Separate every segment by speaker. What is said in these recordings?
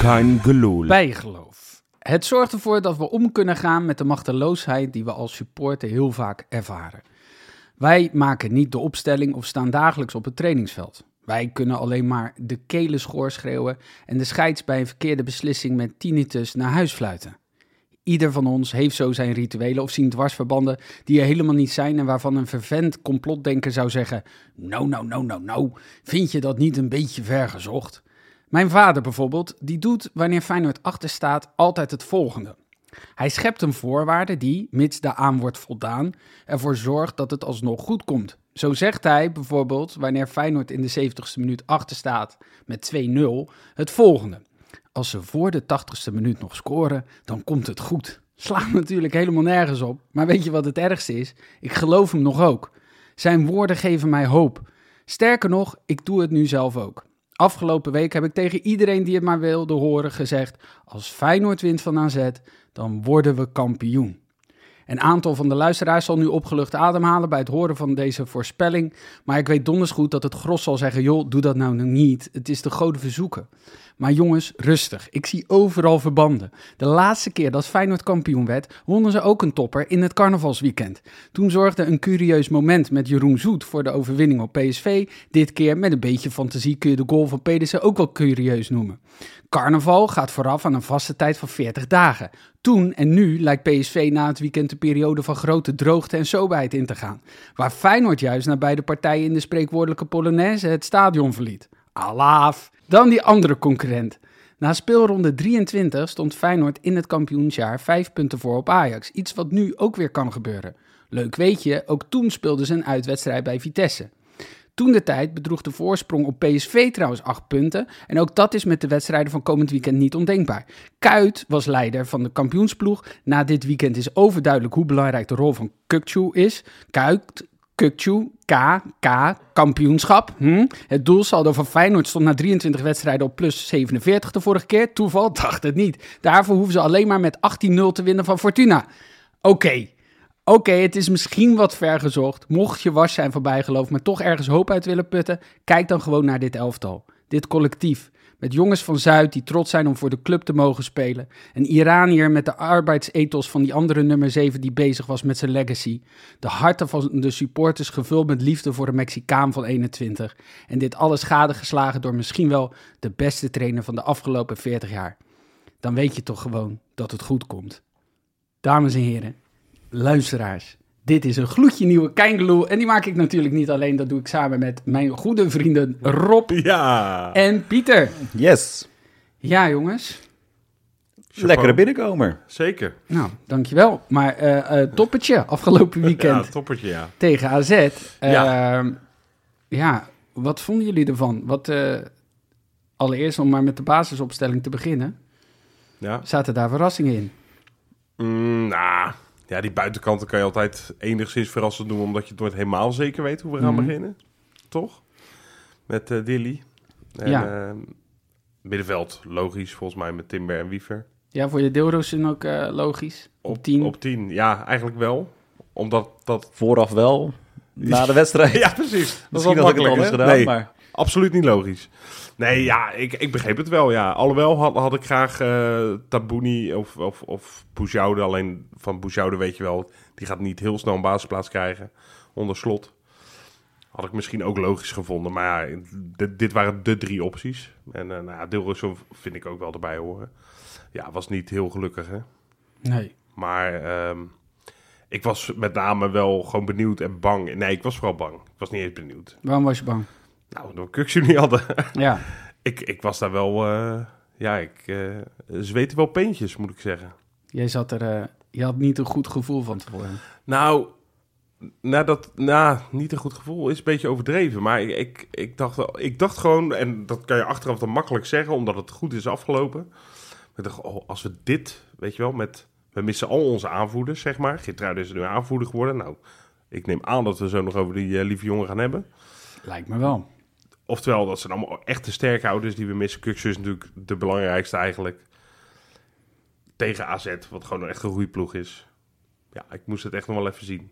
Speaker 1: kein gelul.
Speaker 2: bijgeloof. Het zorgt ervoor dat we om kunnen gaan met de machteloosheid die we als supporter heel vaak ervaren. Wij maken niet de opstelling of staan dagelijks op het trainingsveld. Wij kunnen alleen maar de kelen schoor schreeuwen en de scheids bij een verkeerde beslissing met tinnitus naar huis fluiten. Ieder van ons heeft zo zijn rituelen of zien dwarsverbanden die er helemaal niet zijn en waarvan een vervent complotdenker zou zeggen: "Nou, No, no, no, no, no. Vind je dat niet een beetje ver gezocht? Mijn vader bijvoorbeeld, die doet wanneer Feyenoord achter staat altijd het volgende. Hij schept een voorwaarde die, mits daaraan wordt voldaan, ervoor zorgt dat het alsnog goed komt. Zo zegt hij bijvoorbeeld wanneer Feyenoord in de 70ste minuut achter staat met 2-0 het volgende. Als ze voor de 80ste minuut nog scoren, dan komt het goed. Slaat natuurlijk helemaal nergens op, maar weet je wat het ergste is? Ik geloof hem nog ook. Zijn woorden geven mij hoop. Sterker nog, ik doe het nu zelf ook. Afgelopen week heb ik tegen iedereen die het maar wilde horen gezegd: als Feyenoord wint van AZ, dan worden we kampioen. Een aantal van de luisteraars zal nu opgelucht ademhalen bij het horen van deze voorspelling. Maar ik weet donders goed dat het gros zal zeggen: joh, doe dat nou niet. Het is de goden verzoeken. Maar jongens, rustig. Ik zie overal verbanden. De laatste keer dat Feyenoord kampioen werd, wonnen ze ook een topper in het carnavalsweekend. Toen zorgde een curieus moment met Jeroen Zoet voor de overwinning op PSV. Dit keer met een beetje fantasie kun je de goal van Pedersen ook wel curieus noemen. Carnaval gaat vooraf aan een vaste tijd van 40 dagen. Toen en nu lijkt PSV na het weekend de periode van grote droogte en soberheid in te gaan. Waar Feyenoord juist naar beide partijen in de spreekwoordelijke Polonaise het stadion verliet. Alaaf! Dan die andere concurrent. Na speelronde 23 stond Feyenoord in het kampioensjaar vijf punten voor op Ajax. Iets wat nu ook weer kan gebeuren. Leuk weet je, ook toen speelden ze een uitwedstrijd bij Vitesse. Toen de tijd bedroeg de voorsprong op PSV trouwens 8 punten. En ook dat is met de wedstrijden van komend weekend niet ondenkbaar. Kuit was leider van de kampioensploeg. Na dit weekend is overduidelijk hoe belangrijk de rol van Kukcu is. Kuit, Kukcu, K, K, kampioenschap. Hm? Het doelsaldo van Feyenoord stond na 23 wedstrijden op plus 47 de vorige keer. Toeval? Dacht het niet. Daarvoor hoeven ze alleen maar met 18-0 te winnen van Fortuna. Oké, Oké, het is misschien wat ver gezocht. Mocht je was zijn van bijgeloof, maar toch ergens hoop uit willen putten, kijk dan gewoon naar dit elftal. Dit collectief. Met jongens van Zuid die trots zijn om voor de club te mogen spelen. Een Iranier met de arbeidsethos van die andere nummer 7 die bezig was met zijn legacy. De harten van de supporters gevuld met liefde voor een Mexicaan van 21. En dit alles gadegeslagen door misschien wel de beste trainer van de afgelopen 40 jaar. Dan weet je toch gewoon dat het goed komt. Dames en heren, luisteraars. Dit is een gloedje nieuwe Keingeloel. En die maak ik natuurlijk niet alleen. Dat doe ik samen met mijn goede vrienden Rob
Speaker 1: Ja.
Speaker 2: en Pieter.
Speaker 3: Yes.
Speaker 2: Ja, jongens.
Speaker 3: Lekkere binnenkomer.
Speaker 1: Zeker.
Speaker 2: Nou, dankjewel. Maar eh eh toppetje afgelopen weekend
Speaker 1: Ja, toppertje, ja.
Speaker 2: tegen AZ. Eh,
Speaker 1: Ja.
Speaker 2: ja, wat vonden jullie ervan? Wat, eh, allereerst om maar met de basisopstelling te beginnen.
Speaker 1: Ja.
Speaker 2: Zaten daar verrassingen in?
Speaker 1: Mm, nou, ja, die buitenkanten kan je altijd enigszins verrassend doen, omdat je het nooit helemaal zeker weet hoe we gaan
Speaker 2: Mhm.
Speaker 1: beginnen. Toch? Met eh Dilly. En,
Speaker 2: Ja.
Speaker 1: ja. middenveld, logisch, volgens mij met Timber en Wiever.
Speaker 2: Ja, voor je deelrooster ook eh, logisch. Op 10.
Speaker 1: Op tien, ja, eigenlijk wel. Omdat dat...
Speaker 3: Vooraf wel. Na de wedstrijd.
Speaker 1: Ja, precies.
Speaker 3: Misschien
Speaker 1: Dat was
Speaker 3: had ik het
Speaker 1: makkelijk
Speaker 3: anders
Speaker 1: hè?
Speaker 3: gedaan,
Speaker 1: Nee.
Speaker 3: maar...
Speaker 1: Absoluut niet logisch. Nee, ja, ik, ik begreep het wel, ja. Alhoewel had, had ik graag eh Tabouni of, of, of Boujoude. Alleen van Boujoude weet je wel, die gaat niet heel snel een basisplaats krijgen. Onder slot. Had ik misschien ook logisch gevonden. Maar ja, dit, dit waren de drie opties. En eh nou ja, Dilrosun vind ik ook wel erbij horen. Ja, was niet heel gelukkig, hè.
Speaker 2: Nee.
Speaker 1: Maar ehm, ik was met name wel gewoon benieuwd en bang. Nee, ik was vooral bang. Ik was niet eens benieuwd.
Speaker 2: Waarom was je bang?
Speaker 1: Nou, omdat we Kuksu niet hadden.
Speaker 2: Ja.
Speaker 1: Ik, ik was daar wel... eh, ja, ik eh zweette wel peentjes, moet ik zeggen.
Speaker 2: Jij zat er, eh, je had niet een goed gevoel van tevoren.
Speaker 1: Nou, na dat, na, niet een goed gevoel is een beetje overdreven. Maar ik, ik, ik, dacht, wel- ik dacht gewoon, en dat kan je achteraf dan makkelijk zeggen... omdat het goed is afgelopen. Ik dacht, oh, als we dit, weet je wel, met... We missen al onze aanvoerders, zeg maar. Geertruiden is nu aanvoerder geworden. Nou, ik neem aan dat we zo nog over die eh, lieve jongen gaan hebben.
Speaker 2: Lijkt me wel.
Speaker 1: Oftewel, dat zijn allemaal echte sterkhouders die we missen. Kuksu is natuurlijk de belangrijkste eigenlijk. Tegen AZ, wat gewoon een echt een roeiploeg is. Ja, ik moest het echt nog wel even zien.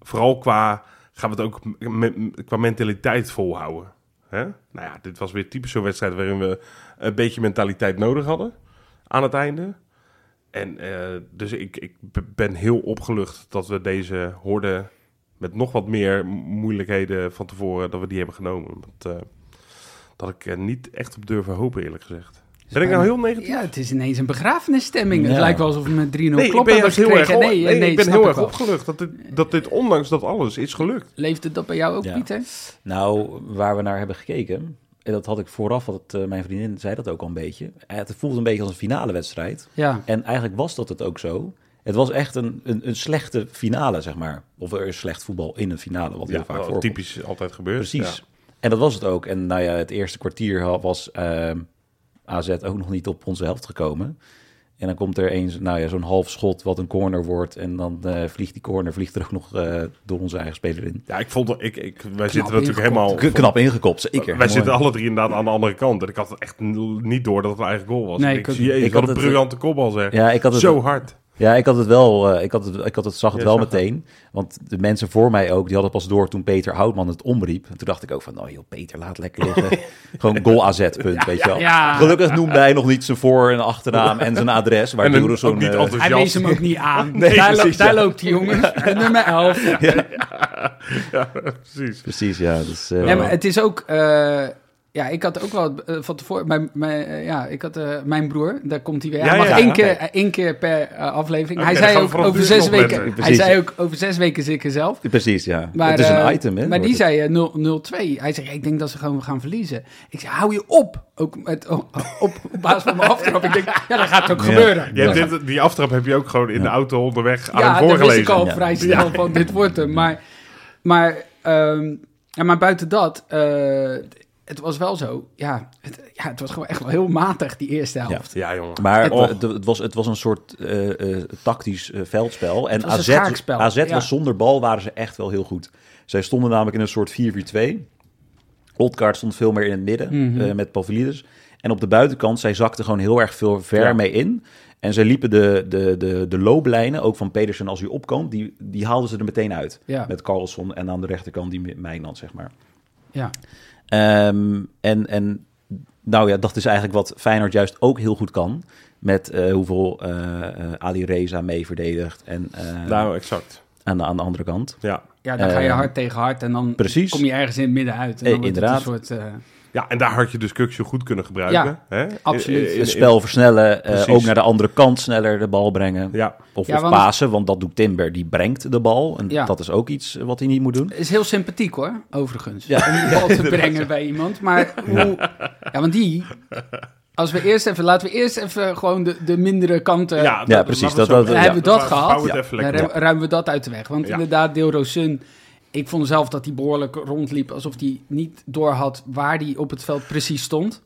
Speaker 1: Vooral qua, gaan we het ook m- m- qua mentaliteit volhouden. Hè? Nou ja, dit was weer typisch zo'n wedstrijd waarin we een beetje mentaliteit nodig hadden aan het einde. En eh, dus ik, ik b- ben heel opgelucht dat we deze horde met nog wat meer mo- moeilijkheden van tevoren, dat we die hebben genomen. Want, eh, dat ik er niet echt op durf te hopen, eerlijk gezegd. Ben ik nou heel negatief?
Speaker 2: Ja, het is ineens een begrafenisstemming. Het
Speaker 3: Ja.
Speaker 2: lijkt wel alsof we met 3-0
Speaker 1: Nee, ik
Speaker 2: kloppen
Speaker 1: ben
Speaker 2: hebben
Speaker 1: juist heel erg,
Speaker 2: gekregen.
Speaker 1: op-
Speaker 2: nee,
Speaker 1: nee,
Speaker 2: nee,
Speaker 1: ik ben
Speaker 2: snap
Speaker 1: heel erg
Speaker 2: wel.
Speaker 1: opgelucht dat dit, dat dit ondanks dat alles is gelukt.
Speaker 2: Leefde dat bij jou ook,
Speaker 3: Ja.
Speaker 2: Pieter?
Speaker 3: Nou, waar we naar hebben gekeken, en dat had ik vooraf, want eh, mijn vriendin zei dat ook al een beetje. Het voelde een beetje als een finale wedstrijd.
Speaker 2: Ja.
Speaker 3: En eigenlijk was dat het ook zo. Het was echt een, een, een slechte finale, zeg maar. Of er is slecht voetbal in een finale, wat heel
Speaker 1: Ja,
Speaker 3: vaak
Speaker 1: wel
Speaker 3: voorkomt.
Speaker 1: typisch altijd gebeurt.
Speaker 3: Precies.
Speaker 1: Ja.
Speaker 3: En dat was het ook. En nou ja, het eerste kwartier ha- was ehm, AZ ook nog niet op onze helft gekomen. En dan komt er eens, nou ja, zo'n half schot wat een corner wordt. En dan eh, vliegt die corner, vliegt er ook nog eh, door onze eigen speler in.
Speaker 1: Ja, ik vond ik, ik, wij zitten
Speaker 2: ingekopt.
Speaker 1: natuurlijk helemaal.
Speaker 3: K- knap ingekopt, zeker.
Speaker 1: wij
Speaker 3: Mooi.
Speaker 1: zitten alle drie inderdaad aan de andere kant. En ik had echt n- niet door dat het een eigen goal was.
Speaker 2: Nee,
Speaker 1: ik
Speaker 2: ik
Speaker 1: denk,
Speaker 2: ook niet.
Speaker 1: jezus,
Speaker 3: Ik
Speaker 1: wat
Speaker 3: had
Speaker 1: een
Speaker 3: het,
Speaker 1: briljante kopbal zeg.
Speaker 3: Ja, ik had het,
Speaker 1: Zo hard.
Speaker 3: ja, ik had het wel. eh, ik, had het, ik had het, zag het
Speaker 1: Ja,
Speaker 3: wel
Speaker 1: zag het.
Speaker 3: meteen. Want de mensen voor mij ook, die hadden pas door toen Peter Houtman het omriep. En toen dacht ik ook van, nou joh, Peter, laat lekker liggen. Gewoon goal AZ, punt, weet je wel.
Speaker 2: ja.
Speaker 3: Gelukkig noemde hij nog niet zijn voor- en achternaam en zijn adres. Waar
Speaker 1: En een-
Speaker 3: Duro zo'n,
Speaker 1: ook niet
Speaker 3: eh,
Speaker 1: altijd-
Speaker 2: Hij
Speaker 1: Jas.
Speaker 2: wees hem ook niet aan.
Speaker 3: Nee,
Speaker 2: daar, lo-
Speaker 3: precies,
Speaker 2: daar
Speaker 3: ja.
Speaker 2: loopt die jongen. Nummer 11.
Speaker 1: Ja, precies.
Speaker 3: Precies, ja. Dus, eh,
Speaker 2: Nee, maar het is ook... eh, ja, ik had ook wel eh, van tevoren... Mijn, mijn, eh, ja, ik had eh, mijn broer, daar komt hij weer. Hij
Speaker 1: Ja,
Speaker 2: mag
Speaker 1: ja,
Speaker 2: één,
Speaker 1: ja.
Speaker 2: keer, eh, één keer per eh, aflevering.
Speaker 1: Oké,
Speaker 2: hij
Speaker 1: dan
Speaker 2: zei
Speaker 1: gaan we
Speaker 2: ook
Speaker 1: vanaf
Speaker 2: over
Speaker 1: nu
Speaker 2: zes
Speaker 1: nog
Speaker 2: weken...
Speaker 1: letten.
Speaker 2: Hij
Speaker 3: Precies.
Speaker 2: zei ook over zes weken zeker zelf.
Speaker 3: Precies, ja.
Speaker 2: Maar,
Speaker 3: het is een
Speaker 2: eh,
Speaker 3: item, hè.
Speaker 2: Maar die
Speaker 3: wordt het.
Speaker 2: zei eh, 0-2. Hij zei, ik denk dat ze gewoon gaan verliezen. Ik zei, hou je op. Ook met, op, op basis van mijn aftrap. Ik denk, ja, dat gaat ook
Speaker 3: Ja.
Speaker 2: gebeuren.
Speaker 1: Je
Speaker 3: Ja.
Speaker 1: hebt dit, die aftrap heb je ook gewoon in de auto onderweg aan
Speaker 2: Ja,
Speaker 1: hem
Speaker 2: dat wist
Speaker 1: voorgelezen.
Speaker 2: ik al
Speaker 3: Ja.
Speaker 2: vrij snel van dit wordt hem. Maar, maar, ehm, ja, maar buiten dat, eh, het was wel zo. Ja het, ja, het was gewoon echt wel heel matig, die eerste helft.
Speaker 1: Ja, jongen.
Speaker 3: Maar het,
Speaker 1: Och.
Speaker 3: het- het was, het was een soort eh, eh, tactisch eh, veldspel. En
Speaker 2: was een
Speaker 3: AZ,
Speaker 2: schaakspel,
Speaker 3: AZ
Speaker 2: ja.
Speaker 3: was zonder bal, waren ze echt wel heel goed. Zij stonden namelijk in een soort 4-4-2. Oldkaart stond veel meer in het midden
Speaker 2: Mhm.
Speaker 3: eh, met Pavlidis. En op de buitenkant, zij zakten gewoon heel erg veel ver
Speaker 1: Ja.
Speaker 3: mee in. En zij liepen de, de, de, de looplijnen, ook van Pedersen als hij opkwam, die, die haalden ze er meteen uit.
Speaker 2: Ja.
Speaker 3: Met Carlson en aan de rechterkant die Mijnland, zeg maar.
Speaker 2: Ja.
Speaker 3: Ehm, en, en nou ja, dat is eigenlijk wat Feyenoord juist ook heel goed kan. Met eh, hoeveel eh, eh, Ali Reza mee verdedigt en eh,
Speaker 1: Nou, exact.
Speaker 3: aan, de, aan de andere kant.
Speaker 1: Ja.
Speaker 2: Ja, dan ga je
Speaker 3: Eh,
Speaker 2: hard tegen hard en dan
Speaker 3: precies.
Speaker 2: kom je ergens in het midden uit. En
Speaker 3: Eh,
Speaker 2: dan wordt het een
Speaker 3: inderdaad.
Speaker 2: soort... eh,
Speaker 1: ja, en daar had je dus Kuksje goed kunnen gebruiken.
Speaker 2: Ja,
Speaker 1: hè?
Speaker 2: absoluut.
Speaker 1: In- in- in-
Speaker 3: Het spel versnellen, eh,
Speaker 1: Precies.
Speaker 3: ook naar de andere kant sneller de bal brengen.
Speaker 1: Ja,
Speaker 3: Of,
Speaker 2: Ja,
Speaker 3: of
Speaker 2: want-
Speaker 3: pasen, want dat doet Timber, die brengt de bal. En
Speaker 2: Ja.
Speaker 3: dat is ook iets eh, wat hij niet moet doen.
Speaker 2: is heel sympathiek hoor, overigens. Om de bal te brengen bij iemand. Maar hoe... Ja, want die... Als we eerst even... Laten we eerst even gewoon de, de mindere kanten...
Speaker 1: ja, dat-
Speaker 3: Ja,
Speaker 1: laten
Speaker 3: precies,
Speaker 1: we het
Speaker 3: dat-
Speaker 1: zo
Speaker 3: dat-
Speaker 1: doen.
Speaker 2: Dan eh, hebben we dat
Speaker 1: Ja,
Speaker 2: gehad.
Speaker 1: bouw het
Speaker 3: Ja.
Speaker 1: even
Speaker 2: Dan
Speaker 1: lekker op.
Speaker 2: ru- ruimen we dat uit de weg. Want
Speaker 1: Ja.
Speaker 2: inderdaad, Deel Rosun, ik vond zelf dat hij behoorlijk rondliep. Alsof hij niet doorhad waar hij op het veld precies stond.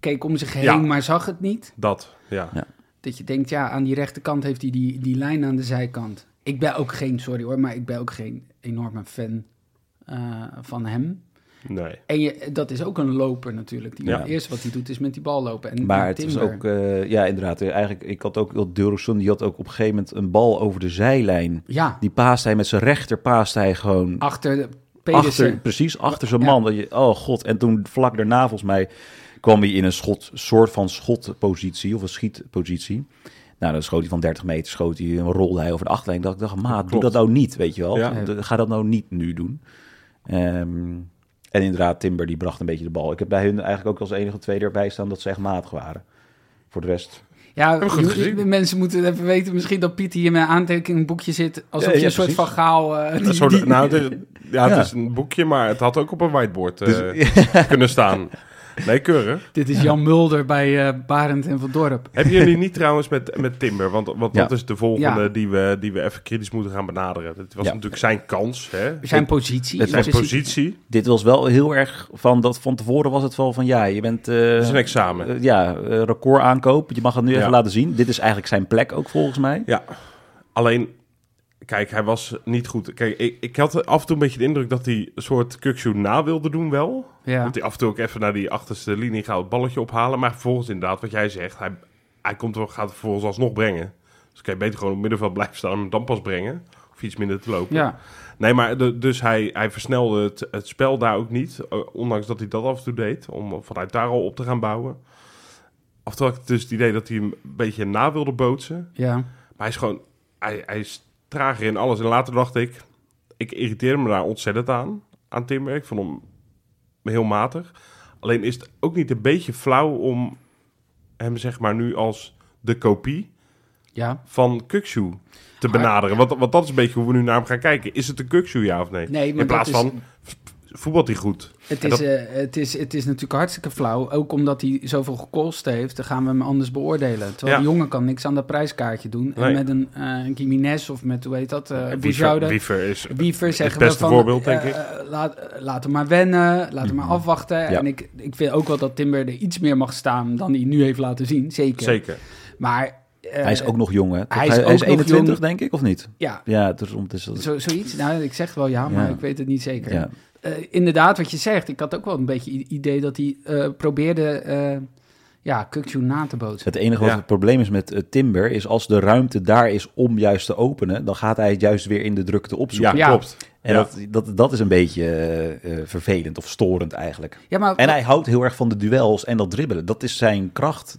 Speaker 2: Keek om zich heen,
Speaker 1: Ja.
Speaker 2: maar zag het niet.
Speaker 1: Dat, ja.
Speaker 2: Dat je denkt, ja, aan die rechterkant heeft hij die, die lijn aan de zijkant. Ik ben ook geen, sorry hoor, maar ik ben ook geen enorme fan eh, van hem.
Speaker 1: Nee.
Speaker 2: En je, dat is ook een loper natuurlijk. Die
Speaker 1: Ja.
Speaker 2: Het eerste wat hij doet is met die bal lopen. En
Speaker 3: Maar
Speaker 2: die
Speaker 3: het is
Speaker 2: Timber.
Speaker 3: ook, eh, ja inderdaad, eh, eigenlijk, ik had ook, Dilrosun, die had ook op een gegeven moment een bal over de zijlijn.
Speaker 2: Ja,
Speaker 3: Die paast hij met zijn rechter, paast hij gewoon
Speaker 2: achter
Speaker 3: achter,
Speaker 2: Pedersen.
Speaker 3: precies achter zijn
Speaker 2: Ja.
Speaker 3: man. Dat je, oh god. En toen vlak daarna, volgens mij, kwam hij in een schot, soort van schotpositie of een schietpositie. Nou, dan schoot hij van 30 meter, schoot hij en rolde hij over de achterlijn. Dat ik dacht, maat, doe
Speaker 1: Klopt.
Speaker 3: dat nou niet, weet je wel.
Speaker 1: Ja.
Speaker 3: D- Ga dat nou niet nu doen. Ehm, en inderdaad, Timber die bracht een beetje de bal. Ik heb bij hun eigenlijk ook als enige tweede erbij staan dat ze echt matig waren. Voor de rest.
Speaker 2: Ja,
Speaker 1: Heb ik goed
Speaker 2: je-
Speaker 1: gezien.
Speaker 2: de mensen moeten even weten misschien dat Piet hier met een aantekeningboekje zit. Alsof
Speaker 3: Ja,
Speaker 2: je
Speaker 3: ja,
Speaker 2: een soort
Speaker 3: precies.
Speaker 2: van gaal... eh, die-
Speaker 1: Een soort-
Speaker 2: die-
Speaker 1: nou, het is- ja, het
Speaker 3: Ja. Dus-
Speaker 1: is een boekje, maar het had ook op een whiteboard eh, kunnen staan. Nee, keurig.
Speaker 2: dit is Jan Mulder bij eh, Barend en Van Dorp.
Speaker 1: Hebben jullie niet trouwens met, met Timber? Want, want
Speaker 3: Ja.
Speaker 1: dat is de volgende
Speaker 2: Ja.
Speaker 1: die, we, die we even kritisch moeten gaan benaderen. Het was
Speaker 3: Ja.
Speaker 1: natuurlijk zijn kans, hè?
Speaker 2: Zijn positie.
Speaker 3: Het
Speaker 1: zijn
Speaker 2: Precies.
Speaker 1: positie.
Speaker 3: Dit was wel heel erg van dat van tevoren was het wel van ja, je bent. eh,
Speaker 1: Het is een examen.
Speaker 3: Eh, ja, eh, record aankoop. Je mag het nu even
Speaker 1: Ja.
Speaker 3: laten zien. Dit is eigenlijk zijn plek ook volgens mij.
Speaker 1: Ja, alleen, kijk, hij was niet goed. Kijk, ik, ik had af en toe een beetje de indruk dat hij een soort kukshoe na wilde doen wel.
Speaker 2: Ja.
Speaker 1: Dat hij af en toe ook even naar die achterste linie gaat het balletje ophalen. Maar vervolgens inderdaad, wat jij zegt, hij, hij komt, wel- gaat het vervolgens alsnog brengen. Dus kan je beter gewoon op het middenveld blijven staan en hem dan pas brengen. hoef iets minder te lopen.
Speaker 2: Ja,
Speaker 1: Nee, maar de- dus hij, hij versnelde het, het spel daar ook niet. eh, Ondanks dat hij dat af en toe deed. Om vanuit daar al op te gaan bouwen. Oftewel had ik dus het idee dat hij hem een beetje na wilde bootsen.
Speaker 2: ja.
Speaker 1: Maar hij is gewoon... Hij, hij is trager in alles. En later dacht ik... Ik irriteerde me daar ontzettend aan. Aan Timber. Ik vond hem heel matig. Alleen is het ook niet een beetje flauw om hem zeg maar nu als de kopie
Speaker 2: ja.
Speaker 1: van Kukshoe
Speaker 2: Ah,
Speaker 1: te benaderen. Want, want dat is een beetje hoe we nu naar hem gaan kijken. Is het een Kukshoe ja of nee?
Speaker 2: Nee, maar
Speaker 1: In plaats
Speaker 2: dat is-
Speaker 1: van v- voetbalt hij goed.
Speaker 2: Het is,
Speaker 1: En dat-
Speaker 2: eh, het, is, het is natuurlijk hartstikke flauw. Ook omdat hij zoveel gekost heeft, dan gaan we hem anders beoordelen. Terwijl
Speaker 1: Ja.
Speaker 2: die jongen kan niks aan dat prijskaartje doen. En
Speaker 1: Nee.
Speaker 2: met een eh Jiménez of met, hoe heet dat, eh
Speaker 1: Wiever-
Speaker 2: Bujaude-
Speaker 1: Wiever is.
Speaker 2: Wiever zeggen
Speaker 1: beste
Speaker 2: we van...
Speaker 1: voorbeeld, denk
Speaker 2: eh,
Speaker 1: ik. Mhm.
Speaker 2: eh, laat, eh, laat hem maar wennen, laat hem maar afwachten. En ik, ik vind ook wel dat Timber er iets meer mag staan dan hij nu heeft laten zien. Zeker.
Speaker 1: Zeker.
Speaker 2: Maar... eh,
Speaker 3: hij is ook nog jong, hè?
Speaker 2: hij is ook nog
Speaker 3: 21,
Speaker 2: jong.
Speaker 3: denk ik, of niet?
Speaker 2: Ja,
Speaker 3: Ja, dus om het is dat...
Speaker 2: zo, zoiets. Nou, ik zeg wel ja, maar
Speaker 3: Ja.
Speaker 2: ik weet het niet zeker.
Speaker 3: ja.
Speaker 2: Eh, inderdaad, wat je zegt. Ik had ook wel een beetje i- idee dat hij eh, probeerde... eh ja, Kukju na te bootsen.
Speaker 3: Het enige wat
Speaker 1: Ja.
Speaker 3: het probleem is met eh, Timber is als de ruimte daar is om juist te openen, dan gaat hij het juist weer in de drukte opzoeken.
Speaker 1: Ja,
Speaker 2: Ja.
Speaker 1: klopt.
Speaker 3: En
Speaker 1: Ja.
Speaker 3: dat, dat, dat is een beetje eh, eh, vervelend of storend eigenlijk.
Speaker 2: Ja, maar
Speaker 3: En hij houdt heel erg van de duels en dat dribbelen. Dat is zijn kracht.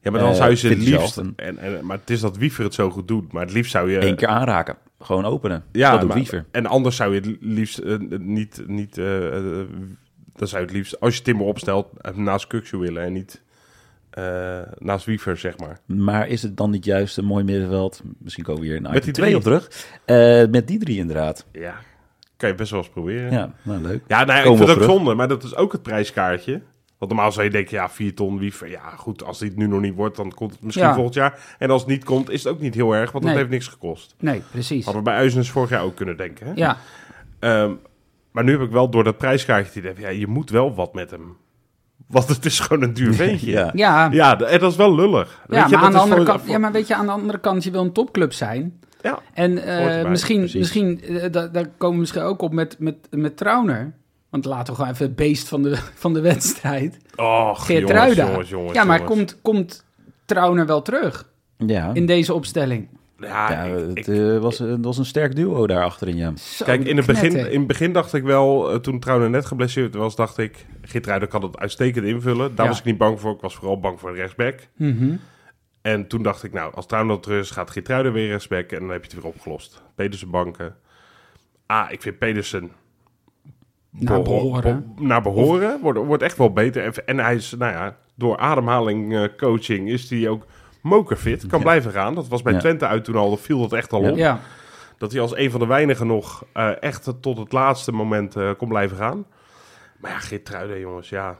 Speaker 1: Ja, maar dan
Speaker 3: Eh,
Speaker 1: zou je ze het
Speaker 3: vind ik
Speaker 1: liefst.
Speaker 3: zelf
Speaker 1: En,
Speaker 3: een-
Speaker 1: en, maar het is dat Wiever het zo goed doet. Maar het liefst zou je.
Speaker 3: Eén keer aanraken. Gewoon openen.
Speaker 1: Ja,
Speaker 3: dat doet
Speaker 1: maar-
Speaker 3: Wiever.
Speaker 1: En anders zou je het liefst eh, niet. niet eh, eh, dan zou je het liefst, als je Timmer opstelt, eh, naast Kukshoe willen en niet eh, naast Wiever, zeg maar.
Speaker 3: Maar is het dan niet juist een mooi middenveld? Misschien komen we hier een
Speaker 1: Met
Speaker 3: item
Speaker 1: die
Speaker 3: 2 op
Speaker 1: drie.
Speaker 3: terug. Eh, met die drie inderdaad.
Speaker 1: Ja. Kan je best wel eens proberen.
Speaker 3: Ja, nou leuk.
Speaker 1: Ja, nou, ja, ik
Speaker 3: Komen
Speaker 1: vind
Speaker 3: we
Speaker 1: het
Speaker 3: op
Speaker 1: ook
Speaker 3: terug.
Speaker 1: zonde, maar dat is ook het prijskaartje. Want normaal zou je denken, ja, 4 ton, wie... ver- Ja, goed, als dit nu nog niet wordt, dan komt het misschien
Speaker 2: Ja.
Speaker 1: volgend jaar. En als het niet komt, is het ook niet heel erg, want
Speaker 2: Nee.
Speaker 1: het heeft niks gekost.
Speaker 2: Nee, precies.
Speaker 1: Hadden we bij Uizenus vorig jaar ook kunnen denken. Hè?
Speaker 2: Ja,
Speaker 1: Ehm, maar nu heb ik wel door dat prijskaartje het idee van, ja, je moet wel wat met hem. Want het is gewoon een duur ventje.
Speaker 3: Ja.
Speaker 2: ja. ja.
Speaker 1: Ja, d- en dat is wel lullig. Weet
Speaker 2: maar
Speaker 1: je, dat
Speaker 2: aan de
Speaker 1: is
Speaker 2: andere
Speaker 1: voor-
Speaker 2: kant, ja, maar weet je, aan de andere kant, je wil een topclub zijn.
Speaker 1: ja.
Speaker 2: En eh,
Speaker 1: Hoort erbij,
Speaker 2: misschien,
Speaker 3: precies.
Speaker 2: misschien eh, da- daar komen we misschien ook op met, met, met Trauner. Want laten we gewoon even het beest van de, van de wedstrijd.
Speaker 1: Och, jongens,
Speaker 2: Geertruida.
Speaker 1: jongens, jongens,
Speaker 2: ja, maar
Speaker 1: jongens.
Speaker 2: komt, komt Trauner wel terug
Speaker 3: Ja,
Speaker 2: in deze opstelling?
Speaker 1: Ja,
Speaker 3: ja
Speaker 1: Ah, ik- ik-
Speaker 3: het, eh, was, het was een sterk duo daar achterin, ja.
Speaker 2: Zo,
Speaker 1: Kijk, in het, begin,
Speaker 2: knetter.
Speaker 1: in het begin dacht ik wel, eh, toen Trouwen net geblesseerd was, dacht ik, Gitruiden kan het uitstekend invullen. Daar
Speaker 2: Ja.
Speaker 1: was ik niet bang voor. Ik was vooral bang voor de rechtsback.
Speaker 2: Mhm.
Speaker 1: En toen dacht ik, nou, als Trouwen terug is, gaat Gitruiden weer rechtsback en dan heb je het weer opgelost. Pedersen banken. Ah, ik vind Pedersen
Speaker 2: Naar Nou, behoren.
Speaker 1: bo- naar behoren wordt, wordt echt wel beter. En, en hij is, nou ja, door ademhaling eh, coaching is hij ook mokerfit. Kan
Speaker 3: Ja.
Speaker 1: blijven gaan. Dat was bij
Speaker 3: Ja.
Speaker 1: Twente uit toen al, dan viel dat echt al
Speaker 3: Ja.
Speaker 1: op.
Speaker 2: Ja,
Speaker 1: Dat hij als een van de weinigen nog eh, echt tot het laatste moment eh, kon blijven gaan. Maar ja, Geertruiden, jongens, ja.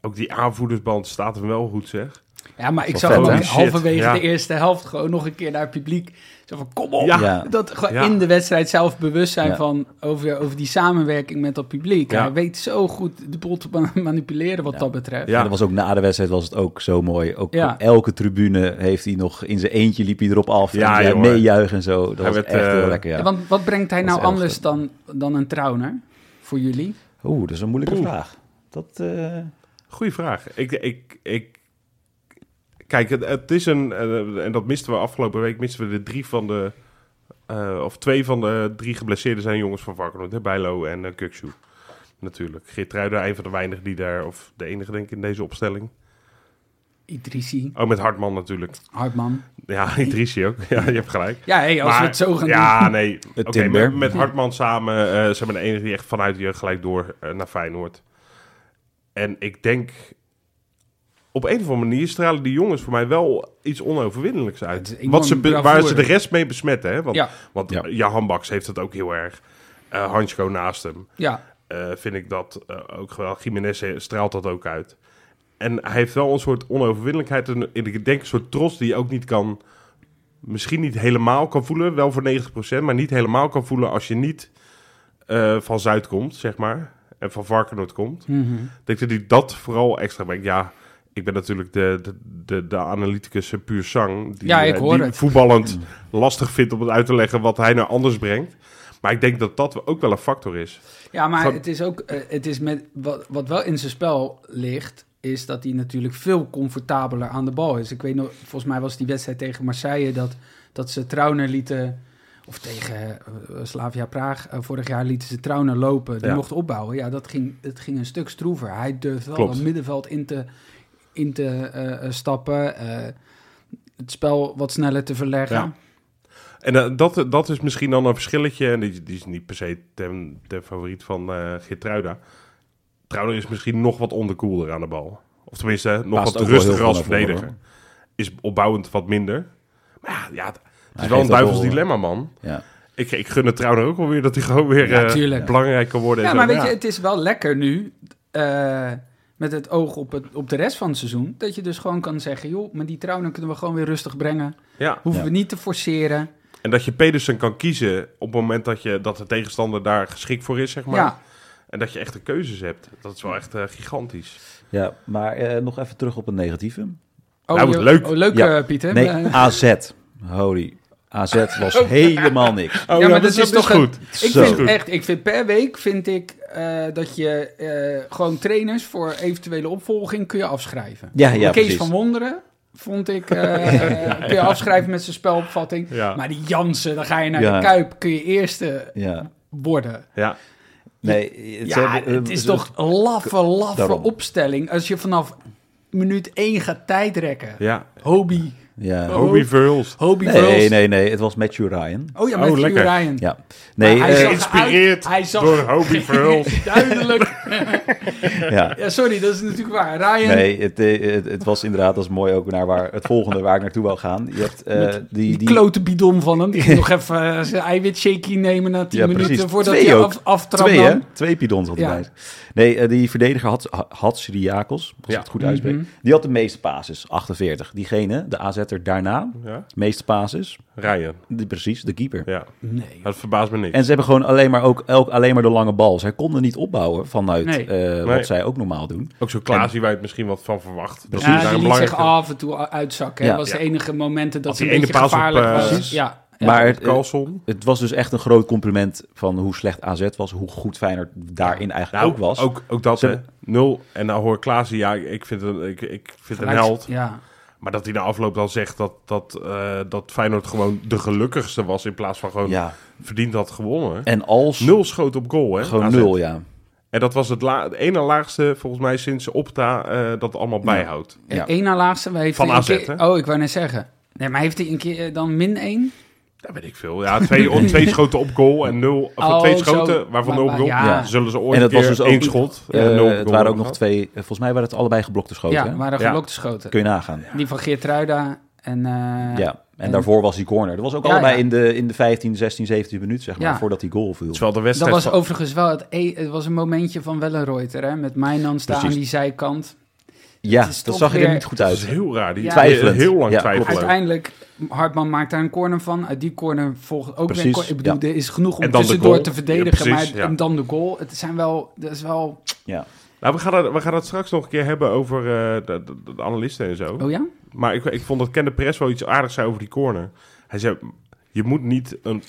Speaker 1: Ook die aanvoerdersband staat hem wel goed, zeg.
Speaker 2: ja maar ik
Speaker 3: Van
Speaker 2: zag
Speaker 3: vet,
Speaker 2: hem
Speaker 3: hè?
Speaker 2: ook halverwege
Speaker 1: Shit, ja.
Speaker 2: de eerste helft gewoon nog een keer naar het publiek. Zo van, kom op.
Speaker 1: Ja.
Speaker 3: Ja.
Speaker 2: Dat gewoon
Speaker 1: Ja.
Speaker 2: in de wedstrijd zelf bewust zijn
Speaker 3: Ja.
Speaker 2: van over, over die samenwerking met dat publiek.
Speaker 1: Ja.
Speaker 2: Hij weet zo goed de boel te ma- manipuleren wat dat betreft.
Speaker 1: Ja.
Speaker 3: En dat was ook na de wedstrijd was het ook zo mooi. Ook
Speaker 2: Ja.
Speaker 3: op elke tribune heeft hij nog in zijn eentje liep hij erop af.
Speaker 1: Ja,
Speaker 3: en zei
Speaker 1: jongen.
Speaker 3: meejuichen en zo. Dat
Speaker 1: Hij
Speaker 3: was
Speaker 1: werd,
Speaker 3: echt
Speaker 1: eh,
Speaker 3: heel lekker, ja.
Speaker 2: Ja, Want wat brengt hij
Speaker 3: Dat is
Speaker 2: nou
Speaker 3: erg,
Speaker 2: anders dan, dan een trouwner voor jullie?
Speaker 3: Oeh, dat is een moeilijke
Speaker 1: Oeh.
Speaker 3: vraag. Dat, eh,
Speaker 1: Goeie vraag. Ik, ik, ik... Kijk, het, het is een... eh, en dat misten we afgelopen week. Misten we de drie van de... eh, of twee van de drie geblesseerden zijn jongens van Varkenoord. hè? Bijlo en eh Kuksu. Natuurlijk. Geertruiden, een van de weinigen die daar... Of de enige, denk ik, in deze opstelling.
Speaker 2: Idrissi,
Speaker 1: Ook met Hartman natuurlijk.
Speaker 2: Hartman.
Speaker 1: Ja, Idrissi ook. Ja, je hebt gelijk.
Speaker 2: Ja, hey, als we het zo gaan
Speaker 1: ja,
Speaker 2: doen.
Speaker 1: nee.
Speaker 3: Het
Speaker 1: Oké,
Speaker 3: timber.
Speaker 1: met, met Hartman samen eh zijn we de enige die echt vanuit je gelijk door eh, naar Feyenoord. En ik denk, op een of andere manier stralen die jongens voor mij wel iets onoverwinnelijks
Speaker 2: Het
Speaker 1: uit.
Speaker 2: is enorm
Speaker 1: Wat ze be- waar
Speaker 2: bravoure.
Speaker 1: ze de rest mee besmetten, hè? Want,
Speaker 2: Ja.
Speaker 1: want
Speaker 3: Ja.
Speaker 1: eh, Jahan Baks heeft dat ook heel erg. Eh Hansko naast hem.
Speaker 2: Ja,
Speaker 1: Eh, vind ik dat eh, ook wel. Jiménez eh, straalt dat ook uit. En hij heeft wel een soort onoverwinnelijkheid. En ik denk een soort trots die je ook niet kan. Misschien niet helemaal kan voelen. Wel voor 90%, maar niet helemaal kan voelen als je niet eh, van Zuid komt, zeg maar. En van Varkenoord komt.
Speaker 2: mhm.
Speaker 1: Ik denk dat hij dat vooral extra brengt. Ja, ik ben natuurlijk de, de, de, de analyticus eh, puur zang. Die,
Speaker 2: Ja, ik
Speaker 1: eh,
Speaker 2: hoor
Speaker 1: die
Speaker 2: het.
Speaker 1: voetballend lastig vindt om het uit te leggen wat hij nou anders brengt. Maar ik denk dat dat ook wel een factor is.
Speaker 2: ja maar
Speaker 1: Van-
Speaker 2: het is ook, eh, het is met, wat, wat wel in zijn spel ligt, is dat hij natuurlijk veel comfortabeler aan de bal is. Ik weet nog, volgens mij was die wedstrijd tegen Marseille dat, dat ze Trauner lieten Of tegen eh, Slavia Praag. eh, vorig jaar lieten ze Trauner lopen. Die
Speaker 1: Ja.
Speaker 2: mocht opbouwen. Ja, dat ging, het ging een stuk stroever. Hij durfde wel
Speaker 1: Klopt.
Speaker 2: het middenveld in te, in te eh, eh, stappen. eh, het spel wat sneller te verleggen.
Speaker 1: Ja. En eh, dat, dat is misschien dan een verschilletje. En die, die is niet per se ten, ten favoriet van eh Geertruida. Trouwens is misschien nog wat onderkoelder aan de bal. Of tenminste, eh, nog
Speaker 3: Paast ook
Speaker 1: wat
Speaker 3: wel heel
Speaker 1: rustiger
Speaker 3: veel
Speaker 1: als
Speaker 3: naar voren,
Speaker 1: verdediger. Is opbouwend wat minder. Maar ja, ja het is
Speaker 3: Hij
Speaker 1: wel een
Speaker 3: geeft ook
Speaker 1: duivels
Speaker 3: wel, eh,
Speaker 1: dilemma, man.
Speaker 3: Ja.
Speaker 1: Ik, ik gun het trouwens ook wel weer dat hij gewoon weer
Speaker 2: Ja,
Speaker 1: eh,
Speaker 2: tuurlijk.
Speaker 1: belangrijk kan worden. en
Speaker 2: Ja,
Speaker 1: zo.
Speaker 2: maar weet
Speaker 1: ja.
Speaker 2: je, het is wel lekker nu, eh, met het oog op, het, op de rest van het seizoen, dat je dus gewoon kan zeggen, joh, maar die trouwen kunnen we gewoon weer rustig brengen.
Speaker 1: Ja.
Speaker 2: Hoeven
Speaker 3: Ja.
Speaker 2: we niet te forceren.
Speaker 1: En dat je Pedersen kan kiezen op het moment dat, je, dat de tegenstander daar geschikt voor is, zeg maar.
Speaker 2: ja,
Speaker 1: En dat je echt de keuzes hebt. Dat is wel echt eh, gigantisch.
Speaker 3: ja, maar eh, nog even terug op het negatieve.
Speaker 2: oh,
Speaker 1: Nou,
Speaker 2: joh,
Speaker 1: leuk.
Speaker 2: Oh, leuk
Speaker 3: Ja.
Speaker 2: eh, Pieter.
Speaker 3: Nee, Oh,
Speaker 2: Eh,
Speaker 3: AZ. Holy. AZ was helemaal niks.
Speaker 1: Oh,
Speaker 2: maar dat is dus toch
Speaker 1: goed.
Speaker 2: ik
Speaker 3: Zo.
Speaker 2: vind echt, ik vind per week vind ik eh, dat je eh, gewoon trainers voor eventuele opvolging kun je afschrijven.
Speaker 3: Ja, ja,
Speaker 2: Kees
Speaker 3: precies.
Speaker 2: van Wonderen vond ik, eh, kun je afschrijven met zijn spelopvatting.
Speaker 1: Ja.
Speaker 2: Maar die Jansen, dan ga je naar
Speaker 3: Ja.
Speaker 2: de Kuip, kun je eerste
Speaker 3: Ja.
Speaker 2: worden.
Speaker 1: Ja,
Speaker 3: Nee, het, eh,
Speaker 2: Ja, het is toch een laffe, laffe
Speaker 3: Daarom.
Speaker 2: opstelling. Als je vanaf minuut 1 gaat tijdrekken.
Speaker 1: ja.
Speaker 2: Hobby.
Speaker 3: Ja.
Speaker 2: Oh.
Speaker 1: Hobie Verhulst.
Speaker 2: Hobby
Speaker 3: Nee,
Speaker 2: Girls.
Speaker 3: nee, nee. Het was Matthew Ryan.
Speaker 2: Oh ja,
Speaker 1: Oh,
Speaker 2: met
Speaker 1: lekker.
Speaker 2: Ryan.
Speaker 3: Ja. Nee,
Speaker 2: Maar hij
Speaker 3: eh,
Speaker 2: zag-
Speaker 1: Geïnspireerd
Speaker 2: Hij zag-
Speaker 1: door Hobie Verhulst.
Speaker 2: Duidelijk.
Speaker 3: ja.
Speaker 2: Ja, sorry, dat is natuurlijk waar. Ryan.
Speaker 3: Nee, het, eh, het, het was inderdaad, dat is mooi ook naar waar, het volgende waar ik naartoe wou gaan. Je hebt eh, die,
Speaker 2: Die,
Speaker 3: die,
Speaker 2: klote bidon van hem. Die ging nog even eh, zijn eiwit shaky nemen na 10
Speaker 3: Ja,
Speaker 2: minuten
Speaker 3: precies.
Speaker 2: voordat
Speaker 3: Twee
Speaker 2: hij
Speaker 3: ook.
Speaker 2: af, aftrap
Speaker 3: twee, hè?
Speaker 2: nam.
Speaker 3: Twee pidons had
Speaker 2: Ja.
Speaker 3: hij. Nee, eh, die verdediger had, had Syriakos, als
Speaker 1: Ja.
Speaker 3: ik het goed uitspreek.
Speaker 2: Mhm.
Speaker 3: Die had de meeste passes, 48. Diegene, de AZ'er daarna,
Speaker 1: Ja,
Speaker 3: de meeste passes,
Speaker 1: Ryan.
Speaker 3: die, precies, de keeper.
Speaker 1: Ja,
Speaker 2: Nee.
Speaker 1: dat verbaast me niet.
Speaker 3: En ze hebben gewoon alleen maar, ook, elk, alleen maar de lange bal. Zij konden niet opbouwen vanuit
Speaker 2: Nee.
Speaker 3: eh, wat
Speaker 1: Nee.
Speaker 3: zij ook normaal doen.
Speaker 1: Ook zo Klaas, die wij het misschien wat van verwacht. Dat
Speaker 3: Precies.
Speaker 1: hij
Speaker 2: Ja,
Speaker 1: daar
Speaker 2: die
Speaker 1: een
Speaker 2: liet zich
Speaker 1: belangrijke...
Speaker 3: ah,
Speaker 2: af en toe uitzakken.
Speaker 3: Ja.
Speaker 2: Dat was de
Speaker 1: Ja.
Speaker 2: enige momenten dat
Speaker 1: Had
Speaker 2: ze een
Speaker 1: die ene
Speaker 2: beetje
Speaker 1: paas op,
Speaker 2: gevaarlijk
Speaker 1: eh,
Speaker 2: was.
Speaker 1: Precies.
Speaker 2: Ja, ja.
Speaker 3: Maar het, eh,
Speaker 1: Carlson.
Speaker 3: het was dus echt een groot compliment van hoe slecht AZ was, hoe goed Feyenoord daarin eigenlijk ook was.
Speaker 1: Nou, Ook, ook dat,
Speaker 3: Ze
Speaker 1: hè. Nul. En nou hoor Klaas, ja, ik vind het ik, ik vind het een
Speaker 2: Gelijk-
Speaker 1: held.
Speaker 2: Ja.
Speaker 1: Maar dat hij na afloop dan zegt dat, dat, eh, dat Feyenoord gewoon de gelukkigste was... in plaats van gewoon
Speaker 3: Ja,
Speaker 1: verdiend had gewonnen.
Speaker 3: en als...
Speaker 1: Nul schoot op goal, hè?
Speaker 3: Gewoon
Speaker 1: AZ.
Speaker 3: nul, ja.
Speaker 1: En dat was het, la het ene laagste, volgens mij, sinds Opta eh, dat allemaal bijhoudt.
Speaker 3: Ja.
Speaker 2: Eén na laatste. maar Heeft
Speaker 1: Van
Speaker 2: hij een
Speaker 1: AZ,
Speaker 2: keer-
Speaker 1: hè?
Speaker 2: Oh, ik wou net zeggen. Nee, maar heeft hij een keer eh, dan min 1?
Speaker 1: Dat weet ik veel. Ja, twee, twee schoten op goal en nul... Of
Speaker 2: Oh,
Speaker 1: twee
Speaker 2: zo.
Speaker 1: schoten, waarvan nul op
Speaker 2: Waarbij-
Speaker 1: goal.
Speaker 2: ja.
Speaker 3: Ja.
Speaker 1: Zullen ze ooit
Speaker 3: En dat
Speaker 1: een
Speaker 3: was
Speaker 1: keer
Speaker 3: dus ook-
Speaker 1: één schot
Speaker 3: Eh,
Speaker 1: en nul op
Speaker 3: het
Speaker 1: goal
Speaker 3: waren ook nog
Speaker 1: gehad?
Speaker 3: twee, eh, volgens mij waren het allebei geblokte schoten.
Speaker 2: Ja,
Speaker 3: hè?
Speaker 2: waren
Speaker 1: Ja.
Speaker 2: geblokte schoten.
Speaker 3: Kun je nagaan.
Speaker 2: Die van Geert Ruida en... eh,
Speaker 3: Ja, en,
Speaker 2: En-
Speaker 3: daarvoor was die corner. Dat was ook
Speaker 2: Ja,
Speaker 3: allebei
Speaker 2: ja.
Speaker 3: In, de, in de 15, 16, 17 minuut, zeg maar,
Speaker 2: Ja.
Speaker 3: voordat die goal viel.
Speaker 1: Terwijl de
Speaker 2: Dat
Speaker 1: wedstrijd
Speaker 2: was
Speaker 1: van-
Speaker 2: overigens wel het, e- het was een momentje van Wellenreuter, hè? Met Mijnans daar aan
Speaker 3: Precies.
Speaker 2: die zijkant.
Speaker 3: Ja,
Speaker 2: Het is
Speaker 3: dat
Speaker 2: toch
Speaker 3: zag er
Speaker 2: weer-
Speaker 3: niet goed
Speaker 1: Dat is
Speaker 3: uit.
Speaker 1: heel raar. Die
Speaker 2: Ja.
Speaker 3: Twijfelend.
Speaker 1: Heel lang
Speaker 3: Ja,
Speaker 1: twijfelen.
Speaker 3: klopt.
Speaker 2: Uiteindelijk, Hartman maakt daar een corner van. Uit die corner volgt ook weer een
Speaker 3: Precies,
Speaker 2: corner. Ik bedoel,
Speaker 3: ja.
Speaker 2: er is genoeg om
Speaker 1: En dan de
Speaker 2: tussendoor
Speaker 1: goal.
Speaker 2: te
Speaker 1: Ja,
Speaker 2: verdedigen.
Speaker 1: precies,
Speaker 2: maar
Speaker 1: ja.
Speaker 2: en dan de goal. Het zijn wel... Dat is wel...
Speaker 3: Ja.
Speaker 1: Nou, we gaan, het, we gaan het straks nog een keer hebben over eh, de, de- de analisten en zo.
Speaker 2: Oh ja?
Speaker 1: Maar ik, ik vond dat Ken de Press wel iets aardigs zei over die corner. Hij zei, je moet niet een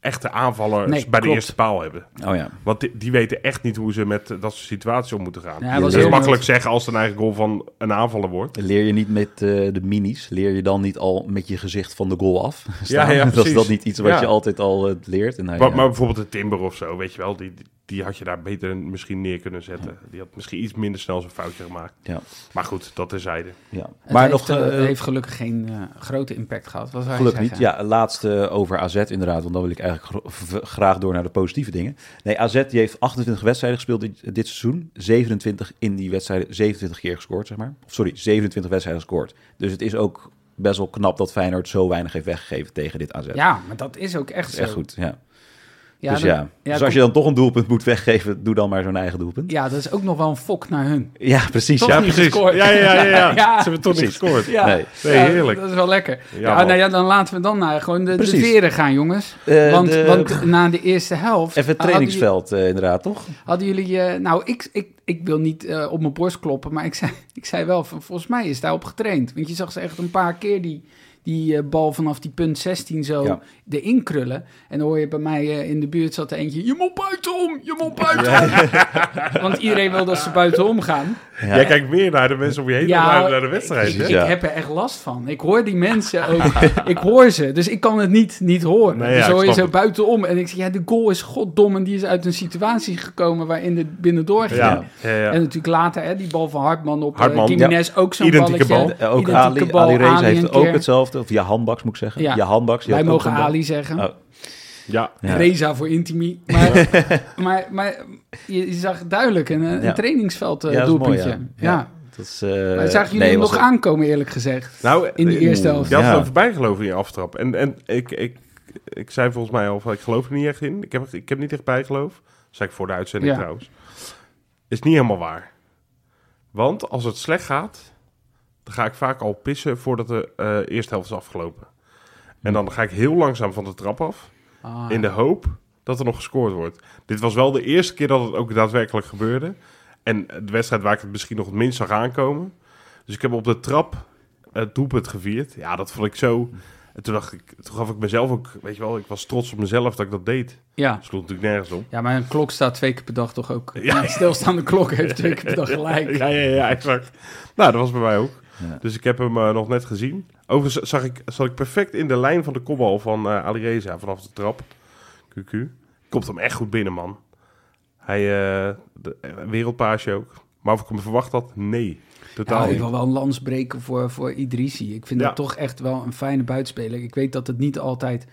Speaker 1: echte aanvaller
Speaker 2: Nee,
Speaker 1: bij de
Speaker 2: klopt.
Speaker 1: eerste paal hebben.
Speaker 3: Oh ja.
Speaker 1: Want die, die weten echt niet hoe ze met eh, dat soort situaties om moeten gaan.
Speaker 2: Ja, hij
Speaker 3: was
Speaker 1: dat is
Speaker 3: heel
Speaker 1: makkelijk zeggen als het een eigen goal van een aanvaller wordt.
Speaker 3: Leer je niet met eh, de minis, leer je dan niet al met je gezicht van de goal af? staan?
Speaker 1: ja,
Speaker 3: dat is
Speaker 1: precies.
Speaker 3: dat niet iets wat
Speaker 1: Ja.
Speaker 3: je altijd al eh, leert. En nou
Speaker 1: Maar,
Speaker 3: ja.
Speaker 1: maar bijvoorbeeld de Timber of zo, weet je wel. Die, die- die had je daar beter misschien neer kunnen zetten. Die had misschien iets minder snel zijn foutje gemaakt.
Speaker 3: Ja.
Speaker 1: Maar goed, dat terzijde.
Speaker 3: Ja.
Speaker 2: Het
Speaker 3: maar
Speaker 2: heeft,
Speaker 3: nog
Speaker 2: eh,
Speaker 3: eh,
Speaker 2: heeft gelukkig geen eh, grote impact gehad. Wat zou je
Speaker 3: Gelukkig niet.
Speaker 2: zeggen?
Speaker 3: Ja, laatste over AZ inderdaad, want dan wil ik eigenlijk gro- v- graag door naar de positieve dingen. Nee, AZ die heeft 28 wedstrijden gespeeld dit, dit seizoen. 27 in die wedstrijden, 27 keer gescoord, zeg maar. Of sorry, 27 wedstrijden gescoord. Dus het is ook best wel knap dat Feyenoord zo weinig heeft weggegeven tegen dit AZ.
Speaker 2: Ja, maar dat is ook echt
Speaker 3: dat is
Speaker 2: zo.
Speaker 3: echt goed. Ja.
Speaker 2: Ja,
Speaker 3: dus
Speaker 2: dat-
Speaker 3: ja. dus als je dan toch een doelpunt moet weggeven, doe dan maar zo'n eigen doelpunt. Ja,
Speaker 2: Ja, dat is ook nog wel een fok naar hun.
Speaker 3: precies.
Speaker 2: Toch
Speaker 3: ja.
Speaker 2: niet gescoord.
Speaker 1: Ja, ja, ja. ja, ja.
Speaker 2: Ja.
Speaker 1: Ze hebben toch niet
Speaker 3: Precies.
Speaker 1: gescoord.
Speaker 2: Ja,
Speaker 3: Nee.
Speaker 1: Nee,
Speaker 2: Ja,
Speaker 1: heerlijk.
Speaker 2: Dat is wel lekker. Ja,
Speaker 1: man.
Speaker 2: nou ja, dan laten we dan naar gewoon de, de
Speaker 3: Precies.
Speaker 2: veren gaan, jongens.
Speaker 3: Eh,
Speaker 2: want,
Speaker 3: de-
Speaker 2: want Ah, na de eerste helft...
Speaker 3: Even het
Speaker 2: hadden jullie-
Speaker 3: trainingsveld eh, inderdaad, toch?
Speaker 2: Hadden jullie... eh, nou, ik, ik, ik wil niet eh, op mijn borst kloppen, maar ik zei, ik zei wel, van, volgens mij is daarop getraind. Want je zag ze echt een paar keer die, die eh, bal vanaf die punt 16 zo
Speaker 3: Ja.
Speaker 2: erin krullen. En dan hoor je bij mij eh, in de buurt zat er eentje... Je moet buitenom, je moet buitenom. Want iedereen wil dat ze buitenom gaan.
Speaker 3: Ja.
Speaker 1: Jij kijkt meer naar de mensen om je heen dan naar, naar de wedstrijd,
Speaker 2: ik,
Speaker 1: hè?
Speaker 2: ik
Speaker 3: Ja.
Speaker 2: heb er echt last van. Ik hoor die mensen ook. ik hoor ze, dus ik kan het niet, niet horen.
Speaker 1: Nee, ja,
Speaker 2: dus
Speaker 1: ik
Speaker 2: hoor je
Speaker 1: snap
Speaker 2: zo
Speaker 1: het.
Speaker 2: buitenom. En ik zeg, ja, de goal is goddom. En die is uit een situatie gekomen waarin het binnendoor ging.
Speaker 1: Ja, ja, ja.
Speaker 2: En natuurlijk later, hè, die bal van Hartman op
Speaker 1: Hartman,
Speaker 2: Hartman, Jiménez, ook zo'n
Speaker 1: Identieke
Speaker 2: balletje.
Speaker 3: Eh, Ook
Speaker 2: Identieke
Speaker 3: Ali, Ali Reza
Speaker 2: Ali een
Speaker 3: heeft ook
Speaker 2: keer.
Speaker 3: hetzelfde. Of ja, handbaks moet ik zeggen.
Speaker 2: Ja.
Speaker 3: Ja, handbaks. die
Speaker 2: Wij
Speaker 3: had ook
Speaker 2: mogen
Speaker 3: een bal.
Speaker 2: Ali zeggen.
Speaker 3: Oh,
Speaker 1: ja.
Speaker 3: ja.
Speaker 2: Reza voor Intimi. Maar, maar, maar je je zag duidelijk een, een
Speaker 3: Ja.
Speaker 2: trainingsveld eh,
Speaker 3: Ja, dat is mooi,
Speaker 2: doelpuntje.
Speaker 3: ja.
Speaker 2: ja.
Speaker 3: Ja. Dat is, eh,
Speaker 2: Maar zagen jullie
Speaker 3: nee,
Speaker 2: hem
Speaker 3: was
Speaker 2: nog
Speaker 3: het-
Speaker 2: aankomen, eerlijk gezegd?
Speaker 1: Nou,
Speaker 2: in de
Speaker 1: eh,
Speaker 2: eerste
Speaker 3: oeh.
Speaker 2: helft.
Speaker 1: Je had
Speaker 3: Ja.
Speaker 1: er voorbij geloven in je aftrap. En, en ik, ik, ik zei volgens mij al, van, ik geloof er niet echt in. Ik heb, ik heb niet echt bijgeloof. Dat zei ik voor de uitzending
Speaker 2: Ja.
Speaker 1: trouwens. Is niet helemaal waar. Want als het slecht gaat, dan ga ik vaak al pissen voordat de eh, eerste helft is afgelopen. En dan ga ik heel langzaam van de trap af,
Speaker 2: Ah.
Speaker 1: Nou, in de hoop dat er nog gescoord wordt. Dit was wel de eerste keer dat het ook daadwerkelijk gebeurde. En de wedstrijd waar ik het misschien nog het minst zag aankomen. Dus ik heb op de trap het doelpunt gevierd. Ja, dat vond ik zo. En toen dacht ik, toen gaf ik mezelf ook, weet je wel, ik was trots op mezelf dat ik dat deed.
Speaker 2: Ja.
Speaker 1: Dat sloeg natuurlijk nergens op.
Speaker 2: Ja, maar een klok staat twee keer per dag toch ook.
Speaker 1: Ja.
Speaker 2: Een stilstaande klok heeft twee keer per dag gelijk.
Speaker 1: Ja, ja, ja, exact. Nou, dat was bij mij ook.
Speaker 3: Ja.
Speaker 1: Dus ik heb hem eh, nog net gezien. Overigens zag ik, zat ik perfect in de lijn van de kopbal van eh Ali Reza vanaf de trap. QQ. Komt hem echt goed binnen, man. Hij, eh de, eh, wereldpaasje ook. Maar of ik hem verwacht had, nee. Totaal
Speaker 3: Nou,
Speaker 2: Ja, ik
Speaker 1: niet.
Speaker 2: wil wel een lans breken voor, voor Idrisi. Ik vind
Speaker 1: Ja.
Speaker 2: dat toch echt wel een fijne buitenspeler. Ik weet dat het niet altijd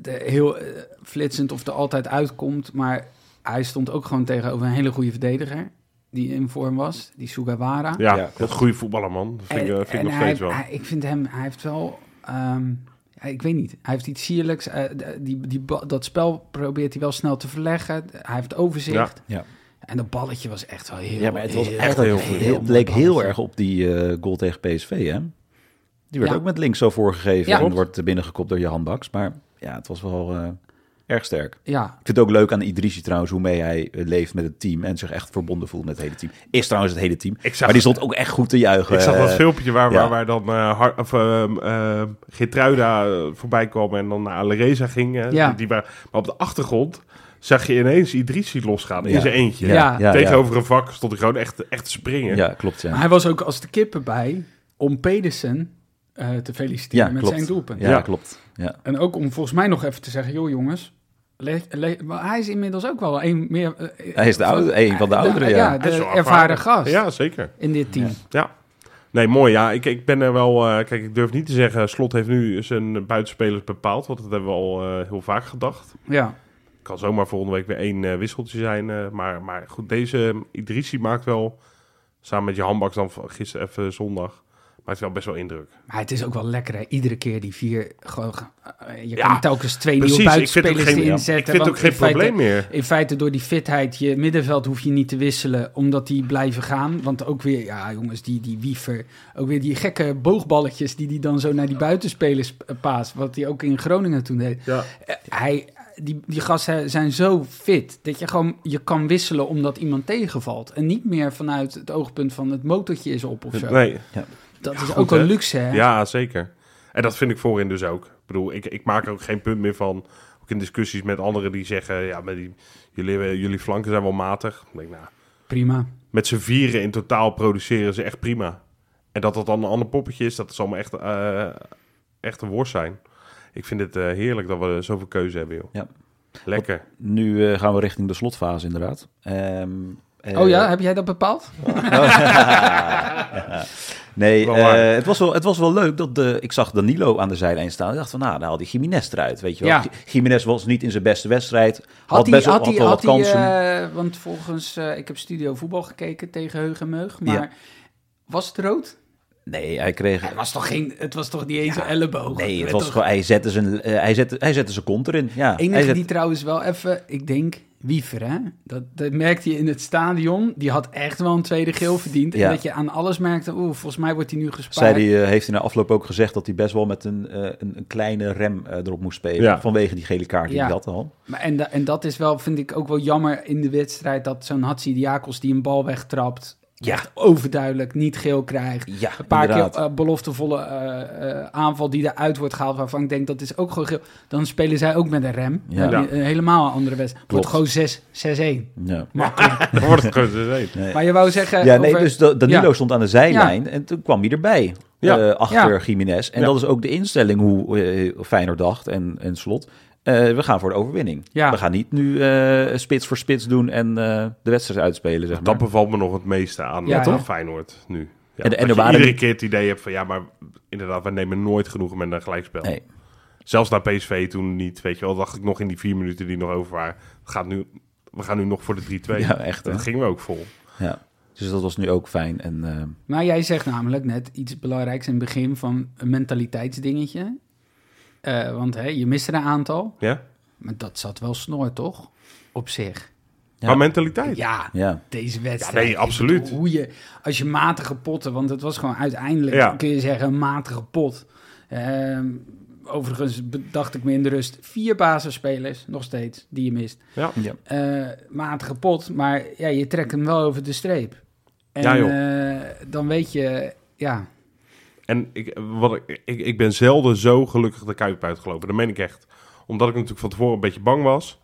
Speaker 2: de, heel eh, flitsend of er altijd uitkomt. Maar hij stond ook gewoon tegenover een hele goede verdediger. Die in vorm was, die Sugawara.
Speaker 1: Ja,
Speaker 3: Ja,
Speaker 1: dat
Speaker 3: klopt.
Speaker 1: goede voetballer, man. Dat vind ik, eh, vind ik nog
Speaker 2: hij,
Speaker 1: steeds wel.
Speaker 2: hij- ik vind hem, hij heeft wel, ehm, ja, ik weet niet, hij heeft iets sierlijks. eh, d- die, die, ba- dat spel probeert hij wel snel te verleggen. Hij heeft overzicht.
Speaker 3: Ja. Ja.
Speaker 2: En dat balletje was echt wel heel
Speaker 3: Ja, maar het was
Speaker 2: heel-
Speaker 3: echt
Speaker 1: heel
Speaker 3: heel,
Speaker 1: goed.
Speaker 3: heel, het leek heel erg op die eh, goal tegen PSV, hè? Die werd
Speaker 2: Ja.
Speaker 3: ook met links zo voorgegeven
Speaker 2: Ja.
Speaker 3: en wordt binnengekopt door je handbaks. Maar ja, het was wel eh, erg sterk.
Speaker 2: Ja,
Speaker 3: Ik vind het ook leuk aan Idrissi trouwens, hoe mee hij eh, leeft met het team en zich echt verbonden voelt met het hele team. Is trouwens het hele team.
Speaker 1: Ik zag-
Speaker 3: maar die stond ook echt goed te juichen.
Speaker 1: Ik zag dat
Speaker 3: eh,
Speaker 1: filmpje waar,
Speaker 3: ja.
Speaker 1: waar, waar dan eh, Har- of, ehm, ehm, Geertruida eh, voorbij kwam en dan naar Alereza ging. eh,
Speaker 2: Ja.
Speaker 1: die, die waren, maar op de achtergrond zag je ineens Idrissi losgaan
Speaker 3: Ja.
Speaker 1: in zijn eentje.
Speaker 2: Ja.
Speaker 1: Tegenover een vak stond hij gewoon echt, echt te springen.
Speaker 3: Ja, klopt ja.
Speaker 2: maar hij was ook als de kippen bij om Pedersen eh, te feliciteren
Speaker 3: ja,
Speaker 2: met
Speaker 3: klopt.
Speaker 2: zijn doelpunt.
Speaker 3: Ja,
Speaker 1: Ja.
Speaker 3: klopt. Ja.
Speaker 2: En ook om volgens mij nog even te zeggen, joh jongens, le- le- maar hij is inmiddels ook wel een meer... eh,
Speaker 3: Hij is de oude, een van de ouderen, ja.
Speaker 1: Hij is
Speaker 2: de
Speaker 1: wel
Speaker 2: ervaren gast
Speaker 1: Ja, zeker.
Speaker 2: in dit team.
Speaker 1: Nee, mooi. Ja, ik, ik ben er wel... eh, kijk, ik durf niet te zeggen... Slot heeft nu zijn buitenspelers bepaald. Want dat hebben we al eh, heel vaak gedacht.
Speaker 2: ja.
Speaker 1: Kan zomaar volgende week weer één eh, wisseltje zijn. eh, maar, maar goed, deze ehm, Idrissi maakt wel... Samen met je handbaks dan van gisteren even zondag... Maakt wel best wel indruk.
Speaker 2: Maar het is ook wel lekker, hè? Iedere keer die vier... Gewoon, eh, je
Speaker 1: Ja,
Speaker 2: kan telkens twee nieuwe
Speaker 1: Precies, ik vind het ook
Speaker 2: buitenspelers
Speaker 1: geen, ik
Speaker 2: inzetten.
Speaker 1: vind het ook
Speaker 2: want
Speaker 1: geen
Speaker 2: in feite-
Speaker 1: probleem meer.
Speaker 2: In feite door die fitheid, je middenveld hoef je niet te wisselen, omdat die blijven gaan. Want ook weer, ja jongens, die, die wiever, ook weer die gekke boogballetjes die die dan zo naar die buitenspelers eh, paast. Wat hij ook in Groningen toen deed.
Speaker 1: Ja.
Speaker 2: Eh, Hij, die, die gasten zijn zo fit dat je gewoon je kan wisselen omdat iemand tegenvalt. En niet meer vanuit het oogpunt van het motortje is op of zo.
Speaker 1: Nee,
Speaker 2: Dat is
Speaker 1: goed,
Speaker 2: ook een
Speaker 1: hè?
Speaker 2: luxe, hè?
Speaker 1: ja, zeker. En dat vind ik voorin dus ook. Ik bedoel, ik, ik maak er ook geen punt meer van. Ook in discussies met anderen die zeggen... Ja, met die, jullie, eh, jullie flanken zijn wel matig. Dan denk ik, nou,
Speaker 2: Prima.
Speaker 1: met z'n vieren in totaal produceren ze echt prima. En dat dat dan een ander poppetje is, dat zal me echt, eh, echt een worst zijn. Ik vind het eh, heerlijk dat we zoveel keuze hebben, joh.
Speaker 3: Ja.
Speaker 1: Lekker.
Speaker 3: Nu eh, gaan we richting de slotfase inderdaad. Ehm, eh,
Speaker 2: Oh ja, heb jij dat bepaald?
Speaker 3: Ja. nee,
Speaker 1: Wel waar.
Speaker 3: eh, het, was wel, het was wel leuk dat de, ik zag Danilo aan de zijlijn staan. Ik dacht van, nou, dan haal die Jiménez eruit, weet je wel.
Speaker 2: Ja.
Speaker 3: G- Jiménez was niet in zijn beste wedstrijd. Had,
Speaker 2: Had hij,
Speaker 3: best wel,
Speaker 2: had
Speaker 3: had
Speaker 2: hij,
Speaker 3: wel
Speaker 2: had
Speaker 3: wat
Speaker 2: hij,
Speaker 3: kansen.
Speaker 2: eh, want volgens, eh, ik heb studio voetbal gekeken tegen Heug en Meug, maar
Speaker 3: Ja.
Speaker 2: was het rood?
Speaker 3: nee, hij kreeg...
Speaker 2: Het was toch, geen, het was toch niet eens
Speaker 3: Ja.
Speaker 2: een elleboog?
Speaker 3: Nee, het
Speaker 2: werd
Speaker 3: was
Speaker 2: toch-
Speaker 3: gewoon, hij zette zijn, eh, hij zette, hij zette zijn kont erin. Ja,
Speaker 2: enige
Speaker 3: hij zette-
Speaker 2: die trouwens wel even, ik denk, Wiever, hè? Dat, dat merkte je in het stadion, die had echt wel een tweede geel verdiend.
Speaker 3: Ja.
Speaker 2: En dat je aan alles merkte, oeh, volgens mij wordt hij nu
Speaker 3: Zei
Speaker 2: gespaard.
Speaker 3: die, eh, heeft hij na afloop ook gezegd dat hij best wel met een, eh, een, een kleine rem eh, erop moest spelen.
Speaker 1: Ja.
Speaker 3: Vanwege die gele kaart die
Speaker 2: Ja.
Speaker 3: hij had al.
Speaker 2: Maar en, da- en dat is wel, vind ik ook wel jammer in de wedstrijd, dat zo'n Hatsi Diakos die een bal wegtrapt...
Speaker 3: Ja.
Speaker 2: echt overduidelijk niet geel krijgt.
Speaker 3: Ja,
Speaker 2: Een paar
Speaker 3: inderdaad.
Speaker 2: keer eh, beloftevolle eh, eh, aanval die eruit wordt gehaald... waarvan ik denk dat is ook gewoon geel. Dan spelen zij ook met een rem.
Speaker 3: Ja.
Speaker 2: Dan heb je een helemaal andere wedstrijd.
Speaker 3: Klopt.
Speaker 2: Wordt gewoon 6 6-1.
Speaker 3: Ja.
Speaker 2: Makkelijk.
Speaker 1: Dan wordt het gezeten.
Speaker 3: Nee.
Speaker 2: maar je wou zeggen...
Speaker 3: Ja, nee,
Speaker 2: eh, over-
Speaker 3: dus Da- Danilo
Speaker 2: Ja.
Speaker 3: stond aan de zijlijn en toen kwam hij erbij.
Speaker 1: Ja.
Speaker 3: eh, achter
Speaker 2: Ja.
Speaker 3: Jiménez. En
Speaker 1: Ja.
Speaker 3: dat is ook de instelling hoe eh, Feyenoord dacht en, en Slot. Eh, we gaan voor de overwinning.
Speaker 2: Ja.
Speaker 3: We gaan niet nu eh, spits voor spits doen en eh, de wedstrijd uitspelen, zeg maar.
Speaker 1: Dat bevalt me nog het meeste aan
Speaker 2: Ja,
Speaker 1: aan
Speaker 2: toch?
Speaker 1: Feyenoord nu.
Speaker 3: En-
Speaker 1: Ja,
Speaker 3: en
Speaker 1: dat
Speaker 3: er
Speaker 1: je
Speaker 3: waren-
Speaker 1: iedere keer het idee hebt van... ja, maar inderdaad, wij nemen nooit genoegen met een gelijkspel.
Speaker 3: Nee.
Speaker 1: Zelfs naar PSV toen niet, weet je wel. dacht ik nog in die vier minuten die nog over waren... Gaat nu, we gaan nu nog voor de 3-2.
Speaker 3: Ja, echt, hè?
Speaker 1: Dat gingen we ook vol.
Speaker 3: Ja. Dus dat was nu ook fijn. En, eh,
Speaker 2: Maar jij zegt namelijk net iets belangrijks in het begin van een mentaliteitsdingetje. Eh, want hè, je mist er een aantal.
Speaker 1: Ja?
Speaker 2: Maar dat zat wel snor, toch? Op zich.
Speaker 3: Ja.
Speaker 1: Maar mentaliteit.
Speaker 2: Ja,
Speaker 3: ja.
Speaker 2: deze wedstrijd.
Speaker 1: Ja, nee,
Speaker 2: Ik
Speaker 1: absoluut.
Speaker 2: bedoel, Hoe je, als je matige potten, want het was gewoon uiteindelijk,
Speaker 1: Ja.
Speaker 2: kun je zeggen, een matige pot. Ehm, overigens bedacht ik me in de rust vier basisspelers, nog steeds, die je mist.
Speaker 1: Ja.
Speaker 2: Eh, matige pot, maar ja, je trekt hem wel over de streep. En
Speaker 1: Ja,
Speaker 2: eh, dan weet je, ja,
Speaker 1: En ik, wat ik, ik, ik ben zelden zo gelukkig de Kuip uitgelopen. Dat meen ik echt. Omdat ik natuurlijk van tevoren een beetje bang was.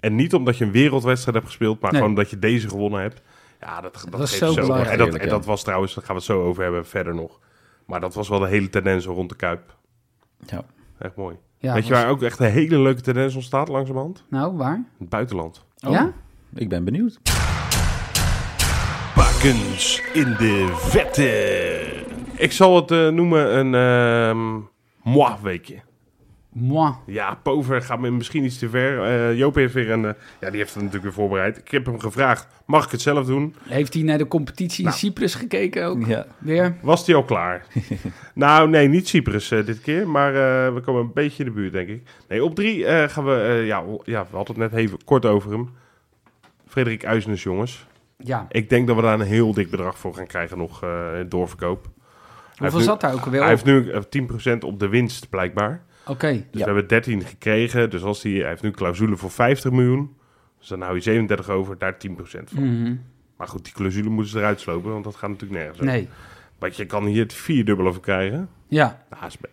Speaker 1: En niet omdat je een wereldwedstrijd hebt gespeeld, maar
Speaker 2: Nee.
Speaker 1: gewoon omdat je deze gewonnen hebt. Ja, dat, dat,
Speaker 2: was
Speaker 1: geeft
Speaker 2: zo
Speaker 1: zo.
Speaker 2: belangrijk.
Speaker 1: En dat, en
Speaker 3: Heerlijk,
Speaker 1: dat was trouwens, daar gaan we het zo over hebben verder nog. Maar dat was wel de hele tendens rond de Kuip.
Speaker 3: Ja.
Speaker 1: Echt mooi.
Speaker 2: ja
Speaker 1: Weet je
Speaker 2: was-
Speaker 1: waar ook echt een hele leuke tendens ontstaat langzamerhand?
Speaker 2: Nou, waar?
Speaker 1: Het buitenland.
Speaker 3: Oh.
Speaker 2: Ja?
Speaker 3: Ik ben benieuwd.
Speaker 1: Bakens in de vette. Ik zal het eh, noemen een ehm moi weekje.
Speaker 2: Moi.
Speaker 1: Ja, Pover gaat me misschien iets te ver. Eh, Joop heeft weer een... eh, ja, die heeft het natuurlijk weer voorbereid. Ik heb hem gevraagd, mag ik het zelf doen?
Speaker 2: Heeft hij naar de competitie
Speaker 1: Nou.
Speaker 2: in Cyprus gekeken ook?
Speaker 3: Ja.
Speaker 2: Weer?
Speaker 1: Was die al klaar? nou, nee, niet Cyprus eh, dit keer. Maar eh, we komen een beetje in de buurt, denk ik. Nee, op drie eh, gaan we... eh, ja, o- ja, we hadden het net even kort over hem. Frederik Uisnes, jongens.
Speaker 2: Ja.
Speaker 1: Ik denk dat we daar een heel dik bedrag voor gaan krijgen nog eh doorverkoop. heeft
Speaker 2: Hoeveel
Speaker 1: nu-
Speaker 2: zat daar ook alweer
Speaker 1: Hij
Speaker 2: op?
Speaker 1: heeft nu eh, 10% op de winst, blijkbaar.
Speaker 2: Oké.
Speaker 1: Dus
Speaker 3: Ja.
Speaker 1: we hebben 13 gekregen. Dus als hij, hij heeft nu clausule voor 50 miljoen. Dus dan hou je 37 over, daar 10% van.
Speaker 2: Mhm.
Speaker 1: Maar goed, die clausule moeten ze eruit slopen, want dat gaat natuurlijk nergens. over.
Speaker 2: Nee.
Speaker 1: Want je kan hier het vierdubbele voor krijgen.
Speaker 2: Ja.
Speaker 1: Nou, is be-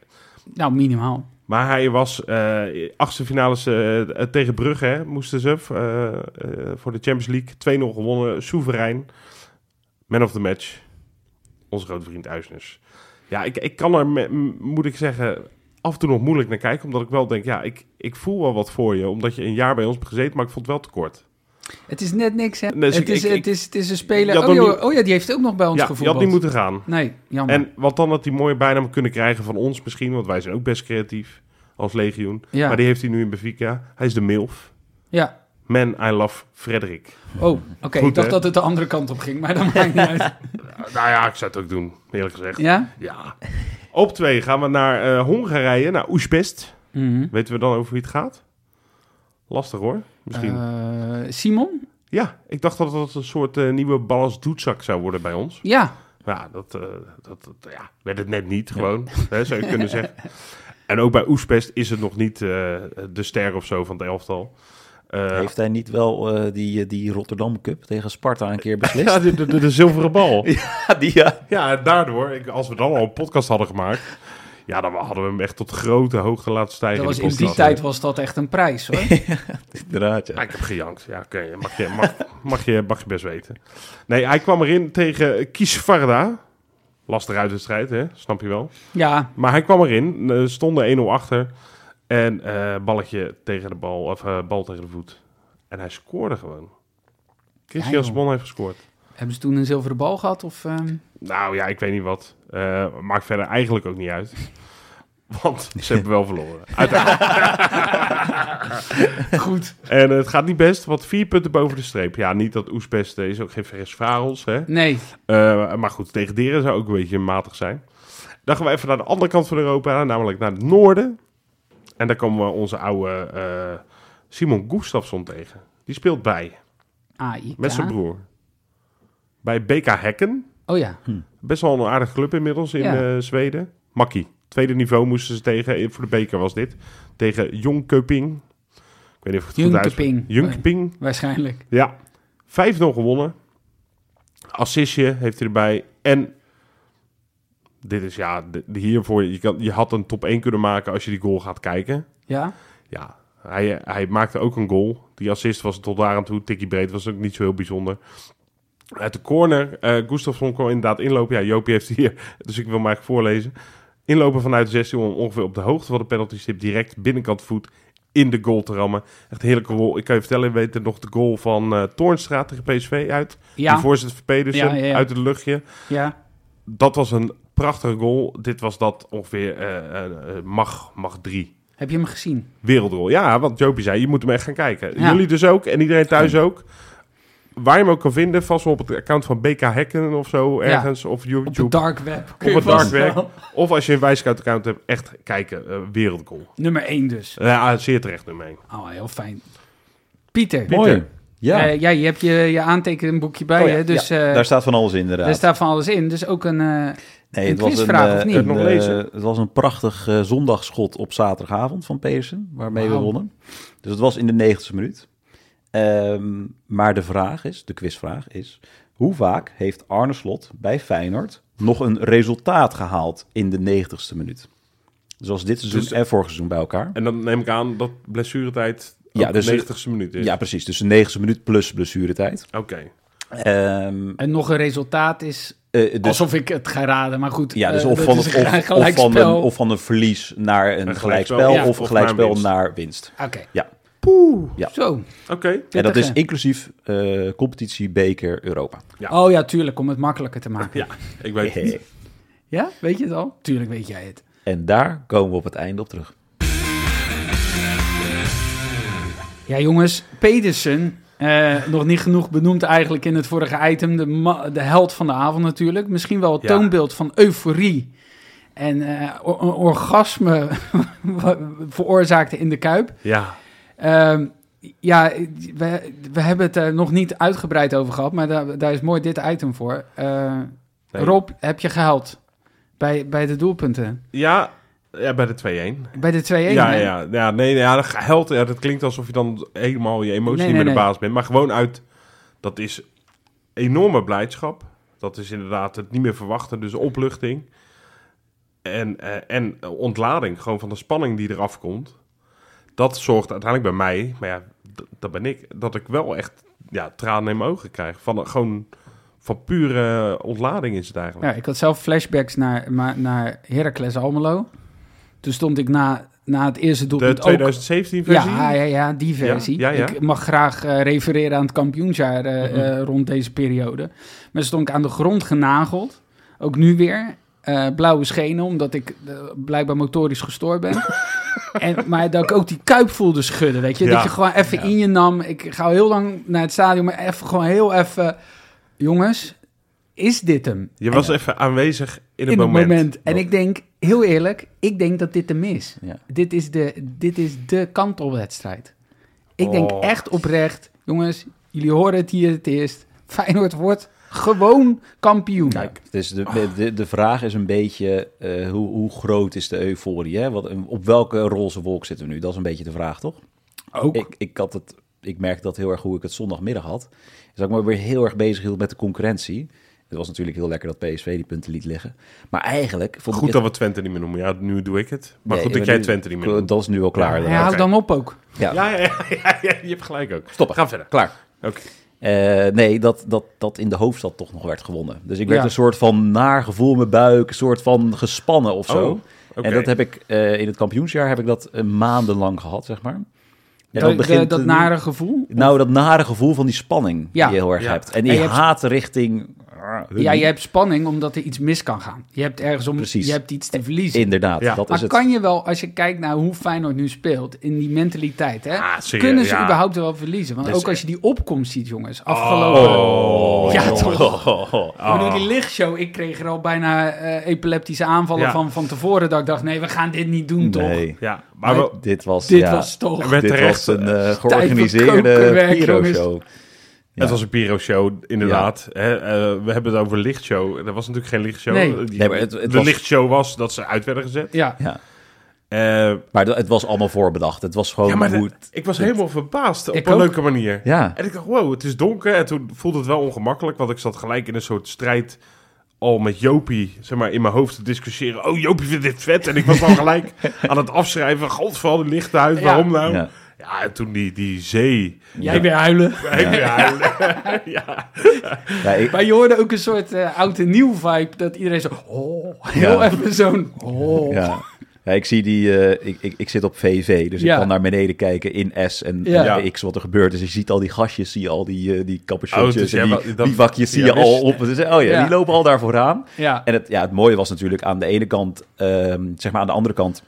Speaker 2: Nou, minimaal.
Speaker 1: maar hij was eh achtste finales eh, eh, tegen Brugge, hè, moesten ze eh, eh, voor de Champions League. 2-0 gewonnen, soeverein. Man of the match. Onze grote vriend Uisnes. Ja, ik, ik kan er, me- m- moet ik zeggen, af en toe nog moeilijk naar kijken. Omdat ik wel denk, ja, ik, ik voel wel wat voor je. Omdat je een jaar bij ons hebt gezeten, maar ik vond het wel tekort.
Speaker 2: Het is net niks, hè?
Speaker 1: Nee, dus
Speaker 2: het,
Speaker 1: ik-
Speaker 2: is,
Speaker 1: ik-
Speaker 2: het, is, het is een speler...
Speaker 1: Je had
Speaker 2: Oh,
Speaker 1: nog
Speaker 2: joh,
Speaker 1: niet-
Speaker 2: oh ja, die heeft ook nog bij ons
Speaker 1: Ja,
Speaker 2: gevoetbald.
Speaker 1: je had niet moeten gaan.
Speaker 2: Oh, Nee, jammer.
Speaker 1: En wat dan had hij mooie bijnaam kunnen krijgen van ons misschien, want wij zijn ook best creatief als legioen.
Speaker 2: Ja.
Speaker 1: Maar die heeft hij nu in Benfica. Hij is de MILF.
Speaker 2: Ja.
Speaker 1: Man, I love Frederik.
Speaker 2: Oh, oké.
Speaker 1: Goed,
Speaker 2: Ik dacht
Speaker 1: hè?
Speaker 2: dat het de andere kant op ging, maar dat maakt niet uit.
Speaker 1: Nou ja, ik zou het ook doen, eerlijk gezegd.
Speaker 2: Ja?
Speaker 1: Ja. Op twee gaan we naar eh, Hongarije, naar Oezbest.
Speaker 2: Mhm.
Speaker 1: Weten we dan over wie het gaat? Lastig hoor, misschien.
Speaker 2: Eh, Simon?
Speaker 1: Ja, ik dacht dat dat een soort eh, nieuwe Ballas Doetzak zou worden bij ons.
Speaker 2: Ja.
Speaker 1: Ja, dat, eh, dat, dat, ja, werd het net niet, gewoon, hè, zou je kunnen zeggen. En ook bij Oespest is het nog niet eh, de ster of zo van het elftal. Eh,
Speaker 3: Heeft hij niet wel eh, die, eh, die Rotterdam Cup tegen Sparta een keer
Speaker 1: ja,
Speaker 3: beslist?
Speaker 1: de, de, de- de zilveren bal.
Speaker 3: ja, die, ja.
Speaker 1: Ja, en daardoor, ik, als we dan al een podcast hadden gemaakt... Ja, dan hadden we hem echt tot grote hoogte laten stijgen.
Speaker 2: Dat was, in die
Speaker 1: podcast.
Speaker 2: tijd was dat echt een prijs, hoor.
Speaker 3: Inderdaad,
Speaker 1: Ja,
Speaker 3: ja.
Speaker 1: ik heb gejankt. Ja, oké. Mag, je, mag, mag, je, mag je best weten. Nee, hij kwam erin tegen Kiesvarda. Lastig uit de strijd, hè? Snap je wel.
Speaker 2: Ja.
Speaker 1: Maar hij kwam erin, eh, stonden 1-0 achter. En eh, balletje tegen de bal, of eh, bal tegen de voet. En hij scoorde gewoon.
Speaker 2: Ja,
Speaker 1: Christian
Speaker 2: joh.
Speaker 1: Simon heeft gescoord.
Speaker 2: Hebben ze toen een zilveren bal gehad? Of, ehm?
Speaker 1: Nou ja, ik weet niet wat. Eh, maakt verder eigenlijk ook niet uit. Want ze hebben wel verloren. Uiteindelijk.
Speaker 2: Goed.
Speaker 1: en het gaat niet best, want vier punten boven de streep. Ja, niet dat Oespest eh, is ook geen Ferris Varels, hè.
Speaker 2: Nee.
Speaker 1: Eh, maar goed, tegen Deren zou ook een beetje matig zijn. Dan gaan we even naar de andere kant van Europa, namelijk naar het noorden. En daar komen we onze oude eh, Simon Gustafsson tegen. Die speelt bij,
Speaker 2: AI.
Speaker 1: met zijn broer. Bij BK Hekken.
Speaker 2: Oh ja.
Speaker 1: Best wel een aardige club inmiddels in
Speaker 2: Ja.
Speaker 1: eh, Zweden. Makkie. Tweede niveau moesten ze tegen, eh, voor de beker was dit. Tegen Jönköping. Ik weet niet
Speaker 2: Oh,
Speaker 1: of ik het goed uitspreek.
Speaker 2: Jönköping.
Speaker 1: Jönköping.
Speaker 2: Waarschijnlijk.
Speaker 1: Ja, 5-0 gewonnen. assistje heeft hij erbij. En dit is ja, de- de- hiervoor, je, kan, je had een top 1 kunnen maken als je die goal gaat kijken.
Speaker 2: Ja?
Speaker 1: Ja, hij, eh, hij maakte ook een goal. Die assist was tot daar aan toe, tikkie breed, was ook niet zo heel bijzonder. Uit de corner, eh Gustafsson kwam inderdaad inlopen. Ja, Joopie heeft hier, dus ik wil hem eigenlijk voorlezen. Inlopen vanuit de 16 om ongeveer op de hoogte van de penalty stip direct binnenkant voet in de goal te rammen. Echt een heerlijke goal. Ik kan je vertellen, weet er nog de goal van eh Toornstra tegen PSV uit. Die
Speaker 2: Ja,
Speaker 1: voorzet van Pedersen
Speaker 2: Ja, ja, ja.
Speaker 1: uit het luchtje.
Speaker 2: ja.
Speaker 1: Dat was een prachtige goal. Dit was dat ongeveer eh, eh, eh, mag, mag drie
Speaker 2: Heb je hem gezien?
Speaker 1: wereldrol. Ja, want Jopie zei, je moet hem echt gaan kijken.
Speaker 2: Ja.
Speaker 1: Jullie dus ook en iedereen thuis ook. Waar je hem ook kan vinden, vast wel op het account van BK Hacken of zo
Speaker 2: Ja.
Speaker 1: ergens. Of
Speaker 2: Op de
Speaker 1: YouTube.
Speaker 2: dark web. Kun
Speaker 1: Op
Speaker 2: je
Speaker 1: het
Speaker 2: vast
Speaker 1: dark web.
Speaker 2: wel.
Speaker 1: of als je een Wijscout account hebt, echt kijken. eh, wereldgoal.
Speaker 2: Nummer 1 dus.
Speaker 1: Ja, ah, zeer terecht nummer één.
Speaker 2: Oh, heel fijn. Pieter,
Speaker 3: Mooi. Ja,
Speaker 2: eh, jij je hebt je, je aantekenboekje bij
Speaker 3: Oh ja,
Speaker 2: je, dus
Speaker 3: ja,
Speaker 2: eh,
Speaker 3: daar staat van alles inderdaad.
Speaker 2: daar staat van alles in. Dus ook een... eh,
Speaker 3: Nee,
Speaker 2: Een
Speaker 3: het was een,
Speaker 2: quizvraag,
Speaker 3: eh,
Speaker 2: of niet?
Speaker 3: een,
Speaker 1: Nog
Speaker 3: eh,
Speaker 1: lezen?
Speaker 3: het was een prachtig eh, zondagschot op zaterdagavond van Peersen, waarmee
Speaker 2: Wauw.
Speaker 3: we wonnen. Dus het was in de 90 minuut. Ehm, maar de vraag is, de quizvraag is, hoe vaak heeft Arne Slot bij Feyenoord nog een resultaat gehaald in de 90ste minuut? Dus als dit seizoen
Speaker 1: Dus-
Speaker 3: en vorig seizoen bij elkaar.
Speaker 1: En dan neem ik aan dat blessuretijd
Speaker 3: Ja,
Speaker 1: ja,
Speaker 3: dus-
Speaker 2: eh,
Speaker 1: de 90ste minuut is.
Speaker 3: Ja, precies. Dus de 90ste minuut plus blessuretijd.
Speaker 1: Oké.
Speaker 3: Ehm
Speaker 2: en nog een resultaat is...
Speaker 3: eh, dus
Speaker 2: alsof ik het ga raden, maar goed.
Speaker 3: Ja,
Speaker 2: eh,
Speaker 3: dus of
Speaker 2: dat
Speaker 3: van,
Speaker 2: is
Speaker 3: het,
Speaker 2: een
Speaker 3: of,
Speaker 2: gelijk-
Speaker 3: of, van een,
Speaker 2: gelijkspel.
Speaker 3: of van een verlies naar een,
Speaker 1: Een gelijkspel,
Speaker 3: gelijkspel,
Speaker 2: ja.
Speaker 3: of
Speaker 1: Of
Speaker 3: een gelijkspel
Speaker 1: naar winst.
Speaker 3: naar winst.
Speaker 2: Oké,
Speaker 3: Ja, Ja.
Speaker 2: zo.
Speaker 1: Oké.
Speaker 3: en dat is
Speaker 2: Pittig, hè?
Speaker 3: inclusief eh, competitie, beker, Europa.
Speaker 1: Ja.
Speaker 2: Oh ja, tuurlijk, om het makkelijker te maken.
Speaker 1: Ja, ik weet het niet.
Speaker 2: Ja, weet je het al? Tuurlijk weet jij het.
Speaker 3: En daar komen we op het einde op terug.
Speaker 2: Ja, jongens, Pedersen. eh, nog niet genoeg benoemd eigenlijk in het vorige item. De, ma- de held van de avond natuurlijk. Misschien wel het
Speaker 1: Ja.
Speaker 2: toonbeeld van euforie. En eh, o- een orgasme veroorzaakte in de Kuip.
Speaker 1: Ja.
Speaker 2: Ehm, ja, we, we hebben het er nog niet uitgebreid over gehad. Maar daar, daar is mooi dit item voor. Eh,
Speaker 1: Nee.
Speaker 2: Rob, heb je gehuild bij, bij de doelpunten?
Speaker 1: Ja, ja, bij de 2-1.
Speaker 2: Bij de 2-1?
Speaker 1: Ja,
Speaker 2: hè?
Speaker 1: ja, ja, nee, ja, geheld, ja, dat klinkt alsof je dan helemaal je emotie
Speaker 2: Nee,
Speaker 1: niet
Speaker 2: nee,
Speaker 1: meer de
Speaker 2: nee.
Speaker 1: baas bent. Maar gewoon uit, dat is enorme blijdschap. Dat is inderdaad het niet meer verwachten, dus opluchting. En, eh, en ontlading, gewoon van de spanning die eraf komt. Dat zorgt uiteindelijk bij mij, maar ja, d- dat ben ik, dat ik wel echt ja, tranen in mijn ogen krijg. Van, eh, gewoon van pure ontlading is het eigenlijk.
Speaker 2: Ja, ik had zelf flashbacks naar, maar, naar Heracles Almelo. Toen stond ik na, na het eerste
Speaker 1: de
Speaker 2: doelpunt ook...
Speaker 1: 2017 versie?
Speaker 2: Ja, ja, ja, die
Speaker 1: Ja,
Speaker 2: versie.
Speaker 1: ja, ja.
Speaker 2: Ik mag graag eh, refereren aan het kampioensjaar eh,
Speaker 1: Mhm.
Speaker 2: eh, rond deze periode. Maar stond ik aan de grond genageld. Ook nu weer. Eh, blauwe schenen, omdat ik eh, blijkbaar motorisch gestoord ben. en, maar dat ik ook die kuip voelde schudden, weet je.
Speaker 1: Ja.
Speaker 2: Dat je gewoon even in je nam. Ik ga al heel lang naar het stadion, maar even gewoon heel even... Jongens, is dit hem?
Speaker 1: Je was even aanwezig in het
Speaker 2: in
Speaker 1: moment.
Speaker 2: het moment. En ik denk, heel eerlijk, ik denk dat dit hem is.
Speaker 3: Ja.
Speaker 2: Dit is de, dit is de kantelwedstrijd. Ik denk
Speaker 1: Oh.
Speaker 2: echt oprecht, jongens, jullie horen het hier het eerst. Feyenoord wordt gewoon kampioen.
Speaker 3: Nou, dus
Speaker 1: Oh.
Speaker 3: de, de, de vraag is een beetje, eh, hoe, hoe groot is de euforie? Hè? Wat, op welke roze wolk zitten we nu? Dat is een beetje de vraag, toch?
Speaker 2: ook.
Speaker 3: Ik, ik, had het, ik merkte dat heel erg hoe ik het zondagmiddag had. Dus dat ik me weer heel erg bezig hield met de concurrentie. Het was natuurlijk heel lekker dat PSV die punten liet liggen. Maar eigenlijk... Vond
Speaker 1: Goed
Speaker 3: ik
Speaker 1: dat we Twente niet meer noemen. Ja, nu doe ik het. Maar
Speaker 3: Nee,
Speaker 1: goed dat
Speaker 3: maar
Speaker 1: jij
Speaker 3: nu-
Speaker 1: Twente niet meer noemt.
Speaker 3: Dat is nu al klaar.
Speaker 2: ja,
Speaker 3: inderdaad.
Speaker 2: hou dan op ook.
Speaker 3: Ja,
Speaker 1: Ja, ja, ja, ja, ja, je hebt gelijk ook.
Speaker 3: Stoppen.
Speaker 1: Ga verder.
Speaker 3: klaar.
Speaker 1: Oké.
Speaker 3: Eh, nee, dat, dat, dat in de hoofdstad toch nog werd gewonnen. Dus ik werd
Speaker 2: Ja.
Speaker 3: een soort van naar gevoel in mijn buik, een soort van gespannen of zo.
Speaker 1: Oh, oké.
Speaker 3: En dat heb ik eh, in het kampioensjaar heb ik dat eh, maandenlang gehad, zeg maar. En
Speaker 2: Dat, eh,
Speaker 3: begint
Speaker 2: dat
Speaker 3: een-
Speaker 2: nare gevoel.
Speaker 3: Nou, dat nare gevoel van die spanning
Speaker 2: Ja.
Speaker 3: die je heel erg
Speaker 1: Ja.
Speaker 3: hebt. En die
Speaker 2: En je hebt-
Speaker 3: haat richting... ah,
Speaker 2: Ja, je hebt spanning omdat er iets mis kan gaan. Je hebt ergens om,
Speaker 3: Precies.
Speaker 2: je hebt iets te verliezen.
Speaker 3: Inderdaad,
Speaker 1: Ja.
Speaker 3: dat is
Speaker 2: maar
Speaker 3: Dus het.
Speaker 2: kan je wel, als je kijkt naar hoe Feyenoord nu speelt, in die mentaliteit, hè,
Speaker 1: Ah, serieus,
Speaker 2: kunnen ze
Speaker 1: ja.
Speaker 2: überhaupt wel verliezen? Want
Speaker 3: Dus-
Speaker 2: ook als je die opkomst ziet, jongens,
Speaker 1: Oh.
Speaker 2: afgelopen.
Speaker 3: Oh.
Speaker 2: ja, toch? Ik bedoel, die lichtshow, ik kreeg er al bijna eh, epileptische aanvallen
Speaker 1: Ja.
Speaker 2: van van tevoren. Dat ik dacht, nee, we gaan dit niet doen, toch?
Speaker 3: Nee,
Speaker 1: Ja, maar wel,
Speaker 3: dit was...
Speaker 2: Dit
Speaker 3: ja,
Speaker 2: was toch...
Speaker 1: Er werd
Speaker 3: dit
Speaker 1: terecht,
Speaker 3: was een eh,
Speaker 2: van
Speaker 3: georganiseerde
Speaker 2: kokerwerk, jongens.
Speaker 3: pyro-show.
Speaker 1: het was een Piro-show, inderdaad. Hè, eh, we hebben het over lichtshow. Er was natuurlijk geen lichtshow.
Speaker 2: Nee.
Speaker 1: Die-
Speaker 3: Nee, maar het- het
Speaker 1: de
Speaker 3: was-
Speaker 1: lichtshow was dat ze uit werden gezet.
Speaker 2: Ja,
Speaker 3: Ja.
Speaker 1: Eh,
Speaker 3: Maar dat- het was allemaal voorbedacht. Het was gewoon
Speaker 1: ja, maar
Speaker 3: hoe...
Speaker 1: de- ik was helemaal verbaasd op
Speaker 2: Ik
Speaker 1: een
Speaker 2: ook.
Speaker 1: leuke manier.
Speaker 3: Ja,
Speaker 1: En ik dacht, wow, het is donker. En toen voelde het wel ongemakkelijk, want ik zat gelijk in een soort strijd al met Jopie, zeg maar, in mijn hoofd te discussiëren. Oh, Jopie vindt dit vet. En ik was al gelijk aan het afschrijven. God, vooral die lichten uit,
Speaker 2: Ja.
Speaker 1: waarom nou? Ja.
Speaker 3: ja.
Speaker 1: en toen die, die zee.
Speaker 2: Jij weer huilen.
Speaker 1: Ja. Ja.
Speaker 3: Ja, ik-
Speaker 2: Maar je hoorde ook een soort eh, oud en nieuw vibe. Dat iedereen zo. Oh, heel
Speaker 3: Ja.
Speaker 2: even zo'n. Oh.
Speaker 3: Ja. Ja, ik zie die. eh, ik, ik, ik zit op VV, dus
Speaker 2: Ja.
Speaker 3: ik kan naar beneden kijken in S en,
Speaker 2: Ja.
Speaker 3: en X wat er gebeurt. Dus je ziet al die gastjes, zie je al die, eh, die
Speaker 1: Oh, dus
Speaker 3: capuchotjes
Speaker 1: jij
Speaker 3: en
Speaker 1: wa-
Speaker 3: die
Speaker 1: dat-
Speaker 3: bivakjes, zie
Speaker 1: ja,
Speaker 3: je
Speaker 1: wist-
Speaker 3: al op. Dus, eh, oh ja,
Speaker 2: Ja.
Speaker 3: die lopen al daar vooraan.
Speaker 2: Ja.
Speaker 3: En het, ja, het mooie was natuurlijk aan de ene kant, ehm, zeg maar aan de andere kant,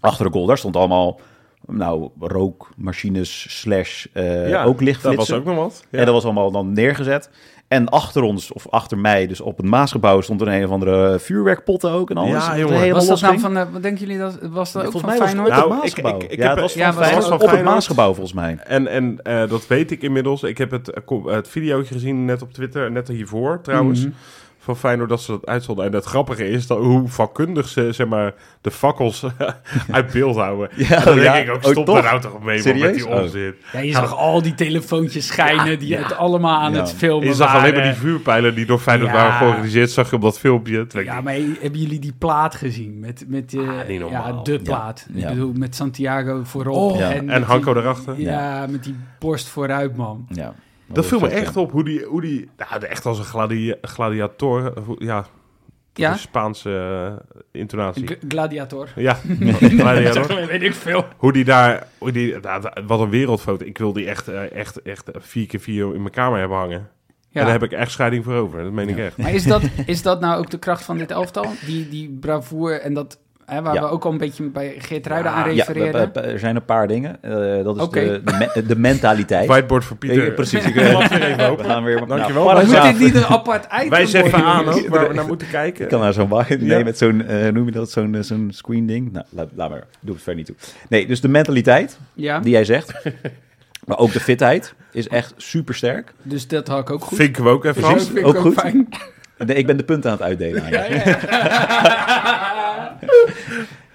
Speaker 3: achter de goal, daar stond allemaal, nou, rookmachines slash eh, ook
Speaker 1: dat
Speaker 3: lichtflitsen.
Speaker 1: was ook nog wat. Ja.
Speaker 3: En dat was allemaal dan neergezet. En achter ons, of achter mij, dus op het Maasgebouw, stond er een of andere vuurwerkpotten ook en alles.
Speaker 1: Ja,
Speaker 3: Dat het
Speaker 1: jongen.
Speaker 3: helemaal
Speaker 2: Was dat
Speaker 3: losging.
Speaker 2: nou van. eh, wat denken jullie dat? Was dat
Speaker 3: Ja,
Speaker 2: ook
Speaker 3: volgens
Speaker 2: van
Speaker 3: mij was
Speaker 2: Feyenoord?
Speaker 1: het-
Speaker 3: het op
Speaker 1: Nou,
Speaker 3: het
Speaker 1: ik-
Speaker 3: Maasgebouw.
Speaker 1: ik- ik
Speaker 3: ja,
Speaker 1: heb-
Speaker 3: het was van
Speaker 2: ja, was
Speaker 3: Feyenoord
Speaker 2: het
Speaker 1: van
Speaker 3: op het
Speaker 1: Feyenoord?
Speaker 3: Maasgebouw volgens mij.
Speaker 1: En, en eh, dat weet ik inmiddels. Ik heb het, eh, co- het videootje gezien net op Twitter, net hiervoor trouwens.
Speaker 2: Mhm.
Speaker 1: Van Feyenoord dat ze dat uitzonden. En het grappige is dat, hoe vakkundig ze zeg maar, de fakkels uit beeld houden.
Speaker 3: Ja,
Speaker 1: en dan
Speaker 3: ja.
Speaker 1: denk ik ook,
Speaker 3: Oh,
Speaker 1: stop
Speaker 3: toch?
Speaker 1: daar nou toch mee man, met
Speaker 3: Serieus?
Speaker 1: die onzin.
Speaker 2: Ja, je zag al die telefoontjes schijnen. die het allemaal aan
Speaker 3: Ja.
Speaker 2: het filmen.
Speaker 1: Je zag
Speaker 2: waren.
Speaker 1: alleen maar die vuurpijlen die door Feyenoord
Speaker 2: Ja.
Speaker 1: waren georganiseerd. Zag je op dat filmpje. Toen denk ik,
Speaker 2: Ja, maar he- hebben jullie die plaat gezien? Met, met eh,
Speaker 1: Ah, niet normaal.
Speaker 2: ja, de plaat.
Speaker 3: Ja.
Speaker 2: Ik bedoel, met Santiago voorop.
Speaker 1: Oh,
Speaker 3: Ja.
Speaker 1: en
Speaker 2: met
Speaker 1: Hanko
Speaker 2: die-
Speaker 1: erachter.
Speaker 2: Ja, met die borst vooruit, man.
Speaker 3: Ja.
Speaker 1: Dat viel me echt op hoe die, hoe die nou, echt als een gladia- gladiator, eh, hoe- ja,
Speaker 2: Ja?
Speaker 1: de Spaanse eh, intonatie.
Speaker 2: G- Gladiator.
Speaker 1: ja, gladiator.
Speaker 2: Weet ik veel.
Speaker 1: Hoe die daar... Hoe die, nou, dat- wat een wereldfoto. Ik wil die echt, eh, echt, echt vier keer vier in mijn kamer hebben hangen. En daar heb ik echt scheiding voor over. Dat meen ik echt.
Speaker 2: Maar is dat, is dat nou ook de kracht van dit elftal? Die, die bravoer en dat... Hè, waar
Speaker 3: Ja.
Speaker 2: we ook al een beetje bij Geert Ruida
Speaker 1: Ja,
Speaker 2: aan
Speaker 3: Ja, we-
Speaker 2: refereerden.
Speaker 3: we- we- er zijn een paar dingen. Eh, dat is
Speaker 2: Oké.
Speaker 3: de, de, me- de mentaliteit.
Speaker 1: Whiteboard voor Pieter.
Speaker 3: Ik- precies. Ik, eh,
Speaker 1: Klap weer even
Speaker 3: we
Speaker 1: open.
Speaker 3: gaan weer...
Speaker 1: Dankjewel.
Speaker 3: Nou,
Speaker 2: Maar moet
Speaker 3: paragraaf.
Speaker 2: dit niet een apart item
Speaker 1: Wij zetten even
Speaker 2: worden,
Speaker 1: aan
Speaker 2: jongens?
Speaker 1: ook waar we naar moeten kijken.
Speaker 3: Ik kan naar zo'n wagen. Nee,
Speaker 1: Ja.
Speaker 3: met zo'n, eh, noem je dat, zo'n, eh, zo'n screen ding. Nou, laat, laat maar. Doe het verder niet toe. Nee, dus de mentaliteit
Speaker 2: Ja,
Speaker 3: die jij zegt. maar ook de fitheid is echt super sterk.
Speaker 2: dus dat had ik ook goed.
Speaker 1: Vinken we ook
Speaker 2: Dus
Speaker 1: even
Speaker 2: dat
Speaker 1: af.
Speaker 3: Precies.
Speaker 2: vind ik
Speaker 3: Ook
Speaker 2: ook
Speaker 3: goed.
Speaker 2: fijn.
Speaker 3: Nee, ik ben de punten aan het uitdelen aan je.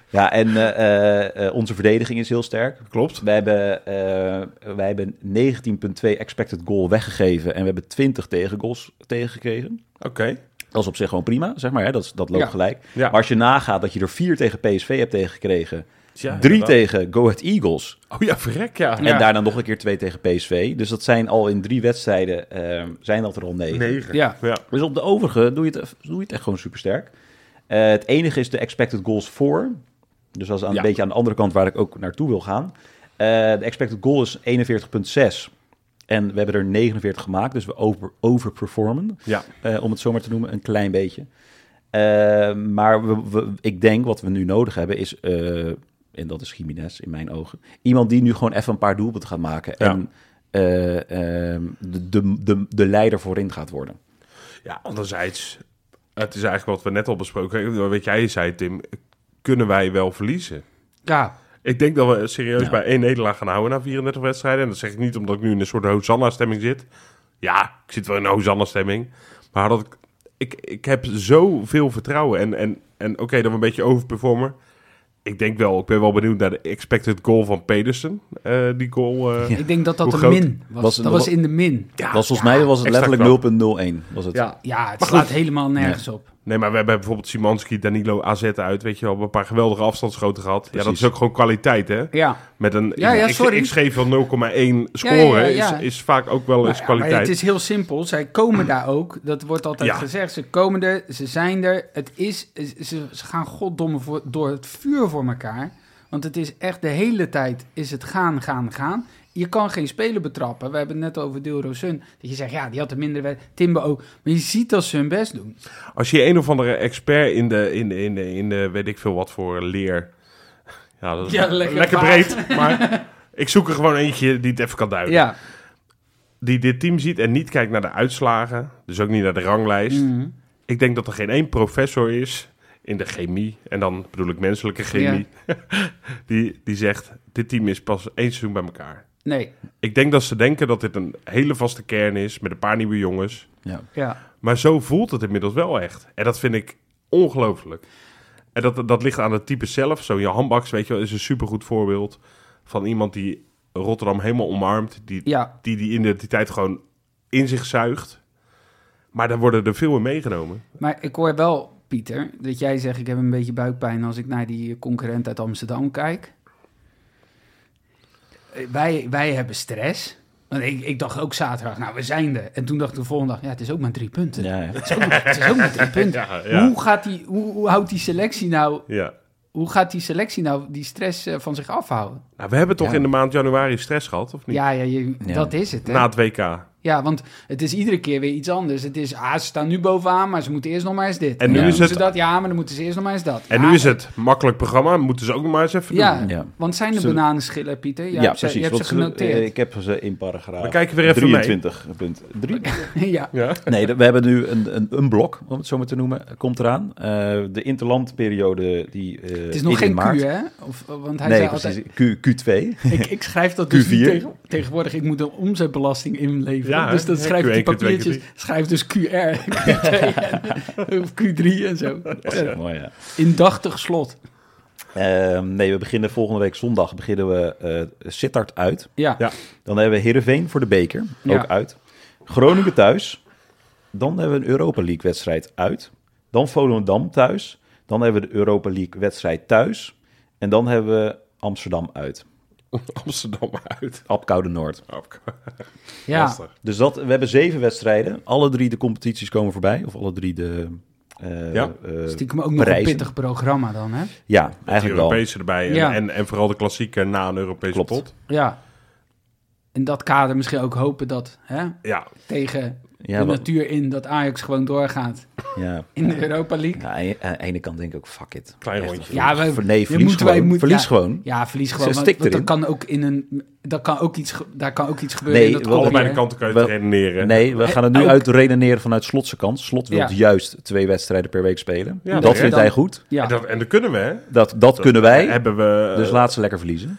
Speaker 3: Ja, en eh, eh, eh, onze verdediging is heel sterk.
Speaker 1: Klopt.
Speaker 3: Wij hebben, eh, wij hebben 19,2 expected goal weggegeven en we hebben 20 tegengoals tegengekregen.
Speaker 1: Oké.
Speaker 3: Dat is op zich gewoon prima, zeg maar. Hè? Dat, is- dat loopt
Speaker 2: Ja.
Speaker 3: gelijk.
Speaker 1: Ja.
Speaker 3: Maar als je nagaat dat je er 4 tegen PSV hebt tegengekregen,
Speaker 1: Ja,
Speaker 3: 3
Speaker 1: inderdaad.
Speaker 3: tegen Go Ahead Eagles
Speaker 1: Oh ja, verrek ja.
Speaker 2: Ja.
Speaker 3: en daarna nog een keer 2 tegen PSV. Dus dat zijn al in drie wedstrijden, eh, zijn dat er al 9.
Speaker 1: Negen.
Speaker 2: Ja.
Speaker 1: Ja.
Speaker 3: Dus op de overige doe je het, doe je het echt gewoon supersterk. Eh het enige is de expected goals voor. Dus dat is aan,
Speaker 1: Ja.
Speaker 3: een beetje aan de andere kant waar ik ook naartoe wil gaan. Eh, de expected goal is 41,6. En we hebben er 49 gemaakt, dus we over, overperformen.
Speaker 1: Ja.
Speaker 3: Eh, om het zo maar te noemen, een klein beetje. Eh, maar we, we- ik denk wat we nu nodig hebben is, eh, en dat is Jiménez in mijn ogen, iemand die nu gewoon even een paar doelpunten gaat maken.
Speaker 1: Ja.
Speaker 3: En eh, ehm, de, de, de, de leider voorin gaat worden.
Speaker 1: Ja, anderzijds, het is eigenlijk wat we net al besproken hebben. Wat jij zei, Tim, kunnen wij wel verliezen?
Speaker 2: Ja,
Speaker 1: Ik denk dat we serieus
Speaker 3: Ja.
Speaker 1: bij één nederlaag gaan houden na 34 wedstrijden. En dat zeg ik niet omdat ik nu in een soort Hosanna-stemming zit. Ja, ik zit wel in een Hosanna-stemming. Maar dat ik, ik, ik heb zoveel vertrouwen. En, en, en oké, dat we een beetje overperformen. Ik denk wel, ik ben wel benieuwd naar de expected goal van Pedersen. Eh, die goal. eh,
Speaker 2: ik denk dat dat
Speaker 1: Hoe
Speaker 2: een
Speaker 1: groot
Speaker 2: min was.
Speaker 3: was het
Speaker 2: dat
Speaker 3: nog-
Speaker 2: was in de min.
Speaker 1: ja,
Speaker 3: was volgens mij was het
Speaker 1: extra
Speaker 3: letterlijk 0.01. Was het.
Speaker 1: ja.
Speaker 2: Ja, het
Speaker 1: Maar
Speaker 2: slaat
Speaker 1: goed.
Speaker 2: helemaal nergens op.
Speaker 1: Nee, maar we hebben bijvoorbeeld Simanski, Danilo, AZ uit. Weet je wel, we hebben een paar geweldige afstandsschoten gehad. Ja, dat
Speaker 3: Precies.
Speaker 1: is ook gewoon kwaliteit, hè?
Speaker 2: Ja.
Speaker 1: Met een
Speaker 2: Ja, ja,
Speaker 1: ik-
Speaker 2: sorry.
Speaker 1: ik schreef van 0,1 scoren
Speaker 2: Ja, ja, ja.
Speaker 1: Is, is vaak ook wel eens
Speaker 2: Nou ja, maar
Speaker 1: kwaliteit.
Speaker 2: het is heel simpel. Zij komen daar ook. Dat wordt altijd
Speaker 1: Ja.
Speaker 2: gezegd. Ze komen er, ze zijn er. Het is, ze, ze gaan goddomme voor, door het vuur voor elkaar. Want het is echt de hele tijd is het gaan, gaan, gaan. Je kan geen speler betrappen. We hebben het net over Dilro Sun. Dat je zegt, ja, die had een minder wed- Timber ook. Maar je ziet dat ze hun best doen.
Speaker 1: Als je een of andere expert in de, in de, in de, in de weet ik veel wat voor leer. Ja, dat is
Speaker 2: Ja, lekker
Speaker 1: lekker,
Speaker 2: vaag.
Speaker 1: breed. Maar ik zoek er gewoon eentje die het even kan duiden.
Speaker 2: Ja.
Speaker 1: Die dit team ziet en niet kijkt naar de uitslagen. Dus ook niet naar de ranglijst.
Speaker 2: Mhm.
Speaker 1: Ik denk dat er geen één professor is in de chemie. En dan bedoel ik menselijke chemie. die, die zegt: Dit team is pas één seizoen bij elkaar.
Speaker 2: Nee.
Speaker 1: Ik denk dat ze denken dat dit een hele vaste kern is. Met een paar nieuwe jongens.
Speaker 3: Ja.
Speaker 2: Ja.
Speaker 1: Maar zo voelt het inmiddels wel echt. En dat vind ik ongelooflijk. En dat, dat ligt aan het type zelf. Zo, Johan Baks, weet je wel, is een supergoed voorbeeld van iemand die Rotterdam helemaal omarmt. Die
Speaker 2: Ja,
Speaker 1: die, die identiteit gewoon in zich zuigt. Maar daar worden er veel in meegenomen.
Speaker 2: maar ik hoor wel, Pieter, dat jij zegt... ik heb een beetje buikpijn als ik naar die concurrent uit Amsterdam kijk. Eh, Wij, wij hebben stress. Want ik, ik dacht ook zaterdag, nou, we zijn er. En toen dacht ik de volgende dag, ja, het is ook maar drie punten.
Speaker 3: Ja, ja.
Speaker 2: Het, is ook maar, het is ook maar drie punten.
Speaker 1: Ja, ja.
Speaker 2: Hoe, gaat die, hoe, hoe houdt die selectie nou
Speaker 1: Ja.
Speaker 2: hoe gaat die selectie nou die stress eh, van zich afhouden?
Speaker 1: Nou, we hebben toch
Speaker 3: Ja.
Speaker 1: in de maand januari stress gehad, of niet?
Speaker 2: Ja, ja, je-
Speaker 3: Ja.
Speaker 2: dat is het. Hè?
Speaker 1: Na het WK.
Speaker 2: Ja, want het is iedere keer weer iets anders. Het is, ah, ze staan nu bovenaan, maar ze moeten eerst nog maar eens dit.
Speaker 1: En nu
Speaker 2: Ja,
Speaker 1: is
Speaker 2: moeten
Speaker 1: het-
Speaker 2: ze dat, ja, maar dan moeten ze eerst nog maar eens dat.
Speaker 1: En
Speaker 2: Ja,
Speaker 1: nu is het makkelijk programma. Moeten ze ook nog maar eens even
Speaker 2: Ja,
Speaker 1: doen.
Speaker 3: Ja.
Speaker 2: want zijn er
Speaker 4: Zullen-
Speaker 2: bananenschillen, Pieter? Jij
Speaker 4: ja,
Speaker 2: hebt ze,
Speaker 4: precies.
Speaker 2: Je hebt ze
Speaker 4: want ze- eh,
Speaker 2: genoteerd.
Speaker 4: ik heb ze in paragraaf
Speaker 1: We kijken weer even
Speaker 4: 23. Punt 3.
Speaker 2: ja.
Speaker 1: Ja.
Speaker 3: Nee, de- we hebben nu een, een, een blok, om het zo maar te noemen, komt eraan. Eh, de interlandperiode die... eh,
Speaker 2: Het is nog geen
Speaker 3: in maart.
Speaker 2: Q, hè? Of, eh, want hij
Speaker 3: nee,
Speaker 2: zei
Speaker 3: precies.
Speaker 2: altijd,
Speaker 3: Q, Q2.
Speaker 2: ik, ik schrijf dat dus
Speaker 3: Q4.
Speaker 2: niet tegen- tegenwoordig. Ik moet een omzetbelasting inleveren.
Speaker 1: Ja, hè?
Speaker 2: dus dat
Speaker 1: Ja,
Speaker 2: schrijf ik die
Speaker 1: Q1, Q2,
Speaker 2: papiertjes.
Speaker 1: Q3.
Speaker 2: Schrijf dus QR, Q2 en- of Q3 en zo.
Speaker 3: Mooi, ja.
Speaker 2: Indachtig slot.
Speaker 3: Ehm, nee, we beginnen volgende week zondag beginnen we eh Sittard uit.
Speaker 2: Ja.
Speaker 1: Ja.
Speaker 3: Dan hebben we Heerenveen voor de beker,
Speaker 2: Ja.
Speaker 3: ook uit. Groningen thuis. Dan hebben we een Europa League wedstrijd uit. Dan Volendam thuis. Dan hebben we de Europa League wedstrijd thuis. En dan hebben we Amsterdam uit.
Speaker 1: Amsterdam uit. Oh,
Speaker 3: Apkoude Noord.
Speaker 2: Ja,
Speaker 1: Lastig.
Speaker 3: Dus dat, we hebben zeven wedstrijden. Alle drie de competities komen voorbij. Of alle drie de... eh,
Speaker 1: Ja.
Speaker 3: eh,
Speaker 2: stiekem ook nog een
Speaker 3: prijzen.
Speaker 2: pittig programma dan, hè?
Speaker 3: ja,
Speaker 1: Die
Speaker 3: eigenlijk wel.
Speaker 1: Europese erbij. En,
Speaker 2: Ja.
Speaker 1: en, en vooral de klassieke na een Europese
Speaker 3: Klopt.
Speaker 1: pot.
Speaker 2: Ja. In dat kader misschien ook hopen dat hè,
Speaker 1: Ja.
Speaker 2: tegen
Speaker 3: Ja,
Speaker 2: de
Speaker 3: wat-
Speaker 2: natuur in dat Ajax gewoon doorgaat
Speaker 3: ja.
Speaker 2: in de Europa League.
Speaker 3: Ja, aan de- aan de ene kant denk ik ook, fuck it.
Speaker 1: Klein
Speaker 3: Echt,
Speaker 1: rondje.
Speaker 2: Ja, wij-
Speaker 3: ver- nee,
Speaker 2: je
Speaker 3: verlies
Speaker 2: moet- wij
Speaker 3: gewoon.
Speaker 2: moet-
Speaker 3: verlies
Speaker 2: ja.
Speaker 3: gewoon.
Speaker 2: Ja, verlies gewoon.
Speaker 3: Ze
Speaker 2: Want,
Speaker 3: stikt
Speaker 2: want dat
Speaker 3: erin.
Speaker 2: kan ook in een. Dat kan ook iets, ge- daar kan ook iets gebeuren.
Speaker 3: Nee,
Speaker 2: in dat
Speaker 3: wel-
Speaker 2: kopje,
Speaker 1: Allebei de
Speaker 2: hè?
Speaker 1: kanten kan je
Speaker 3: We-
Speaker 1: het redeneren.
Speaker 3: Nee, we
Speaker 2: Eh,
Speaker 3: gaan het nu
Speaker 2: ook-
Speaker 3: uit redeneren vanuit Slotse kant. Slot wil
Speaker 2: Ja.
Speaker 3: juist twee wedstrijden per week spelen.
Speaker 1: Ja,
Speaker 3: dat
Speaker 1: dat-
Speaker 3: vindt
Speaker 2: dan-
Speaker 3: hij goed.
Speaker 2: Ja,
Speaker 1: En, dat, en dat kunnen we, hè?
Speaker 3: Dat, dat, kunnen wij.
Speaker 1: Hebben we...
Speaker 3: dus
Speaker 1: eh,
Speaker 3: laat ze lekker verliezen.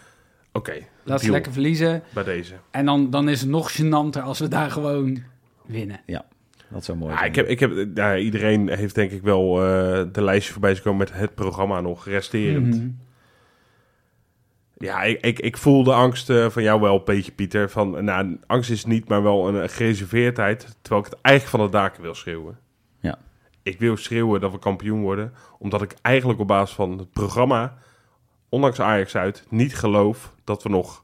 Speaker 1: Oké,
Speaker 2: laat ze
Speaker 1: deal
Speaker 2: lekker verliezen.
Speaker 1: bij deze.
Speaker 2: En dan, dan is het nog gênanter als we daar gewoon winnen.
Speaker 3: Dat zou mooi
Speaker 1: Ja,
Speaker 3: zijn.
Speaker 1: ik heb, ik heb, ja, iedereen heeft denk ik wel eh, de lijstje voorbij zien komen met het programma nog resterend.
Speaker 2: Mhm.
Speaker 1: Ja, ik, ik, ik voel de angst eh, van jou wel een beetje, Pieter. Van, nou, angst is het niet, maar wel een eh, gereserveerdheid. Terwijl ik het eigenlijk van de daken wil schreeuwen.
Speaker 3: Ja.
Speaker 1: Ik wil schreeuwen dat we kampioen worden. Omdat ik eigenlijk op basis van het programma, ondanks Ajax uit, niet geloof dat we nog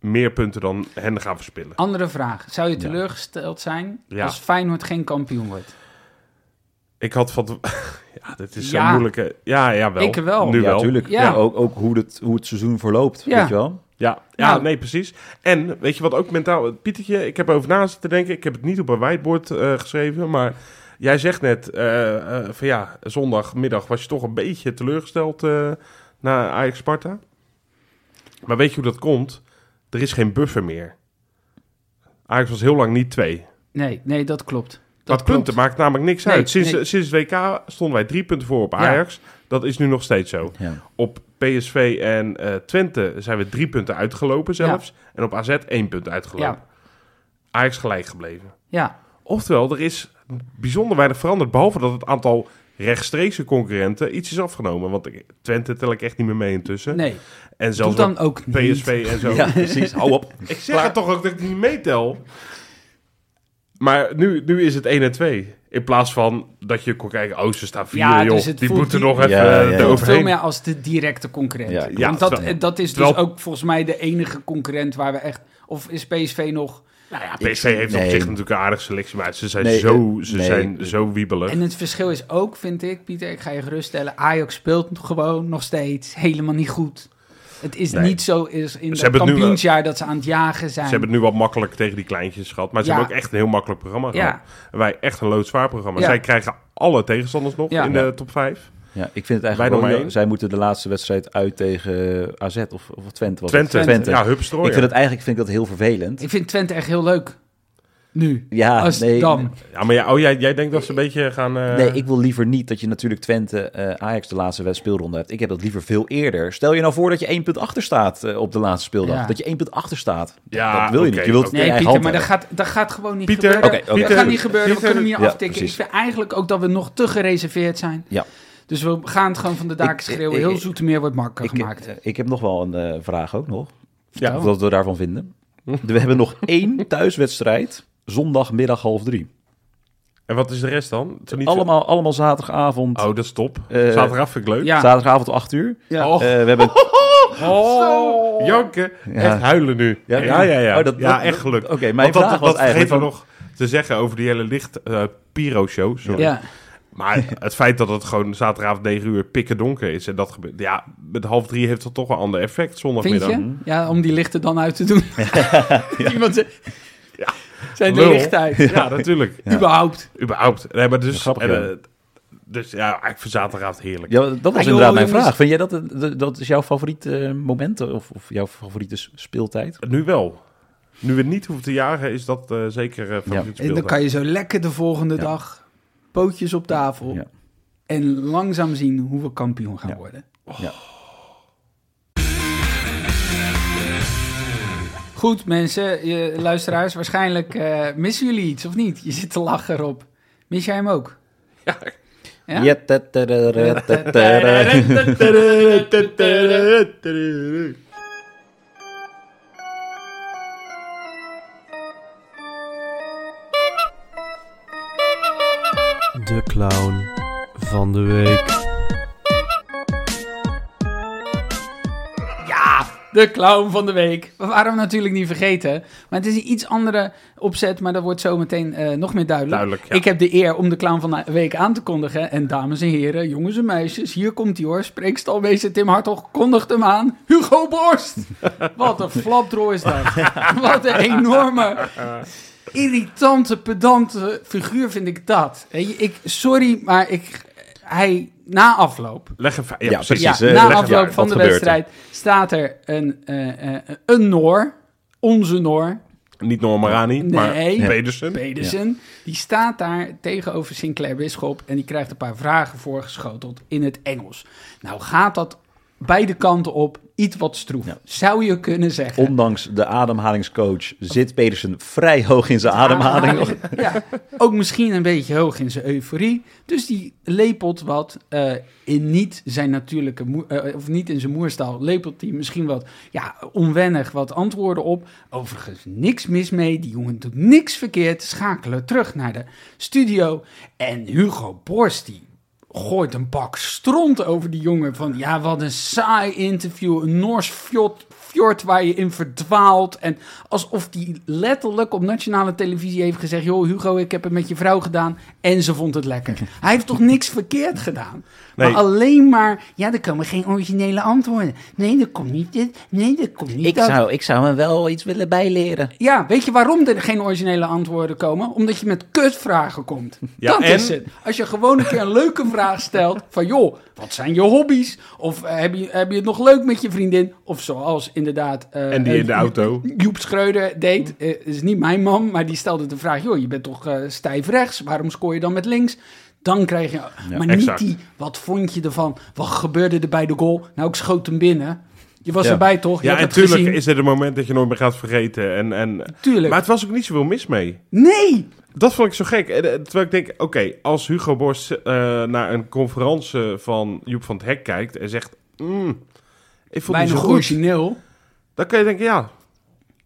Speaker 1: meer punten dan hen gaan verspillen.
Speaker 2: Andere vraag. Zou je
Speaker 3: Ja.
Speaker 2: teleurgesteld zijn
Speaker 1: Ja.
Speaker 2: als Feyenoord geen kampioen wordt?
Speaker 1: Ik had van... te- Ja, dit is
Speaker 2: Ja.
Speaker 1: zo'n moeilijke... Ja, ja, wel.
Speaker 2: Ik wel.
Speaker 1: Nu
Speaker 3: ja,
Speaker 1: wel.
Speaker 3: natuurlijk.
Speaker 2: Ja.
Speaker 3: Ja. ook, ook hoe, het, hoe het seizoen verloopt.
Speaker 2: Ja.
Speaker 3: Weet je wel?
Speaker 1: Ja, ja
Speaker 2: Nou.
Speaker 1: nee, precies. En weet je wat ook mentaal... Pietertje, ik heb erover na zitten denken. Ik heb het niet op een whiteboard eh, geschreven, maar... Jij zegt net eh, eh, van ja, zondagmiddag was je toch een beetje teleurgesteld eh na Ajax-Sparta. Maar weet je hoe dat komt? Er is geen buffer meer. Ajax was heel lang niet twee.
Speaker 2: Nee, nee, dat klopt. Dat
Speaker 1: Dat,
Speaker 2: klopt.
Speaker 1: punten maakt namelijk niks
Speaker 2: Nee,
Speaker 1: uit. Sinds,
Speaker 2: nee.
Speaker 1: sinds het WK stonden wij drie punten voor op
Speaker 2: Ja.
Speaker 1: Ajax. Dat is nu nog steeds zo.
Speaker 3: Ja.
Speaker 1: Op PSV en eh, Twente zijn we drie punten uitgelopen zelfs. En op AZ één punt uitgelopen.
Speaker 2: Ja.
Speaker 1: Ajax gelijk gebleven.
Speaker 2: Ja,
Speaker 1: Oftewel, er is bijzonder weinig veranderd. Behalve dat het aantal rechtstreekse concurrenten iets is afgenomen. Want ik- Twente tel ik echt niet meer mee intussen.
Speaker 2: nee.
Speaker 1: En
Speaker 2: Doe
Speaker 1: zelfs
Speaker 2: dan ook niet.
Speaker 1: PSV en zo.
Speaker 3: ja, precies. Hou op.
Speaker 1: Ik zeg het toch ook dat ik die niet meetel. Maar nu, nu is het 1 en 2. In plaats van dat je kon kijken, oh, ze staan 4,
Speaker 2: Ja,
Speaker 1: joh.
Speaker 2: dus het
Speaker 1: die
Speaker 2: voelt
Speaker 1: moeten
Speaker 2: die-
Speaker 1: nog even eh,
Speaker 3: Ja, ja, ja.
Speaker 1: eroverheen.
Speaker 2: Veel meer als de directe concurrent.
Speaker 3: Ja,
Speaker 1: ja,
Speaker 2: Want dat,
Speaker 1: terwijl-
Speaker 2: dat is dus
Speaker 1: terwijl-
Speaker 2: ook volgens mij de enige concurrent waar we echt... Of is PSV nog... Nou ja,
Speaker 1: PSV heeft op
Speaker 3: Nee.
Speaker 1: zich natuurlijk een aardige selectie, maar ze zijn,
Speaker 3: Nee,
Speaker 1: zo,
Speaker 3: eh,
Speaker 1: ze
Speaker 3: nee.
Speaker 1: zijn zo wiebelig.
Speaker 2: en het verschil is ook, vind ik, Pieter, ik ga je geruststellen... Ajax speelt gewoon nog steeds helemaal niet goed. Het is
Speaker 1: Nee.
Speaker 2: niet zo is in het
Speaker 1: hebben het nu wel-
Speaker 2: kampioensjaar dat ze aan het jagen zijn.
Speaker 1: ze hebben het nu wat makkelijk tegen die kleintjes gehad, maar ze
Speaker 2: Ja.
Speaker 1: hebben ook echt een heel makkelijk programma
Speaker 2: ja,
Speaker 1: gehad. En wij echt een loodzwaar programma.
Speaker 2: Ja.
Speaker 1: Zij krijgen alle tegenstanders nog
Speaker 2: Ja.
Speaker 1: in de top 5.
Speaker 3: Ja, ik vind het
Speaker 1: Wij
Speaker 3: eigenlijk
Speaker 1: nog
Speaker 3: wel...
Speaker 1: maar één.
Speaker 3: Zij moeten de laatste wedstrijd uit tegen AZ of, of Twente. Was het?
Speaker 1: Twente,
Speaker 3: Twente.
Speaker 1: ja, hupstrooi.
Speaker 3: ik vind het eigenlijk vind ik dat heel vervelend.
Speaker 2: ik vind Twente echt heel leuk. Nu.
Speaker 3: ja,
Speaker 2: als
Speaker 3: nee,
Speaker 2: dan.
Speaker 1: Ja, maar ja, oh, jij, jij denkt dat ze een beetje gaan... eh,
Speaker 3: Nee, ik wil liever niet dat je natuurlijk Twente eh, Ajax de laatste wed- speelronde hebt. Ik heb dat liever veel eerder. Stel je nou voor dat je één punt achter staat eh, op de laatste speeldag.
Speaker 2: Ja.
Speaker 3: Dat je één punt achter staat.
Speaker 1: Ja,
Speaker 3: dat wil je
Speaker 1: oké,
Speaker 3: niet. Je wilt
Speaker 1: oké.
Speaker 3: het in
Speaker 2: Nee,
Speaker 3: je eigen hand
Speaker 2: Pieter, maar dat
Speaker 3: hebben.
Speaker 2: gaat, dat gaat gewoon niet
Speaker 1: Pieter,
Speaker 2: gebeuren.
Speaker 3: Oké, oké.
Speaker 2: Dat
Speaker 1: Pieter,
Speaker 2: gaat niet gebeuren.
Speaker 1: Pieter-
Speaker 2: we kunnen hier
Speaker 3: Ja,
Speaker 2: aftikken.
Speaker 3: precies.
Speaker 2: Ik vind eigenlijk ook dat we nog te gereserveerd zijn.
Speaker 3: Ja.
Speaker 2: Dus we gaan het gewoon van de daken
Speaker 3: Ik-
Speaker 2: schreeuwen.
Speaker 3: ik-
Speaker 2: Heel
Speaker 3: ik-
Speaker 2: Zoetermeer wordt makker
Speaker 3: Ik,
Speaker 2: gemaakt. Oh.
Speaker 3: eh, ik heb nog wel een eh, vraag ook nog.
Speaker 1: Ja.
Speaker 3: Of wat we daarvan vinden. We hebben nog één thuiswedstrijd. Zondagmiddag half drie.
Speaker 1: En wat is de rest dan? Het zijn niet
Speaker 3: Allemaal, allemaal zaterdagavond.
Speaker 1: veel- Oh, dat is top.
Speaker 3: Eh,
Speaker 1: Zaterdag vind ik leuk. Oh.
Speaker 2: ja.
Speaker 3: Zaterdagavond om acht uur.
Speaker 2: Ja.
Speaker 1: Och.
Speaker 3: Eh, we hebben...
Speaker 2: Oh.
Speaker 1: Zo, janken. Echt huilen nu. Ja,
Speaker 3: Ja,
Speaker 1: ja, ja. ja.
Speaker 3: Oh, dat-
Speaker 1: ja
Speaker 3: dat-
Speaker 1: echt geluk.
Speaker 3: Oké, mijn
Speaker 1: Want
Speaker 3: vraag
Speaker 1: dat,
Speaker 3: was
Speaker 1: dat vergeten
Speaker 3: eigenlijk...
Speaker 1: we nog te zeggen over die hele licht eh, pyro-show. Sorry.
Speaker 2: Ja.
Speaker 1: Maar het feit dat het gewoon zaterdagavond 9 uur pikken donker is. En dat gebeurt. Ja, met half drie heeft dat toch een ander effect
Speaker 2: Vind
Speaker 1: zondagmiddag.
Speaker 2: je? Ja, om die lichten dan uit te doen. Iemand zegt...
Speaker 1: Ja.
Speaker 2: Zijn de
Speaker 1: Lul.
Speaker 2: lichten uit?
Speaker 1: Ja, natuurlijk.
Speaker 2: Überhaupt.
Speaker 1: Überhaupt. Nee, maar dus.
Speaker 3: Grappig,
Speaker 1: en,
Speaker 3: ja.
Speaker 1: eh, dus ja, ik vind zaterdagavond heerlijk.
Speaker 3: Ja, dat was
Speaker 2: Ah, joh,
Speaker 3: inderdaad mijn
Speaker 2: jongens.
Speaker 3: vraag. Vind jij dat, dat, dat is jouw favoriete eh, moment of, of jouw favoriete s- speeltijd?
Speaker 1: Nu wel. Nu we niet hoeven te jagen, is dat eh, zeker eh, van
Speaker 3: Ja.
Speaker 1: ja.
Speaker 2: En dan kan je zo lekker de volgende dag pootjes op tafel.
Speaker 3: Ja.
Speaker 2: En langzaam zien hoe we kampioen gaan
Speaker 3: Ja. Oh.
Speaker 2: worden.
Speaker 3: Ja.
Speaker 2: Goed mensen, je, luisteraars, waarschijnlijk eh, missen jullie iets of niet? Je zit te lachen erop. Mis jij hem ook? Ja?
Speaker 3: Ja, ta- ta- ra- ra- ta- ta- ra.
Speaker 5: De clown van de week.
Speaker 2: De clown van de week. We waren hem natuurlijk niet vergeten. Maar het is een iets andere opzet, maar dat wordt zo meteen eh, nog meer duidelijk.
Speaker 1: Duidelijk, ja.
Speaker 2: Ik heb de eer om de clown van de week aan te kondigen. En dames en heren, jongens en meisjes, hier komt hij hoor. Spreekstalwezen Tim Hartog kondigt hem aan. Hugo Borst! Wat een flapdrol is dat. Wat een enorme, irritante, pedante figuur vind ik dat. Weet je, Ik, sorry, maar ik, hij, na afloop...
Speaker 1: Leg even. Ja,
Speaker 3: Ja,
Speaker 1: precies.
Speaker 3: precies.
Speaker 2: Ja,
Speaker 3: eh,
Speaker 2: na
Speaker 3: leg
Speaker 2: afloop
Speaker 3: uit.
Speaker 2: van
Speaker 3: Wat
Speaker 2: de
Speaker 3: gebeurt er?
Speaker 2: wedstrijd staat er een, eh, eh, een Noor, onze Noor,
Speaker 1: Niet Norma Rani,
Speaker 2: Nee.
Speaker 1: maar Pedersen.
Speaker 2: Pedersen. Die staat daar tegenover Sinclair Bisschop en die krijgt een paar vragen voorgeschoteld in het Engels. Nou gaat dat beide kanten op iets wat stroef,
Speaker 3: Ja.
Speaker 2: zou je kunnen zeggen.
Speaker 3: Ondanks de ademhalingscoach zit Pedersen vrij hoog in zijn ademhaling.
Speaker 2: Ja, ook misschien een beetje hoog in zijn euforie. Dus die lepelt wat eh, in niet zijn natuurlijke, moe- eh, of niet in zijn moerstaal, lepelt hij misschien wat ja, onwennig wat antwoorden op. Overigens niks mis mee, die jongen doet niks verkeerd. Schakelen terug naar de studio. En Hugo Borst, die gooit een bak stront over die jongen. Van ja, wat een saai interview. Een Noors fjord, fjord waar je in verdwaalt. En alsof die letterlijk op nationale televisie heeft gezegd... joh Hugo, ik heb het met je vrouw gedaan en ze vond het lekker. Hij heeft toch niks verkeerd gedaan?
Speaker 1: Nee.
Speaker 2: Maar alleen maar, ja, er komen geen originele antwoorden. Nee, er komt niet dit, nee, er komt niet dat.
Speaker 3: ik zou hem wel iets willen bijleren.
Speaker 2: Ja, weet je waarom er geen originele antwoorden komen? Omdat je met kutvragen komt.
Speaker 1: Ja,
Speaker 2: dat
Speaker 1: en?
Speaker 2: is het. Als je gewoon een keer een leuke vraag stelt van... joh, wat zijn je hobby's? Of eh, heb, je, heb je het nog leuk met je vriendin? Of zoals inderdaad... eh,
Speaker 1: En die in de
Speaker 2: eh,
Speaker 1: auto.
Speaker 2: Joep Schreuder deed, eh, is niet mijn man, maar die stelde de vraag... joh, je bent toch eh, stijf rechts, waarom scoor je dan met links? Dan krijg je... maar
Speaker 1: exact.
Speaker 2: niet die, wat vond je ervan? Wat gebeurde er bij de goal? Nou, ik schoot hem binnen. Je was
Speaker 3: Ja.
Speaker 2: erbij, toch? Je
Speaker 1: Ja,
Speaker 2: had
Speaker 1: en
Speaker 2: het
Speaker 1: tuurlijk
Speaker 2: gezien.
Speaker 1: is dit een moment dat je nooit meer gaat vergeten. En, en...
Speaker 2: Tuurlijk.
Speaker 1: Maar het was ook niet zoveel mis mee.
Speaker 2: Nee!
Speaker 1: Dat vond ik zo gek. En, eh, Terwijl ik denk, oké, als Hugo Borst eh, naar een conferentie van Joep van het Hek kijkt en zegt... Mm, ik vond het
Speaker 2: Bijna
Speaker 1: niet zo goed.
Speaker 2: origineel.
Speaker 1: Dan kan je denken, ja...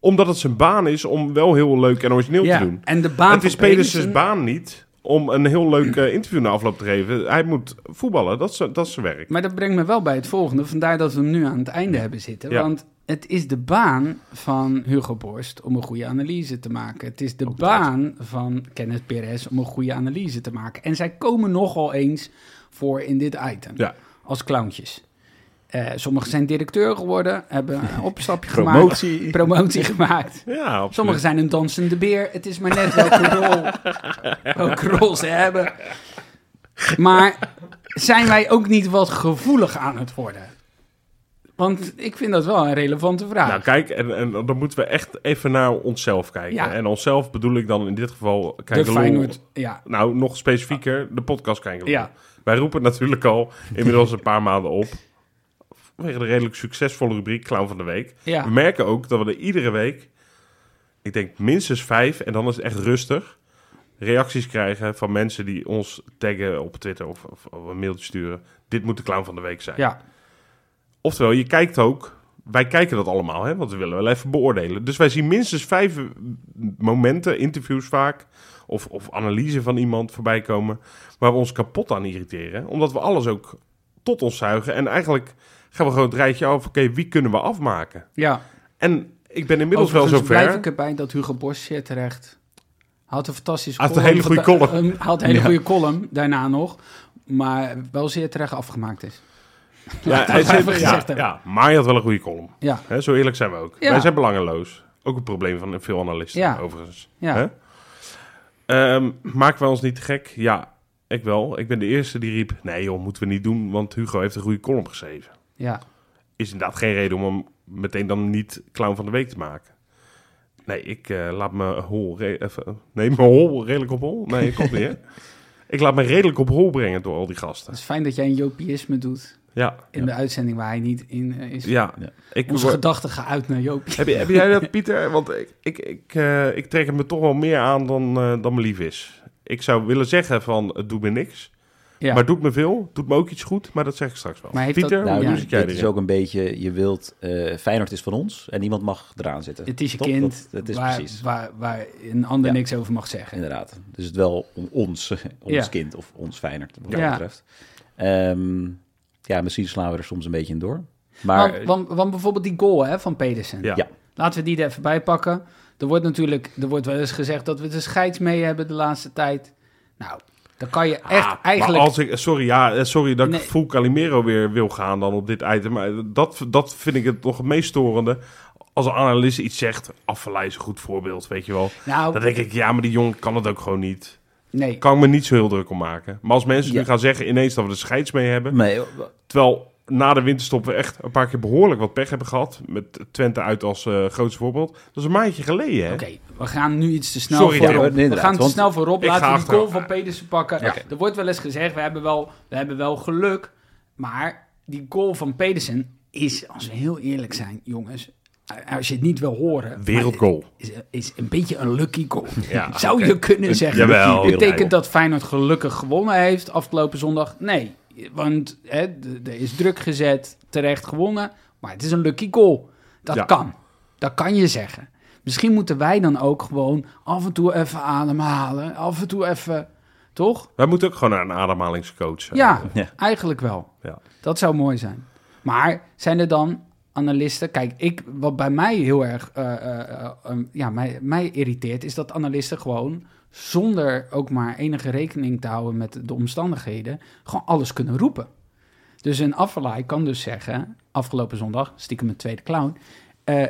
Speaker 1: Omdat het zijn baan is om wel heel leuk en origineel te doen.
Speaker 2: En de baan
Speaker 1: het is
Speaker 2: van
Speaker 1: Pedersen's
Speaker 2: Pedersen-
Speaker 1: baan niet om een heel leuk eh, interview na afloop te geven. Hij moet voetballen, dat is, zijn- dat is zijn werk.
Speaker 2: Maar dat brengt me wel bij het volgende. Vandaar dat we hem nu aan het einde hebben zitten.
Speaker 1: Ja.
Speaker 2: Want het is de baan van Hugo Borst om een goede analyse te maken. Het is de baan van Kenneth Perez om een goede analyse te maken. En zij komen nogal eens voor in dit item.
Speaker 1: Ja.
Speaker 2: Als clowntjes. Eh, sommigen zijn directeur geworden, hebben een opstapje gemaakt,
Speaker 3: Promotie.
Speaker 2: promotie gemaakt.
Speaker 1: Ja, absoluut.
Speaker 2: Sommigen zijn een dansende beer. Het is maar net welke rol, welke rol ze hebben. Maar zijn wij ook niet wat gevoelig aan het worden? Want ik vind dat wel een relevante vraag.
Speaker 1: Nou, kijk, en, en dan moeten we echt even naar onszelf kijken.
Speaker 2: Ja.
Speaker 1: En onszelf bedoel ik dan in dit geval... Kijk,
Speaker 2: de Feyenoord, ja.
Speaker 1: Nou, nog specifieker, de podcast kijken.
Speaker 2: Ja.
Speaker 1: Wij roepen natuurlijk al inmiddels een paar maanden op... vanwege de redelijk succesvolle rubriek Clown van de Week.
Speaker 2: Ja.
Speaker 1: We merken ook dat we er iedere week... ik denk minstens vijf, en dan is het echt rustig... reacties krijgen van mensen die ons taggen op Twitter of, of, of een mailtje sturen. Dit moet de clown van de week zijn.
Speaker 2: Ja,
Speaker 1: Oftewel, je kijkt ook. Wij kijken dat allemaal, hè, want we willen wel even beoordelen. Dus wij zien minstens vijf eh, momenten, interviews vaak, of, of analyse van iemand voorbij komen, waar we ons kapot aan irriteren. Omdat we alles ook tot ons zuigen. En eigenlijk gaan we gewoon het rijtje af, oké, wie kunnen we afmaken?
Speaker 2: ja.
Speaker 1: En ik ben inmiddels wel
Speaker 2: Overigens
Speaker 1: zover.
Speaker 2: blijf ik erbij dat Hugo Borst zeer terecht. Had een fantastische
Speaker 1: Had een hele goede
Speaker 2: Vanda-
Speaker 1: column.
Speaker 2: eh, had een hele
Speaker 3: Ja.
Speaker 2: goede column daarna nog. Maar wel zeer terecht afgemaakt is.
Speaker 1: Ja, hij
Speaker 2: dat
Speaker 1: zei-
Speaker 2: even gezegd
Speaker 1: ja,
Speaker 2: hebben.
Speaker 1: ja, maar hij had wel een goede column.
Speaker 2: Ja,
Speaker 1: Hè, zo eerlijk zijn we ook.
Speaker 2: Ja.
Speaker 1: Wij zijn belangeloos. Ook een probleem van veel analisten,
Speaker 2: Ja.
Speaker 1: overigens.
Speaker 2: ja.
Speaker 1: Hè? Ehm, maken we ons niet te gek? Ja, ik wel. Ik ben de eerste die riep... Nee joh, moeten we niet doen, want Hugo heeft een goede column geschreven.
Speaker 2: ja.
Speaker 1: Is inderdaad geen reden om hem meteen dan niet clown van de week te maken. Nee, ik eh, laat me hol... re- even, nee, mijn hol redelijk op hol? Nee, komt niet, hè? Ik laat me redelijk op hol brengen door al die gasten.
Speaker 2: Het is fijn dat jij een Jopiïsme doet
Speaker 1: Ja,
Speaker 2: in
Speaker 3: Ja.
Speaker 2: de uitzending waar hij niet in eh, is.
Speaker 1: ja.
Speaker 3: Ja.
Speaker 1: Ik
Speaker 2: Onze
Speaker 1: word-
Speaker 2: gedachten gaan uit naar Jopie.
Speaker 1: Heb, je- heb jij dat, Pieter? Want ik, ik, ik, eh, ik trek het me toch wel meer aan dan, eh, dan me lief is. Ik zou willen zeggen van, het doet me niks.
Speaker 2: Ja.
Speaker 1: Maar het doet me veel, het doet me ook iets goed, maar dat zeg ik straks wel.
Speaker 2: Maar heeft
Speaker 1: Pieter,
Speaker 2: dat-
Speaker 1: hoe
Speaker 3: Nou,
Speaker 2: Oh, ja,
Speaker 1: doe
Speaker 3: dus
Speaker 1: zit jij
Speaker 3: dit is
Speaker 1: erin?
Speaker 3: ook een beetje, je wilt, eh Feyenoord is van ons en niemand mag eraan zitten.
Speaker 2: het is je
Speaker 3: Toch?
Speaker 2: kind
Speaker 3: Dat, dat is
Speaker 2: waar,
Speaker 3: precies,
Speaker 2: Waar, waar een ander
Speaker 3: Ja.
Speaker 2: niks over mag zeggen.
Speaker 3: inderdaad. Dus het wel om ons, ons
Speaker 2: Ja.
Speaker 3: kind of ons Feyenoord, wat
Speaker 2: Ja.
Speaker 3: dat betreft. Ehm, ja, misschien slaan we er soms een beetje in door. Maar
Speaker 2: Want, want, want bijvoorbeeld die goal hè, van Pedersen.
Speaker 1: Ja.
Speaker 3: ja.
Speaker 2: Laten we die er even bij pakken. Er wordt natuurlijk er wordt wel eens gezegd dat we de scheids mee hebben de laatste tijd. Nou, dan kan je echt
Speaker 1: Ah, maar
Speaker 2: eigenlijk...
Speaker 1: als ik, sorry, ja, eh, sorry dat
Speaker 2: Nee.
Speaker 1: ik full Calimero weer wil gaan dan op dit item. Maar dat, dat vind ik het nog het meest storende. Als een analist iets zegt, afvallei is een goed voorbeeld, weet je wel. Dan
Speaker 2: nou,
Speaker 1: denk ik, ja, maar die jongen kan het ook gewoon niet.
Speaker 2: nee.
Speaker 1: Kan ik me niet zo heel druk om maken. Maar als mensen
Speaker 3: Ja.
Speaker 1: nu gaan zeggen ineens dat we de scheids mee hebben...
Speaker 3: Nee,
Speaker 1: Terwijl na de winterstop we echt een paar keer behoorlijk wat pech hebben gehad. Met Twente uit als eh, grootste voorbeeld. Dat is een maandje geleden, hè?
Speaker 2: Oké, we gaan nu iets te snel
Speaker 1: Sorry,
Speaker 2: voor
Speaker 1: ja,
Speaker 2: Rob.
Speaker 3: inderdaad,
Speaker 2: We gaan te
Speaker 3: want
Speaker 2: snel voor Rob.
Speaker 1: ik
Speaker 2: Laten
Speaker 1: ga
Speaker 2: we die goal
Speaker 1: achter-
Speaker 2: van Pedersen pakken.
Speaker 1: Oké.
Speaker 2: Er wordt wel eens gezegd, we hebben wel, we hebben wel geluk. Maar die goal van Pedersen is, als we heel eerlijk zijn, jongens... Als je het niet wil horen...
Speaker 1: Wereldgoal.
Speaker 2: maar Is, is een beetje een lucky goal.
Speaker 1: Ja,
Speaker 2: Zou je kunnen zeggen.
Speaker 1: Jawel.
Speaker 2: Betekent dat Feyenoord gelukkig gewonnen heeft afgelopen zondag? Nee, want hè, d- er is druk gezet, terecht gewonnen. Maar het is een lucky goal. Dat
Speaker 1: Ja.
Speaker 2: kan. Dat kan je zeggen. Misschien moeten wij dan ook gewoon af en toe even ademhalen. Af en toe even, toch?
Speaker 1: Wij moeten ook gewoon naar een ademhalingscoach. zijn.
Speaker 2: Ja,
Speaker 3: Ja.
Speaker 2: eigenlijk wel.
Speaker 1: Ja.
Speaker 2: Dat zou mooi zijn. Maar zijn er dan analisten... Kijk, ik, wat bij mij heel erg eh, eh, eh, um, ja, mij, mij irriteert... is dat analisten gewoon zonder ook maar enige rekening te houden... met de omstandigheden, gewoon alles kunnen roepen. Dus een afvalaai kan dus zeggen... afgelopen zondag, stiekem een tweede clown... eh,